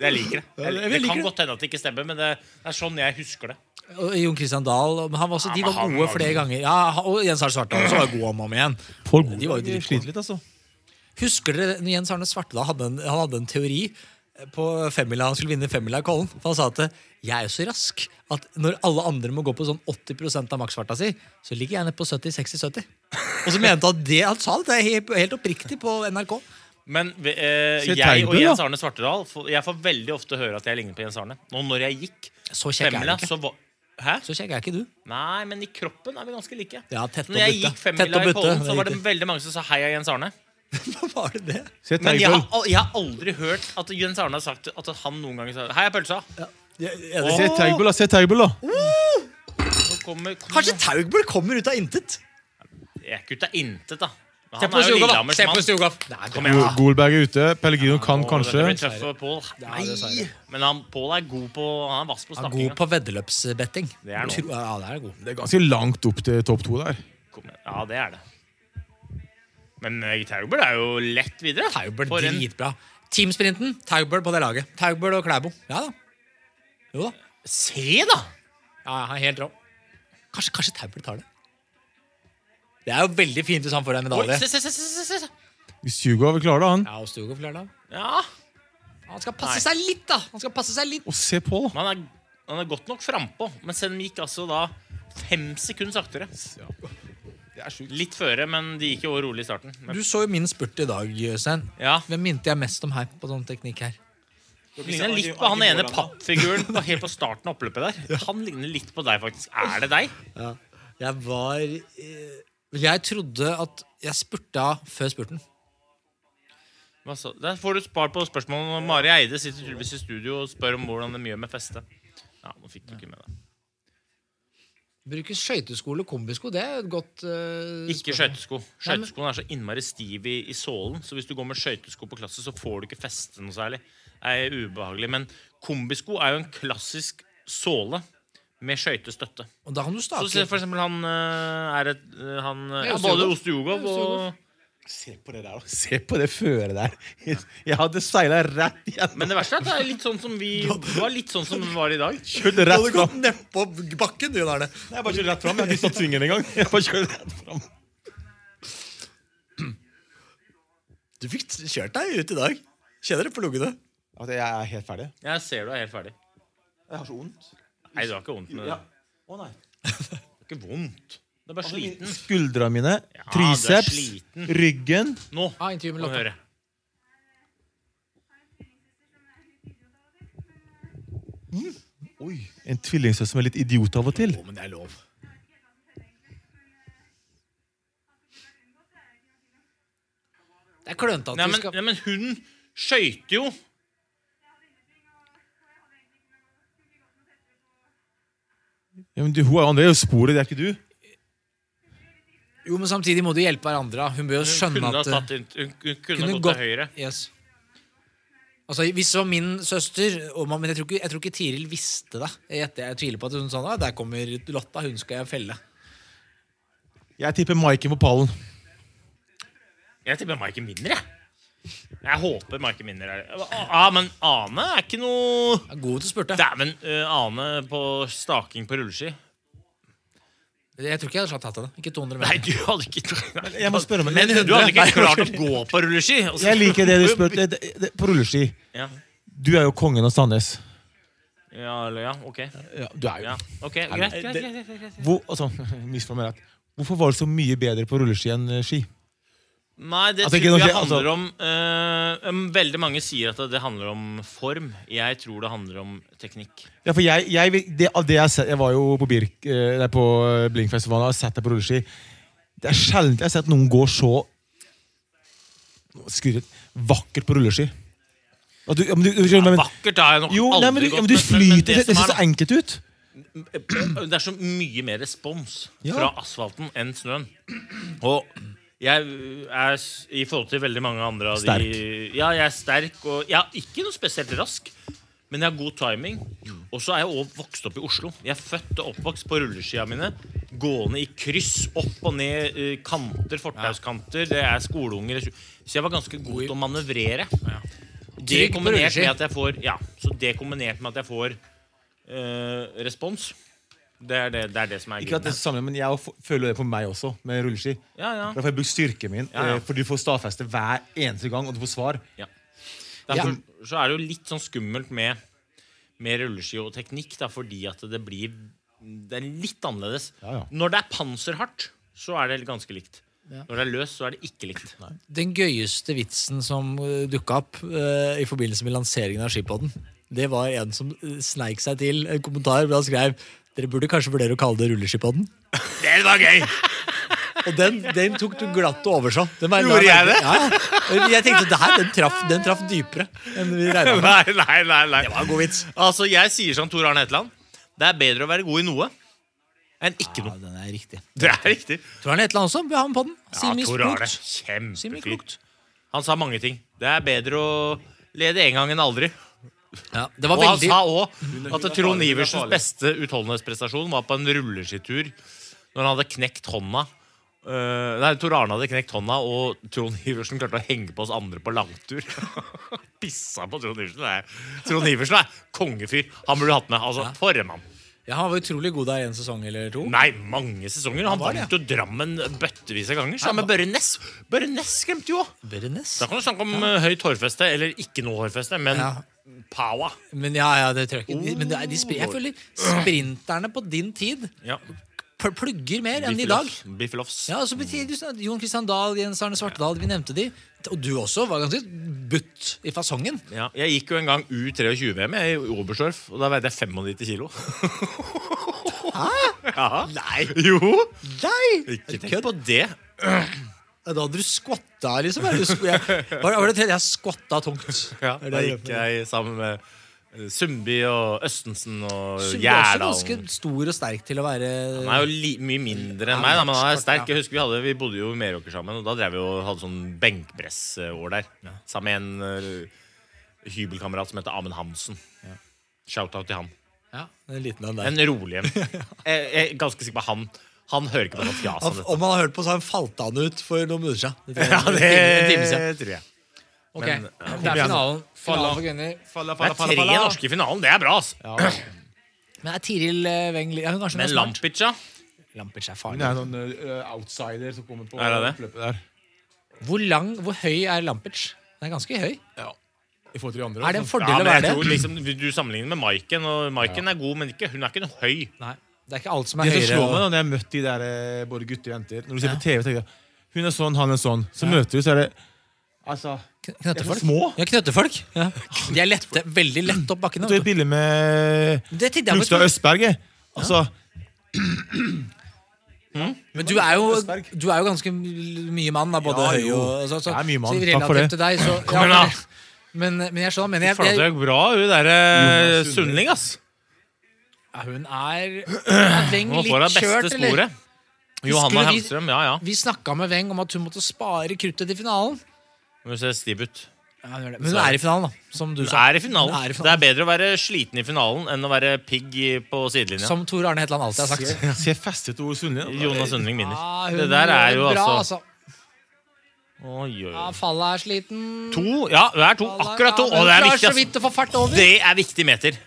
S5: Jeg liker det.
S4: Ja, jeg
S5: det kan
S4: liker det.
S5: godt hende at det ikke stemmer, men det, det er sånn jeg husker det.
S4: Og Jon Christian Dahl. og- Men han var også,
S5: Ja,
S4: de
S5: men
S4: var
S5: han
S4: gode
S5: var
S4: flere
S5: god.
S4: ganger. Ja, han- og Jens Arne Svartdal også var god om og om igjen.
S6: Folk
S4: De var jo dritgode.
S6: sliter litt, altså.
S4: Husker dere når Jens Arne Svartdal hadde en, han hadde en teori på femmila, han skulle vinne femmila i Kollen? For han sa at jeg er så rask at når alle andre må gå på sånn 80 av maksfarta si, så ligger jeg nede på 70-60-70. Og så mente han at det han sa det, det er helt, helt oppriktig på NRK.
S5: Men eh,
S6: Se
S5: jeg og
S6: Teigbø,
S5: Jens
S6: da.
S5: Arne Svartedal får- Jeg får veldig ofte høre at jeg ligner på Jens Arne. Nå når jeg gikk
S4: Så kjekk er
S5: femmila,
S4: du ikke.
S5: så var Hæ?
S4: Så kjekk er ikke du.
S5: Nei, men i kroppen er vi ganske like.
S4: Ja, tett
S5: Når
S4: og
S5: jeg
S4: butte.
S5: gikk
S4: Tett og
S5: femmila i
S4: butte,
S5: Kollen,
S4: det
S5: så
S4: er
S5: var det
S4: riktig.
S5: veldig mange som sa hei av Jens Arne.
S4: Var det det?
S6: Se
S5: Men jeg har,
S6: Taugbøl.
S5: al- jeg har aldri hørt at Jens Arne har sagt at han noen ganger sa Hei, jeg er pølsa.
S6: Se Taugbøl, da. Se Taugbøl, da.
S5: Nå kommer,
S4: Kanskje Taugbøl kommer ut av intet?
S5: Jeg er ikke ute av intet, da. Men
S4: Se
S5: han
S4: på
S5: er jo
S4: Stjogov, da.
S5: Lillehammers
S4: Se på
S5: mann.
S4: Stjogov. Nei,
S5: Kom
S4: det-
S5: igjen,
S6: Go- Golberg er ute. Pellegrino kan
S5: Å,
S6: kanskje.
S5: Dette blir tøft for Pål. Nei! Men han, Pål er god på Han er vass på
S4: Han er god
S5: snappinga.
S4: på veddeløpsbetting.
S5: Det er noe.
S4: Tro- Ja, det er god.
S6: Det er ganske langt opp til topp to der.
S5: Kom igjen. Ja, det er det. Men eh, Tauber er jo lett videre.
S4: Tauber,
S5: For en-
S4: dritbra. Teamsprinten, Tauber på det laget. Tauber og Klæbo. Ja da. Jo da.
S5: Se, da!
S4: Ja, ja, han er helt rå. Kanskje, kanskje Tauber tar det. Det er jo veldig fint hvis han får en
S5: Oi,
S4: medalje.
S5: se, se, se, se, se, se.
S6: Hvis Hugo klarer det, han.
S4: Ja, og Stugov flere da.
S5: Ja.
S4: Han skal passe seg litt, da! Han skal passe seg litt.
S6: Og se Pål.
S5: Men han er, han er godt nok frampå. Men Sem gikk altså da fem sekunder saktere. Litt føre, men de gikk jo også rolig i starten. Men
S4: Du så jo min spurt i dag, Jøsen.
S5: Ja.
S4: Hvem minte jeg mest om her? på sånn teknikk her?
S5: ligner litt på han ene pappfiguren på- helt på starten av oppløpet der. Han ligner litt på deg, faktisk. Er det deg?
S4: Jeg var eh, Jeg trodde at jeg spurta før spurten.
S5: Hva så? Der får du spart på spørsmålet når Mari Eide sitter tydeligvis i studio og spør om hvordan de gjør med feste. Ja, nå fikk du ikke med deg.
S4: Bruke skøyteskole kombisko, det er et godt eh,
S5: Ikke
S4: spørsmål.
S5: skøytesko.
S4: Nei, men-
S5: Skøyteskoen er så innmari stiv i, i sålen, så hvis du går med skøytesko på klasse, så får du ikke feste noe særlig. Det er ubehagelig. Men kombisko er jo en klassisk såle med skøytestøtte.
S4: Og da kan du
S5: Så
S4: stake.
S5: se for eksempel han eh, er et eh, han, eh,
S4: Ja,
S5: ja, Både Ostjogov
S4: Ostjogov. Ja,
S5: og
S4: Ostjogov.
S6: Se på det der, da. Se på det føret der. Jeg hadde seila rett igjennom.
S5: Men det verste er at det er litt sånn som vi det var litt sånn som det var i dag.
S6: Kjørte rett
S7: hadde
S6: fram.
S7: gått nedpå bakken, du, der.
S6: Nei, Jeg bare kjørte rett fram. Jeg hadde ikke satt svingen engang. Jeg bare kjørte rett fram.
S7: Du fikk kjørt deg ut i dag. Kjenner det på lungene.
S6: Altså, jeg er helt ferdig.
S5: Jeg ser du er helt ferdig.
S6: Jeg har så vondt.
S5: Nei, du har ikke vondt med det.
S6: Ja. Å nei.
S5: Det er ikke vondt. Du er
S6: Altså,
S5: bare sliten.
S6: Skuldrene mine,
S5: du er
S6: triceps,
S5: sliten.
S6: ryggen
S5: Nå
S4: Ah, intervju med
S5: må du
S4: Lotta.
S5: høre.
S6: Oi, En tvillingsøster som er litt idiot av og til.
S7: Å, men det er lov.
S4: Det er klønete at
S5: Nei,
S4: vi
S5: men,
S4: skal
S5: nei, men hun skøyter jo.
S6: Ja, men du, hun er- det er jo sporet, det er ikke du.
S4: Jo, men samtidig må de hjelpe hverandre. da. Hun bør jo
S5: Hun
S4: skjønne
S5: kunne, ha
S4: at eh,
S5: tatt, inn- hun kunne, kunne gått til høyre.
S4: Yes. Altså, Hvis det var min søster og man, Men jeg tror, ikke, jeg tror ikke Tiril visste det. Jeg, gjetter- jeg tviler på at hun sa det. Der kommer Lotta, hun skal jeg felle.
S6: Jeg tipper Maiken på pallen.
S5: Jeg tipper Maiken vinner, jeg. Jeg håper Maiken vinner. her. Ja, Ah, Men Ane er ikke noe
S4: Jeg er god til å spurte.
S5: Dæven, eh, Ane på staking på rulleski.
S4: Jeg tror ikke jeg hadde tatt henne. Ikke 200
S5: Nei,
S4: meter.
S5: du hadde ikke
S6: Jeg må spørre om
S5: Men du hadde ikke klart å gå på rulleski. og så-
S6: Jeg liker det du spør det, det, det, På rulleski.
S5: Ja,
S6: Du er jo kongen av Sandnes.
S5: ja, eller, ja ok.
S6: Ja, du er jo
S5: Ja, ok, Greit, greit,
S7: det-
S5: greit, greit. greit.
S6: Hvor, altså, misforstå meg rett. Hvorfor var du så mye bedre på rulleski enn eh, ski?
S5: Nei, det
S6: Altså, ikke
S5: tror jeg
S6: noe-
S5: handler om eh, um, Veldig mange sier at det handler om form. Jeg tror det handler om teknikk.
S6: Ja, for jeg, jeg, vil- det, av det jeg, har sett- jeg var jo på, Birk, eh, nei, på eh, Blinkfestivalen og har sett deg på rulleski. Det er sjelden jeg har sett noen gå så Nå skurret vakkert på rulleski. At du, ja, men du, du, skjønner hva jeg mener.
S5: Vakkert har jeg nok
S6: jo, nei, men,
S5: aldri
S6: du,
S5: gått
S6: ja, men
S5: med,
S6: du
S5: men- men
S6: flyter. Det,
S5: det
S6: det
S5: som
S6: ser
S5: er
S6: så enkelt ut.
S5: Det er så mye mer respons
S6: Ja.
S5: fra asfalten enn snøen. Og jeg er, s- i forhold til veldig mange andre av de
S6: Sterk.
S5: Ja, jeg er sterk, og jeg er ikke noe spesielt rask. Men jeg har god timing. Og så er jeg også vokst opp i Oslo. Jeg er født og oppvokst på rulleskia mine. Gående i kryss, opp og ned eh, kanter, fortauskanter. Det er skoleunger. Så jeg var ganske god til å manøvrere. Det
S4: Trygg på
S5: kombinert
S4: rulleski.
S5: med at jeg får Ja, så det kombinert med at jeg får eh, respons. Det er det, det er det som er
S6: Ikke at det er
S5: grunnen.
S6: det samme, men jeg f- føler det på meg også, med rulleski.
S5: Ja, ja.
S6: Da får jeg brukt styrken min,
S5: Ja, ja.
S6: eh, for du får stadfeste hver eneste gang, og du får svar.
S5: Derfor så er det jo litt sånn skummelt med, med rulleski og teknikk, da, fordi at det blir Det er litt annerledes.
S6: Ja, ja.
S5: Når det er panserhardt, så er det ganske likt. Når det er løst, så er det ikke likt.
S4: Den gøyeste vitsen som uh, dukka opp eh, i forbindelse med lanseringen av Skipodden, det var en som eh, sneik seg til en kommentar hvor han skrev dere burde kanskje vurdere å kalle det rulleskipodden.
S5: Det var gøy!
S4: Og den, den tok du glatt og overså. Den var-
S5: Gjorde jeg det?
S4: Ja, ja. Jeg tenkte det her, den traff, den traff dypere enn vi regna med.
S5: Nei, nei, nei, nei.
S4: Det var en god vits.
S5: Altså, jeg sier som Tor Arne Hetland. Det er bedre å være god i noe enn ikke
S4: Ja,
S5: noe.
S4: den er riktig.
S5: Det er riktig.
S4: Tror han Hetland også bør ha med på den.
S5: Ja,
S4: Sier mye
S5: Tor Arne.
S4: klokt. Sier mye
S5: Kjempefyr.
S4: klokt.
S5: Han sa mange ting. Det er bedre å lede én gang enn aldri.
S4: Ja, det var
S5: Og han
S4: veldig
S5: sa òg at Trond Iversens beste utholdenhetsprestasjon var på en rulleskitur når han hadde knekt hånda. Eh, nei, Tor Arne hadde knekt hånda, og Trond Iversen klarte å henge på oss andre på langtur. Pissa på Trond Iversen. Nei. Trond Iversen er kongefyr. Han burde du hatt med. Altså, For en mann.
S4: ja, Han var utrolig god der en sesong eller to.
S5: Nei, mange sesonger. Han
S4: var det,
S5: vant jo Drammen bøttevis av ganger. Sammen med Børre Ness. Børre Ness skremte jo òg.
S4: Brennes.
S5: Da kan du snakke om eh, høyt hårfeste, eller ikke noe hårfeste, men
S4: Ja.
S5: power.
S4: Men ja, ja, det tror jeg ikke. De- Men det er, de, spri- jeg føler sprinterne på din tid
S5: Ja.
S4: pl- plugger mer enn i dag.
S5: Biffeloffs.
S4: Ja, altså, betyr det sånn at Jon Christian Dahl, Jens Arne Svartedal, vi nevnte de. Og du også var ganske butt i fasongen.
S5: Ja, jeg gikk jo en gang U23-VM i Oberstdorf, og da veide jeg 95 kilo. Hæ? Ja. Nei. Jo.
S4: Nei!
S5: Ikke tenk på det.
S4: Da hadde du skvatta, liksom. Er du sk- jeg, var, var det tredje? Jeg skvatta tungt.
S5: Ja,
S4: Er det
S5: da
S4: jeg
S5: gikk
S4: gjør?
S5: jeg sammen med eh, Sundby og Østensen og
S4: Så Du er også ganske
S5: Gjerdalen.
S4: stor og sterk til å være
S5: Han er jo li mye mindre
S4: Ja,
S5: enn meg, da, men han er
S4: sport,
S5: sterk.
S4: ja.
S5: Jeg husker Vi, hadde, vi bodde jo i Meråker sammen, og da drev vi og hadde sånn benkpressår der. Sammen med en eh, hybelkamerat som heter Amund Hansen. Shout-out til han.
S7: En liten en der.
S5: En rolig en. Jeg jeg er ganske sikker på han. Han hører ikke på noe fjas om
S7: Han,
S5: dette.
S7: om han har hørt på, så har han falt han ut for noen minutter siden. Det tror
S5: Ja,
S7: jeg.
S5: det
S7: En time siden.
S5: tror jeg.
S4: Ok,
S5: Men, ja.
S4: Det er finalen. Finalen for kvinner.
S5: Det er tre norske i finalen. Det er bra, ass.
S4: Men er Tiril eh, Weng li- ja, hun er sånn
S5: Men
S4: smart.
S5: Lampic, ja.
S4: Lampic er
S6: Hun er
S4: farlig.
S6: noen outsider som kommer på
S5: Er det det?
S6: oppløpet der.
S4: Hvor lang, hvor høy er Lampic? Den er ganske høy.
S6: I forhold til de andre.
S4: Er det en
S6: altså.
S4: fordel
S5: ja
S4: å
S5: men jeg
S4: være
S5: tror
S4: det?
S5: liksom, Du sammenligner med Maiken, og Maiken er god, men ikke, hun er ikke noe høy.
S4: Nei, det er ikke alt som
S6: Det
S4: er
S6: som
S4: høyere.
S6: slår meg
S4: og-
S6: da, når jeg har møtt de der eh, både gutter og jenter Når du ser på TV, tenker jeg hun er sånn, han er sånn. Så møter du, så er det Altså
S4: Kn-
S6: Det er
S4: Knøttefolk.
S6: for små.
S4: Ja, knøttefolk. Ja. De er lette, veldig lett opp bakken.
S6: Du har et
S4: vet du.
S6: bilde med
S4: Det tenkte jeg på.
S6: Knutstad Østberg. jeg. Altså,
S4: Men du er, jo, du er jo ganske mye mann, da, både
S6: Ja,
S4: høy
S6: jo.
S4: og og så, så,
S6: Jeg er mye
S4: så
S6: mann.
S4: i
S6: Takk for
S4: relativt
S6: det.
S4: til deg, så ja,
S5: igjen, da.
S4: men, men, men jeg skjønner, men jeg,
S5: Faen, det
S4: jeg,
S5: er bra, hun derre Sundling, ass.
S4: ja, Hun er er Weng
S5: Nå får hun
S4: litt kjørt,
S5: beste
S4: eller?
S5: sporet. Johanna
S4: vi-
S5: Hemstrøm, ja ja.
S4: Vi snakka med Weng om at hun måtte spare kruttet til finalen.
S5: Hun ser stiv ut.
S4: Ja, hun gjør det. Men hun er i finalen, da. Som du
S5: Hun
S4: sa.
S5: er i finalen.
S4: Hun er i
S5: Det er bedre å være sliten i finalen enn å være pigg i- på sidelinja.
S4: Som Tor Arne Hetland alltid har sagt.
S6: jeg ser festet over Sundli.
S5: Jonas Sundling vinner.
S4: Ja, hun
S5: det der er jo
S4: bra,
S5: altså
S4: altså.
S5: Oi, oi,
S4: Ja,
S5: oi.
S4: fallet er sliten.
S5: To? Ja, hun er to.
S4: Fallet-
S5: Akkurat to.
S4: Ja, men
S5: Og det er viktig,
S4: Hun klarer så
S5: ass.
S4: vidt å få fart over.
S5: Det er viktig meter.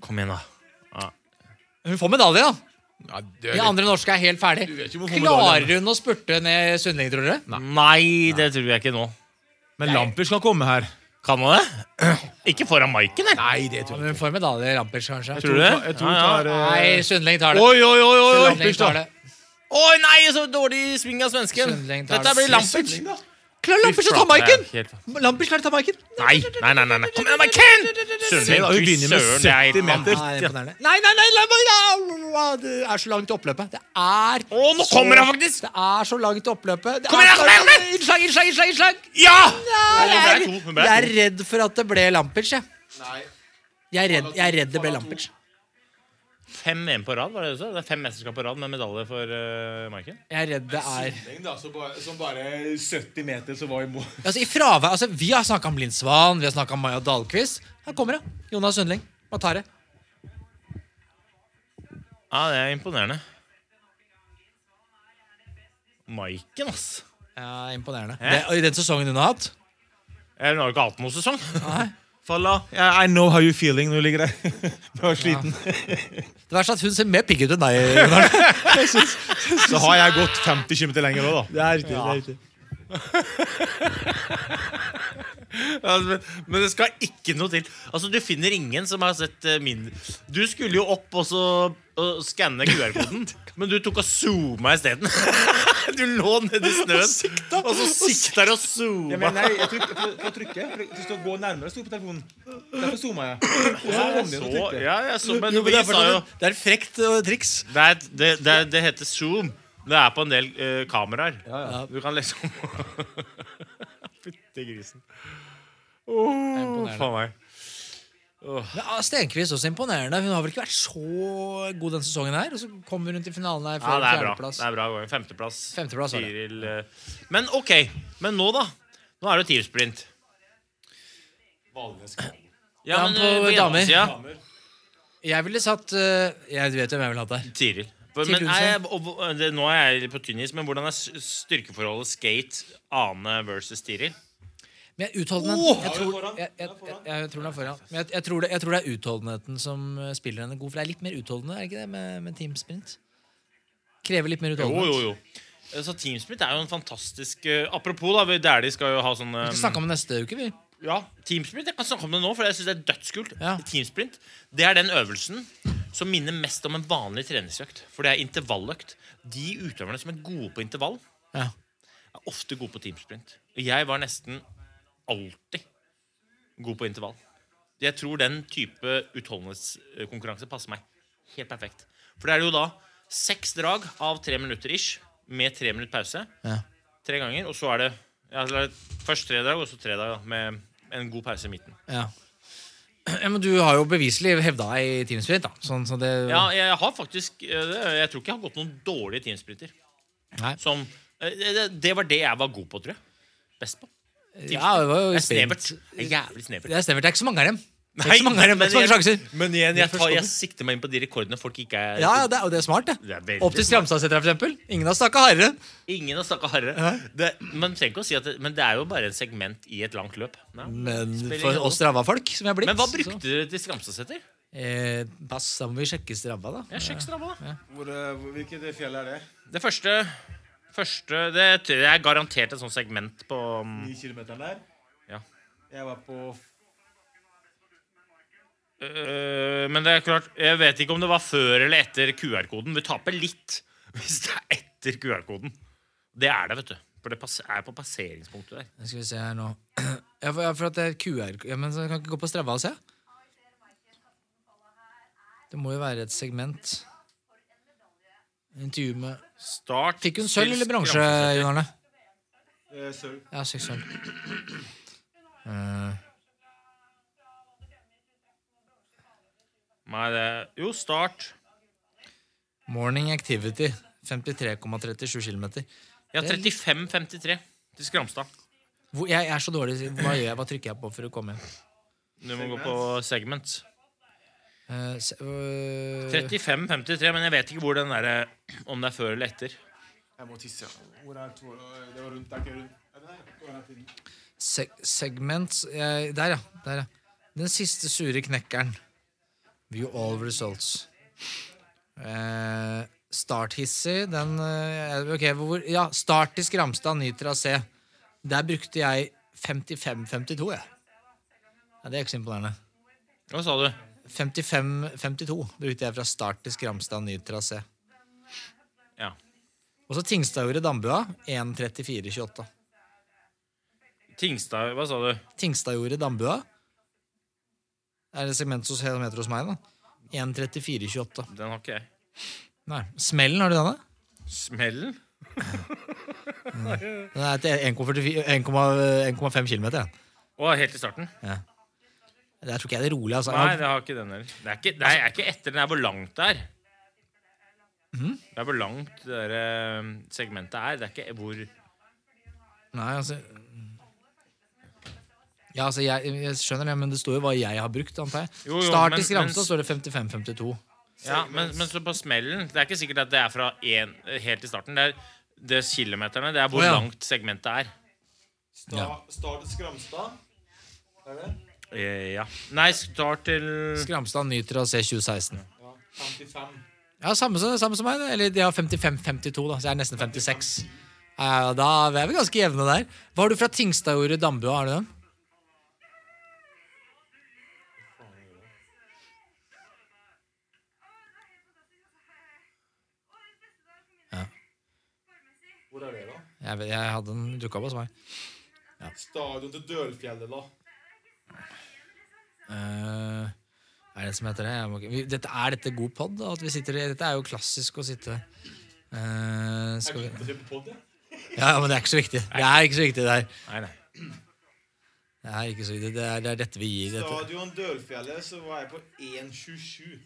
S5: Kom igjen, da.
S4: Hun får medalje, da.
S6: Ja, det
S4: De
S6: er
S4: andre norske er helt ferdig.
S6: vet ikke om hun får medalje,
S4: Klarer hun å spurte ned Sundling, tror dere?
S5: Nei, det tror jeg ikke nå.
S6: Men Lamper skal komme her.
S5: Kan hun det? Ikke foran Maiken, eller?
S6: Nei, det
S4: Ja, men hun får medalje i Rampers, kanskje.
S5: Tror du det?
S6: Jeg tror
S5: Ja, ja.
S6: tar, eh,
S4: Nei, Sundling tar det.
S5: Oi, oi, oi! oi, oi.
S4: Sundling tar det.
S5: Oi, nei, så dårlig sving av svensken.
S4: Sundling tar
S5: Dette
S4: det.
S5: blir Lampic.
S4: Klarer Lampic å ta Maiken? Lampic klarer å ta Maiken.
S5: Nei, nei, nei, nei, nei. Kom igjen, Maiken! Sundling,
S6: da, hun
S5: fy
S6: begynner med
S5: søren, det er
S6: 70 meter.
S4: Nei,
S5: vanvittig.
S4: imponerende. nei, nei, nei, nei, nei, nei, Det er så langt til oppløpet. Det er
S5: Å, nå
S4: så-
S5: kommer han faktisk!
S4: Det er så langt til oppløpet. Det
S5: Kom
S4: er
S5: igjen,
S4: så-
S5: kom igjen!
S4: Innslag, innslag, innslag! innslag.
S5: Ja!
S4: Jeg,
S5: Hun ble to, hun
S4: er,
S5: ble
S4: jeg
S5: to.
S4: er redd for at det ble Lampic, jeg. Jeg er redd, jeg er redd det ble Lampic.
S5: Fem EM på rad, var det du sa? Det er fem mesterskap på rad med medalje for eh, Maiken.
S4: Jeg er redd det er
S6: Som bare 70 meter, så var i mål.
S4: Altså, i fravær, altså, Vi har snakka om Lindsvan, vi har snakka om Maja Dahlquist. Her kommer det. Jonas Sundling. Hva tar det?
S5: Ja, det er imponerende. Maiken, ass.
S4: Ja, imponerende.
S5: Hæ?
S4: Det, og I den sesongen hun har hatt.
S5: Jeg har jo ikke hatt noen sesong. Falla.
S6: I know how you feeling når du ligger der. Du er sliten.
S4: Det verste er at hun ser mer pigg ut enn deg. Gunnar.
S6: Så har jeg gått 50 km lenger nå, da.
S7: Det er riktig. det er riktig.
S5: Ja, men, men det skal ikke noe til. Altså, Du finner ingen som har sett eh, min Du skulle jo opp og så og skanne QR-koden, men du tok og zooma isteden. du lå nedi snøen, og så sikta du og zooma.
S6: nei, jeg tryk, for, for å trykke for Du skal gå nærmere, sto på telefonen. Derfor zooma jeg. Og så kom det inn og
S5: Så,
S6: trykte.
S5: ja, jeg så, men
S7: Jo, men
S5: vi
S7: det, er
S5: sa jo
S7: fortsatt- det er et frekt
S4: eh,
S7: øh, triks.
S5: det, er, det, det, er- det heter zoom. Det er på en del eh, kameraer. Du kan liksom Fytti grisen. Oh,
S4: imponerende.
S5: faen meg.
S4: Ja, Stenkvist ah, også imponerende. Hun har vel ikke vært så god den sesongen her. Og så kommer hun til finalen her
S5: Ja,
S4: for
S5: det er bra.
S4: fjerdeplass.
S5: Det er bra gåing. Femteplass.
S4: Femteplass var det.
S5: Tiril, eh, Men OK. Men nå, da? Nå er det teamsprint. Ja,
S4: Ja,
S5: men
S4: på
S5: eh, på
S4: damer.
S5: damer.
S4: Jeg ville satt eh, Jeg vet hvem jeg ville hatt der.
S5: Tiril. For,
S4: Tiril
S5: men er jeg, og, og- det, nå er jeg på tynn is, men hvordan er s- styrkeforholdet skate Ane versus Tiril?
S4: Men jeg, utholdenheten jeg, tror, jeg, jeg, jeg, jeg tror den er foran. Men jeg, jeg, tror det, jeg tror det er utholdenheten som eh, spiller henne god. For det er litt mer utholdende er det ikke det, med, med teamsprint. Krever litt mer
S5: Jo,
S4: utholdenhet.
S5: jo, jo. Eh, Så Teamsprint er jo en fantastisk eh, Apropos, da, vi- der de skal jo ha sånn
S4: Vi skal
S5: eh,
S4: snakke om det neste uke, vi.
S5: Ja, Teamsprint. Jeg kan snakke om det nå, for jeg synes det er dødskult.
S4: Ja.
S5: Teamsprint, Det er den øvelsen som minner mest om en vanlig treningsøkt. For det er intervalløkt. De utøverne som er gode på intervall,
S4: Ja.
S5: er ofte gode på teamsprint. Og jeg var nesten alltid god på intervall. Jeg tror den type utholdenhetskonkurranse passer meg helt perfekt. For det er jo da seks drag av tre minutter ish, med tre minutter pause. Tre ganger, og så er det ja, eller Først tre drag, og så tre drag, da, med en god pause i midten.
S4: Ja. ja, Men du har jo beviselig hevda deg i teamsprint, da. Sånn, så det,
S5: Ja, jeg har faktisk eh, det- Jeg tror ikke jeg har gått noen dårlige teamsprinter.
S4: Nei.
S5: Som eh, det, det var det jeg var god på, tror jeg. Best på.
S4: ja, det var jo
S5: Det er snevert.
S4: sprint.
S5: Det er Jævlig snevert.
S4: Det er snevert. Det er ikke så mange av dem. Det er ikke så mange her, det er ikke så mange sjanser.
S5: Men igjen, jeg,
S4: Det er
S5: tar, jeg
S4: forstått.
S5: sikter meg inn på de rekordene folk ikke er
S4: Ja, ja, det er, og det er smart, det.
S5: Det er veldig
S4: Opp til Stramstadsetra, for eksempel. Ingen har snakka hardere.
S5: Ingen har snakka hardere. Det, man trenger ikke å si at det, men det er jo bare en segment i et langt løp. Nei.
S4: Men
S5: Spiller ingen
S4: for
S5: rolle.
S4: oss Stramma-folk, som jeg er blitt
S5: Men hva
S4: Mm. så-
S5: brukte dere til Skramstadseter?
S4: Eh, pass, da må vi sjekke Stramma, da.
S5: Ja, sjekk Strava, da.
S6: eh, Hvilket fjell er det?
S5: Det første, første det, tror jeg er garantert et sånt segment på um,
S6: Ni kilometer der?
S5: Ja.
S6: Jeg var på
S5: øh, Men det er klart, jeg vet ikke om det var før eller etter QR-koden. Vi taper litt hvis det er etter QR-koden. Det er det, vet du. For det pass- er på passeringspunktet der.
S4: Skal vi se her nå. Ja, for, ja, for at det er QR ja, Men så kan jeg ikke gå på Stramma og se? Det må jo være et segment. Intervju med
S5: Start
S4: Fikk hun
S5: til
S4: sølv eller bronse,
S5: Skramstadseter.
S4: Jon Arne?
S6: eh, Sølv.
S4: Ja, seks sølv. Eh,
S5: Nei, det Jo, start.
S4: morning activity. 53,37 km.
S5: Ja,
S4: Det er litt-
S5: 35,53 til Skramstad.
S4: Hvor- Jeg er så dårlig. Hva gjør jeg? Hva trykker jeg på for å komme hjem?
S5: Du må gå på segment.
S4: Eh, se, øh,
S5: 35,53, men jeg vet ikke hvor den der, eh, om det er før eller etter.
S6: Jeg må tisse. Hvor er to- Det var rundt, det er ikke rundt. Er det der? Hvor er det?
S4: seg segments jeg, Der, ja. Der, ja. Den siste sure knekkeren. View all results. Eh, starthissig, den eh, Ok, hvor Ja, start til Skramstad, ny trasé. Der brukte jeg 55,52, jeg. Ja, det er ikke så imponerende.
S5: Hva sa du?
S4: 55,52 brukte jeg fra start til Skramstad, ny trasé.
S5: Ja.
S4: Og så Tingstadjordet Dambua, 1.34,28.
S5: Tingstad Hva sa du?
S4: Tingstadjordet i Dambua. Det er et segment som heter hos meg, da. 1.34,28.
S5: Den har ikke jeg.
S4: Nei. Smellen, har du denne?
S5: Smellen?
S4: Den er til 1,44 1,5 km.
S5: Å, helt i starten?
S4: Der tror ikke jeg det er rolig, altså.
S5: Nei, det har ikke den heller. Det er ikke, det er ikke etter, den er hvor langt det er.
S4: Mhm.
S5: Det er hvor langt det der, eh, segmentet er. Det er ikke hvor
S4: Nei, altså Ja, altså, jeg, jeg skjønner det, men det står jo hva jeg har brukt, antar jeg.
S5: Jo, jo,
S4: Start
S5: men-
S4: i Skramstad
S5: men-
S4: står det 55,52.
S5: Ja, men, men så på smellen Det er ikke sikkert at det er fra en, helt i starten. Det er, det er kilometerne. Det er hvor
S4: Å, ja.
S5: langt segmentet er.
S6: Sta, Start Skramstad. Er det?
S5: Eh, ja. Nei, start til
S4: Skramstad ny trasé 2016.
S6: Ja. 55.
S4: Ja, samme som, samme som meg. det. Eller de har 55-52, da, så jeg er nesten 56. Ja, da er vi ganske jevne der. Hva har du fra Tingstadjordet i Dambua? Har du den?
S6: Hvor er det, da?
S4: Jeg, vet- jeg hadde den dukka opp hos meg.
S6: Stadion til Dølfjellet, da.
S4: Eh, er det en som heter det? Jeg må, ikke- vi, dette, er dette god pod? At vi sitter, i- dette er jo klassisk å sitte Eh, skal vi,
S6: Jeg ser på podden.
S4: ja, men det er ikke så viktig. Det er ikke så viktig, det her.
S5: Nei, nei.
S4: Det er ikke så viktig. Det er, det er dette vi gir. Dette.
S6: Stadion Dølfjellet, så var jeg på 1,27.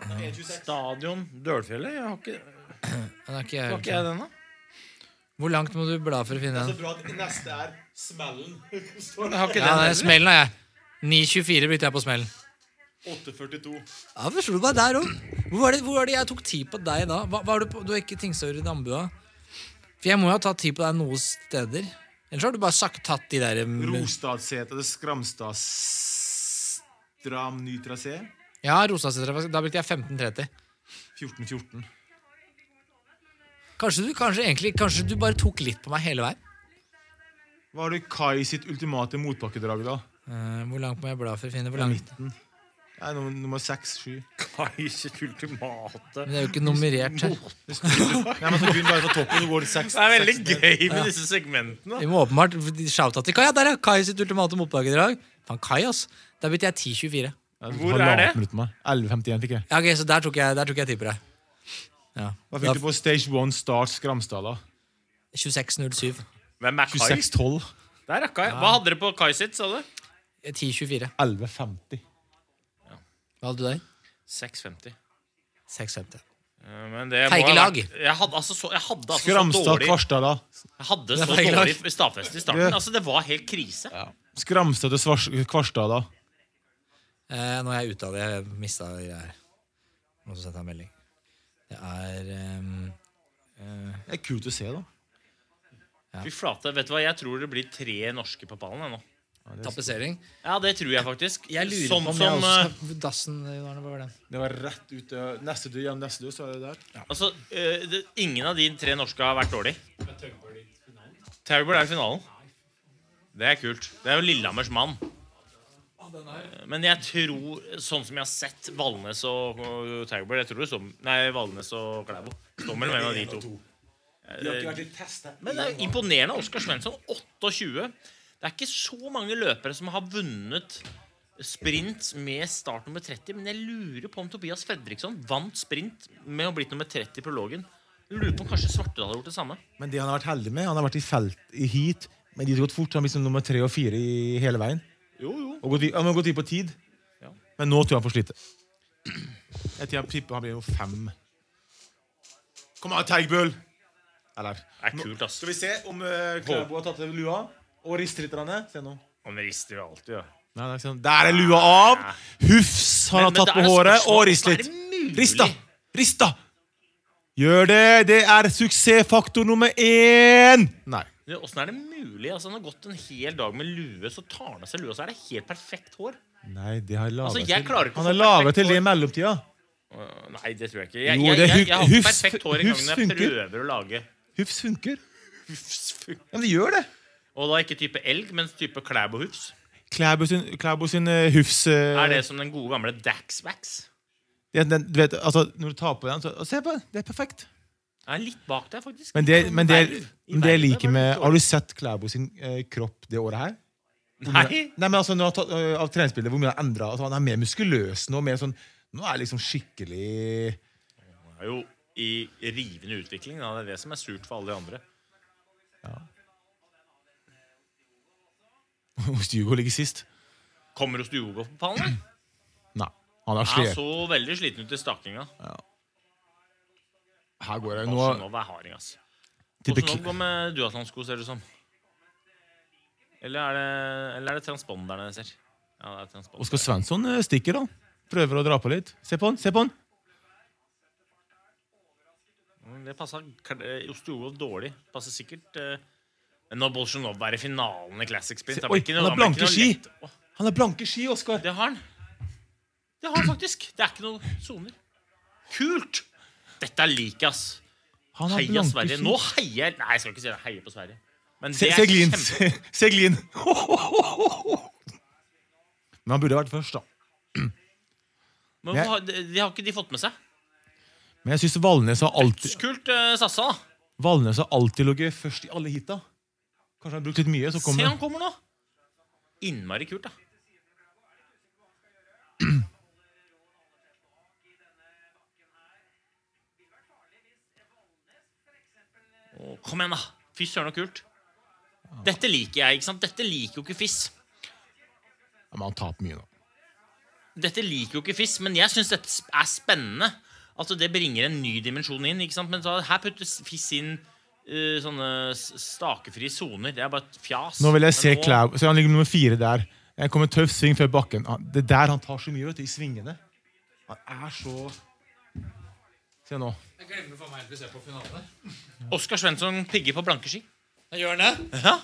S6: 1,26.
S5: Stadion Dølfjellet? Jeg har ikke,
S4: Den er ikke jeg,
S5: har
S4: helt
S5: ikke jeg den, da.
S4: Hvor langt må du bla for å finne
S6: Så
S4: den?
S6: bra at neste er Smellen. Står
S5: Jeg
S6: det.
S5: har ikke
S4: Ja,
S5: den
S4: det er
S5: heller.
S4: smellen har jeg. 9.24 brukte jeg på smellen.
S6: 8,42.
S4: Ja, vi slo meg der òg. Hvor, var det- hvor var det jeg tok tid på deg da? Hva, hva har du, på, du har ikke Tingsør i Dambua? For jeg må jo ha tatt tid på deg noen steder. Ellers har du bare sagt, tatt de der mm,
S6: Rostadseter til Skramstad. Stram ny trasé.
S4: Ja, Rosenhavnsetra. Da brukte jeg 15.30.
S6: 14,14.
S4: Kanskje du, kanskje, egentlig, kanskje du bare tok litt på meg hele veien?
S6: Hva har du Kai sitt ultimate motbakkedrag, da?
S4: Eh, hvor langt må jeg bla for å finne? Hvor langt?
S6: Nei, nummer, nummer 6-7.
S5: Kai sitt ultimate.
S4: Men det er jo ikke nummerert her.
S6: Nei, men så begynner bare fra toppen, så går det 6.
S5: Det er veldig gøy med disse segmentene.
S4: Vi må åpenbart shout-out til Kai. Ja, der er Kai sitt ultimate motbakedrag. Faen, Kai, ass. Da brukte jeg 10.24.
S5: Hvor er det?
S6: 11.51 fikk jeg.
S4: Ja, ok, Så der tok jeg, der tok jeg tid på deg. Ja. Da-
S6: Hva fikk du på Stage 1 Start Skramstad, da?
S4: 26.07.
S5: Hvem er Kai?
S6: 26.12.
S5: Der er Kai. Hva hadde dere på Kai sitt, sa du?
S4: 10.24.
S6: 11.50.
S4: Eh, Hva hadde du der?
S5: 6,50.
S4: 6.50.
S5: Eh, Men det må
S4: Feige
S5: ha
S4: lag.
S5: vært- Jeg hadde altså så, jeg hadde altså så
S6: Skramstad
S5: dårlig
S6: Kvarstad, da?
S5: Jeg hadde
S4: Det
S5: så
S4: er feige lag.
S5: dårlig stavfest i starten. Altså, det var helt krise.
S6: Skramstad til Svars Kvarstad, da?
S4: Eh, nå er jeg ute av det. Jeg mista greier. Noen som sendte meg en melding. Det er ehm, eh, eh,
S6: Det er kult å se, da.
S5: Fy flate, vet du hva? Jeg tror det blir tre norske på pallen jeg, nå.
S4: Tapetsering?
S5: Ja, det tror jeg faktisk.
S4: Jeg lurer
S5: sånn
S4: på om
S5: som
S4: jeg også
S5: eh,
S4: skal Dassen eh, Arne, hva var den?
S6: Det var rett ut eh, Neste død, ja, neste død, så er det der.
S5: Altså, eh, det, ingen av de tre norske har vært dårlig. Taubert er i finalen. Det er kult. Det er jo Lillehammers mann. Eh, Men jeg tror, sånn som jeg har sett Valnes og og Taubert Jeg tror det står Nei, Valnes og Klæbo. Står mellom en av de to. Eh, Men det er jo imponerende. Oskar Svensson, 28. Det er ikke så mange løpere som har vunnet sprint med start nummer 30, men jeg lurer på om Tobias Fredriksson vant sprint med å blitt nummer 30 i prologen. Jeg Lurer på om kanskje Svartedal har gjort det samme.
S6: Men det han har vært heldig med, han har vært i felt i heat, men de har gått fort. Han har blitt som nummer tre og fire i hele veien.
S5: Jo, jo.
S6: Og gått, i- han har gått i på tid.
S5: Ja.
S6: Men nå tror jeg han får slite. Jeg tror jeg tipper han blir jo fem. Kom an, Teigbøl! Eller
S5: Det er kult, ass.
S6: Skal vi se om uh, Klæbo har tatt av lua og rister litt. Ranne. Se nå.
S5: Han rister jo alltid, ja.
S6: Nei, det er ikke sånn. Der er lua av! Hufs har
S5: Men-
S6: han
S5: men det
S6: tatt på
S5: er et
S6: håret
S5: spørsmål,
S6: og rist
S5: hvordan er
S6: litt.
S5: det mulig?
S6: Rist, da! Rist, da! Gjør det! Det er suksessfaktor nummer én! Nei.
S5: Men Åssen er det mulig? Altså, han har gått en hel dag med lue, så tar han av seg lua, så er det helt perfekt hår.
S6: Nei, det har laget
S5: Altså, jeg
S6: til.
S5: klarer ikke å
S6: Han
S5: få
S6: har laget
S5: perfekt
S6: til det
S5: hår.
S6: i mellomtida.
S5: Øh, Nei, det tror jeg ikke. Jeg,
S6: Jo,
S5: jeg,
S6: det
S5: jeg,
S6: er
S5: jeg,
S6: hu-
S5: har ikke
S6: hufs-
S5: perfekt hår engang
S6: hufs
S5: når jeg
S6: funker.
S5: prøver å lage
S6: Hufs funker.
S5: hufs.
S6: Ja, men det gjør det.
S5: Og da ikke type elg, men type klæbohufs.
S6: Klæbo sin, Klæbo sin eh, hufs eh,
S5: Er det som den gode gamle Daxwax?
S6: det- den, Du vet, altså, når du tar på den, så og Se på den! Det er perfekt.
S5: Jeg er litt bak deg, faktisk.
S6: Men det, men det,
S5: Verv. I
S6: men det jeg
S5: vervet
S6: liker
S5: var
S6: med
S5: det
S6: Har du sett Klæbo sin eh, kropp det året her? Hvor mye-
S5: Nei.
S6: Nei, men altså, når han har tatt, eh, Av treningsbildet, hvor mye han har endra. Altså, han er mer muskuløs nå. Mer sånn, nå er det liksom skikkelig
S5: er jo i rivende utvikling. Da. Det er det som er surt for alle de andre.
S6: Hugo ligger sist.
S5: Kommer hos Diogo på pallen? eller?
S6: Nei. Han har
S5: Han
S6: slet.
S5: så veldig sliten ut i stakinga.
S6: Her går det nå
S5: Osnov er harding, ass.
S6: til
S5: Hvordan
S6: bikini.
S5: går med duatlonsko, ser det ut som? Eller er det, eller er det transponderne jeg ser? Ja, det er
S6: Oskar
S5: transponderne.
S6: Svensson eh, stikker, da. Prøver å dra på litt. Se på han! se på han
S5: Mm, Det eh, passa Ostjogov dårlig. Passer sikkert eh, Men når Bolsjunov er i finalen i Classic Sprint
S6: Se,
S5: da blir
S6: oi,
S5: ikke
S6: han
S5: noe- da
S6: har
S5: blir ikke
S6: blanke
S5: noe
S6: ski.
S5: lett- Åh,
S6: Han har blanke ski, Oskar!
S5: Det har han. Det har han faktisk. Det er ikke noen soner. Kult! Dette er like, ass.
S6: Han har
S5: Heia
S6: blanke
S5: Sverige.
S6: ski.
S5: Nå heier jeg Nei, jeg skal ikke si det. Jeg Heier på Sverige. Men
S6: Se,
S5: det
S6: se
S5: er
S6: glin.
S5: kjempe-
S6: Se, se glin. Men han burde vært først, da.
S5: Men hvorfor har- de, de har ikke de fått med seg.
S6: Men jeg syns Valnes har alltid
S5: Kult, eh, Sassa. da.
S6: Valnes har alltid ligget først i alle heata. Kanskje han har brukt litt mye, så
S5: Se,
S6: kommer
S5: han kommer nå. Innmari kult, da. Å, kom igjen, da. Fy søren, så kult. Dette liker jeg. ikke sant? Dette liker jo ikke Fiss.
S6: ja, Men han taper mye nå.
S5: Dette liker jo ikke Fiss, men jeg syns dette sp- er spennende. Altså, det bringer en ny dimensjon inn. ikke sant? Men så, her puttes Fiss inn eh, sånne s- stakefrie soner. Det er bare et fjas.
S6: Nå vil jeg
S5: Men
S6: se
S5: nå-
S6: Klæbo. Se, han ligger nummer fire der. Jeg kommer tøff sving før bakken. Han- Det er der han tar så mye, vet du, i svingene. Han er så Se nå.
S4: Jeg glemmer faen meg helt å se på finalen.
S5: Oskar Svensson pigger på blanke ski.
S4: Jeg gjør den det?
S5: Ja.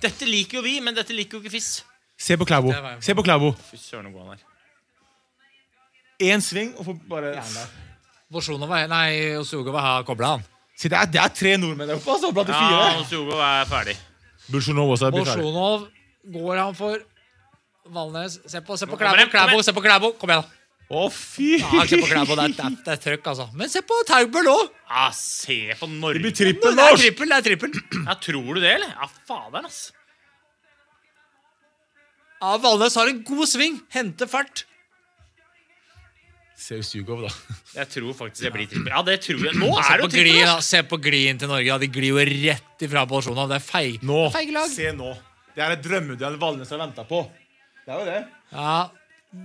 S5: Dette liker jo vi, men dette liker jo ikke Fiss.
S6: Se på Klæbo.
S4: Der var jeg.
S6: Se på Klæbo.
S5: Fy søren, hvor god han er.
S6: Én sving, og får bare jern der.
S4: Bolsjunov er Nei, Osugova har kobla han.
S6: Se, det er, det er tre nordmenn der oppe, altså, blant de
S5: Ja,
S6: fire.
S5: Osiogo er ferdig.
S6: Bolsjunov også er blitt ferdig.
S4: Bolsjunov går han for Valnes. Se på, se på
S5: kommer
S4: Klæbo,
S5: den, kom
S4: Klæbo,
S5: igjen.
S4: se på Klæbo! Kom igjen, da.
S6: Å, fy!
S4: Ja, se på Klæbo, det er, det er, det er trøkk, altså. Men se på Taubel òg!
S5: Ja, se på
S6: Det
S5: Norge.
S6: blir
S4: Det
S6: trippel
S4: er
S6: norsk!
S4: trippel, det er trippel.
S5: Ja, tror du det, eller? Ja, faderen, ass.
S4: Ja, Valnes har en god sving. Henter fart.
S6: Se Sugov, da.
S5: Jeg tror faktisk det blir trippel. Ja, det tror jeg. Nå
S4: Se
S5: er det
S4: på,
S5: jo
S4: glien,
S5: trippel,
S4: da.
S5: ass.
S4: se på glien til Norge. Da. De glir jo rett ifra Bolsjunov. Det er feig.
S6: Nå.
S4: Feig lag.
S6: Se nå. Det er et drømmeduell Valnes har venta på. Det er jo det.
S4: Ja.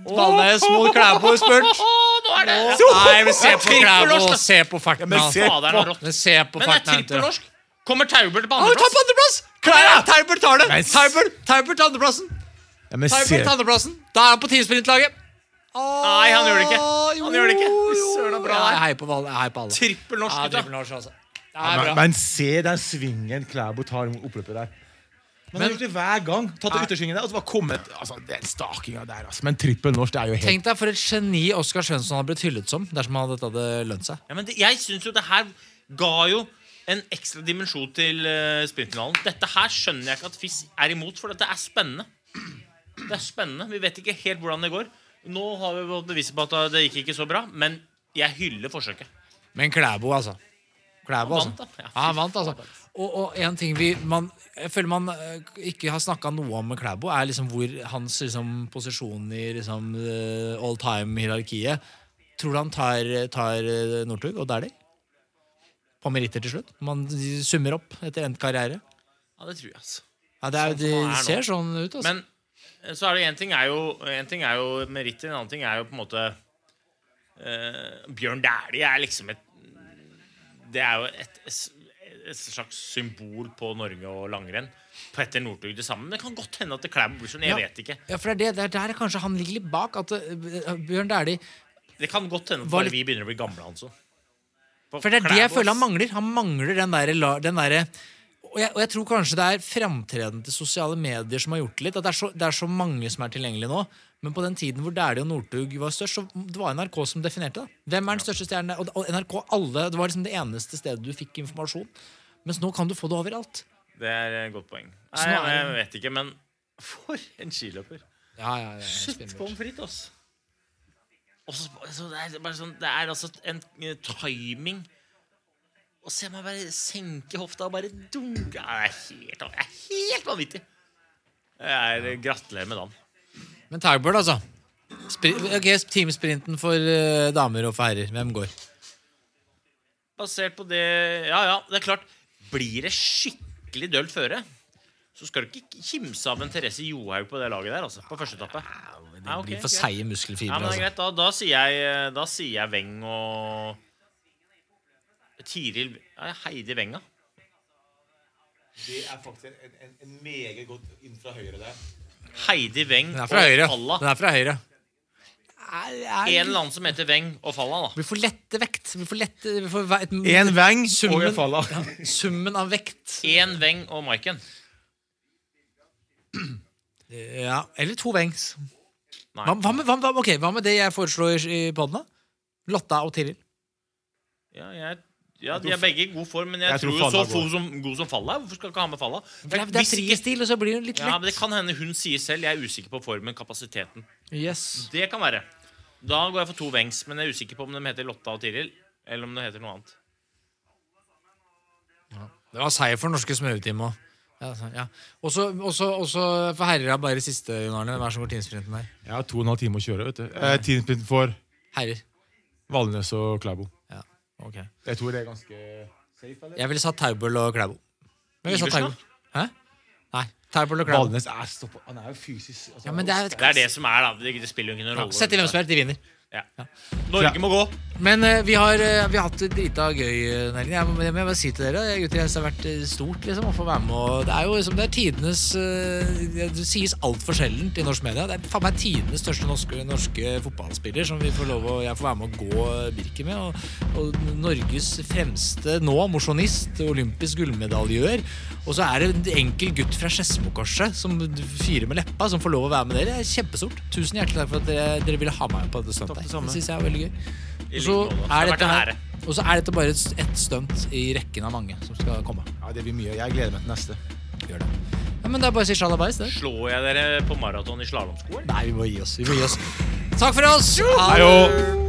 S4: Valnes mot Klæbo i spurt.
S5: Åh, nå er det
S4: Nei, men se på
S5: Trippel
S4: Klæbo.
S5: norsk, da.
S4: Se på farten
S6: men
S4: hans.
S6: se-
S5: Faderen er rått.
S4: Men se
S5: Men
S4: på
S5: det er
S4: farten
S5: trippel
S4: hans.
S5: norsk. Kommer Taubert på
S4: Han tar på
S5: andreplass?
S4: andreplass! Taubert tar det.
S6: Men s-
S4: Taubert Taubert tar andreplassen.
S6: Ja, men se.
S4: Taubert tar andreplassen. Da er han på teamsprintlaget.
S5: Nei, han gjør det ikke. Han gjør det ikke. Fy Søren, så bra det
S4: Jeg
S5: er.
S4: heier på alle. Jeg heier på alle.
S5: Trippel norsk,
S4: Ja,
S5: gutta.
S4: trippel norsk, altså. Det
S6: Ja,
S4: er
S6: men,
S4: bra.
S6: men se den svingen Klæbo tar mot oppløpet der. Man har
S4: Men-
S6: gjort det hver gang. Tatt av yttersvingen der, og så bare kommet altså, Den stakinga der, altså. Men trippel norsk, det er jo helt
S4: Tenk deg for et geni Oskar Svensson hadde blitt hyllet som dersom han hadde- dette hadde lønt seg.
S5: Ja, men det, jeg syns jo det her ga jo en ekstra dimensjon til uh, sprintfinalen. Dette her skjønner jeg ikke at FIS er imot, for dette er spennende. Det er spennende. Vi vet ikke helt hvordan det går. Nå har vi fått beviset på at det gikk ikke så bra, men jeg hyller forsøket.
S4: Men Klæbo, altså. Klæbo,
S5: Han vant,
S4: altså.
S5: da. Ja,
S4: Ja, han vant, altså. Og, og en ting vi man, Jeg føler man eh, ikke har snakka noe om med Klæbo, er liksom hvor hans liksom, posisjon i liksom, eh, all time-hierarkiet Tror du han tar, tar eh, Northug og Dæhlie? På meritter til slutt? Man summer opp etter endt karriere?
S5: Ja, det tror jeg, altså.
S4: Ja, det, er,
S5: Sånn
S4: det
S5: som han er nå.
S4: ser sånn ut, altså.
S5: Men eh, så er det én ting er jo, en ting er jo meritter, en annen ting er jo på en måte eh, Bjørn Dæhlie er liksom et Det er jo et, et slags symbol på Norge og langrenn. Petter Northug det samme. Men det kan godt hende at det Klæbo blir sånn. Jeg
S4: Ja.
S5: vet ikke.
S4: ja, for det er det, det er der kanskje han ligger litt bak. At eh, Bjørn Dæhlie
S5: Det kan godt hende at
S4: Var
S5: bare
S4: litt-
S5: vi begynner å bli gamle, altså. Hanso.
S4: For det er det jeg føler han mangler. Han mangler den derre la- den derre- og, jeg- og jeg tror kanskje det er framtreden til sosiale medier som har gjort det litt. At det er så, det er så mange som er tilgjengelige nå. Men på den tiden hvor Dæhlie og Northug var størst, så det var NRK som definerte det. Hvem er den største stjernen? Og, og NRK, alle, Det var liksom det eneste stedet du fikk informasjon. Mens nå kan du få det overalt.
S5: Det er et godt poeng. Nei,
S4: Så nå er
S5: jeg,
S4: det-
S5: vet ikke, men For en skiløper.
S4: Ja, ja, ja,
S5: Shit,
S4: spinnvilt.
S5: pommes frites, ass. Og så, så det, er bare sånn, det er altså en eh, timing Og se meg bare senke hofta og bare dunke Ja, Det er helt, det er helt vanvittig. Jeg er, gratulerer med dagen.
S4: Men Tagbird, altså. Spri ok, Teamsprinten for eh, damer og for herrer. Hvem går?
S5: Basert på det Ja, ja, det er klart. Blir det skikkelig dølt føre, så skal du ikke kimse av en Therese Johaug på det laget der, altså. På første etappe.
S4: Det
S5: Ja, ok,
S4: blir for
S5: greit.
S4: seige
S5: Ja, men det
S4: muskelfibre.
S5: er
S4: altså.
S5: greit. Da, da, sier jeg, eh, da sier jeg Weng og Tiril ja, Heidi Wenga.
S6: Det er faktisk en, meget godt inn fra høyre der.
S5: Heidi Weng
S4: Den er
S5: og
S4: fra høyre.
S5: Falla.
S4: Den er fra høyre.
S5: En eller annen som heter Weng og Falla, da.
S4: Vi får lette vekt. Vi får lette vi får ve- et,
S6: Én veng, og
S4: summen,
S6: jeg faller.
S4: summen av vekt.
S5: Én Weng og Maiken.
S4: Ja, Eller to vengs.
S5: Nei.
S4: Hva, hva, med, hva, hva- ok, hva med det jeg foreslår i poden? Lotta og Tiril.
S5: Ja, jeg, ja, de er begge i god form, men jeg,
S6: Jeg tror
S5: tror, jo så
S6: Falla går.
S5: god som, god som Falla. er. Hvorfor skal jeg ikke ha med Falla?
S4: Det er, det er
S5: Hvis ikke-
S4: fristil, og så blir det litt
S5: Ja, men Det
S4: lett.
S5: kan hende hun sier selv. Jeg er usikker på formen, kapasiteten.
S4: Yes.
S5: Det kan være. Da går jeg for to Wengs, men jeg er usikker på om de heter Lotta og Tiril. Eller om de heter noe annet.
S4: Det var seier for norske smøretime òg. Ja, sånn, ja. Også, også, også for herrer er bare siste, Jon Arne. Hvem er det som går teamsprinten der?
S6: Jeg har to og en halv time å kjøre. vet du eh, Teamsprint for
S4: Herrer.
S6: Valnes og Klæbo.
S4: Ja, ok
S6: Jeg tror det er ganske safe. eller?
S4: Jeg ville satt Taubel og Klæbo. Men vi satt
S5: Iversen, da?
S4: Taubel. Hæ? Nei. Taubel og Klæbo.
S6: Valnes er stoppa Han er jo fysisk altså,
S4: Ja, men det er,
S5: Det er det som er, da. Det, det spiller jo ikke noen rolle.
S4: Sett i hvem som helst, de vinner.
S5: Ja. Norge må gå.
S4: Men eh, vi, har, eh, vi har hatt det drita gøy, eh, Nelly. Jeg, må- jeg må bare si til dere, eh, gutter, jeg synes det har vært eh, stort liksom, å få være med. Og det er jo liksom, det er tidenes eh, det- Det sies altfor sjeldent i norsk media. Det er faen meg tidenes største norske, norske fotballspiller som vi får lov å, jeg får være med å gå eh, Birken med. Og, og Norges fremste nå mosjonist, olympisk gullmedaljør. Og så er det en enkel gutt fra Skedsmokorset som fyrer med leppa, som får lov å være med dere. Det er kjempestort. Tusen hjertelig takk for at dere, dere ville ha meg med på dette stuntet.
S6: det
S4: her.
S6: samme.
S4: Det syns jeg er veldig gøy.
S5: I
S4: Og så
S5: like måte. Det har
S4: er
S5: vært
S4: dette
S5: en
S4: her
S5: ære.
S4: Og så er dette bare et, et stunt i rekken av mange som skal komme.
S6: Ja, det blir mye. Jeg gleder meg til neste.
S4: Gjør det. Ja, men det er bare å si sjalabais, det.
S5: Slår jeg dere på maraton i slalåmsko?
S4: Nei, vi må gi oss. Vi må gi oss. Takk for oss! Ha
S6: Hei, og-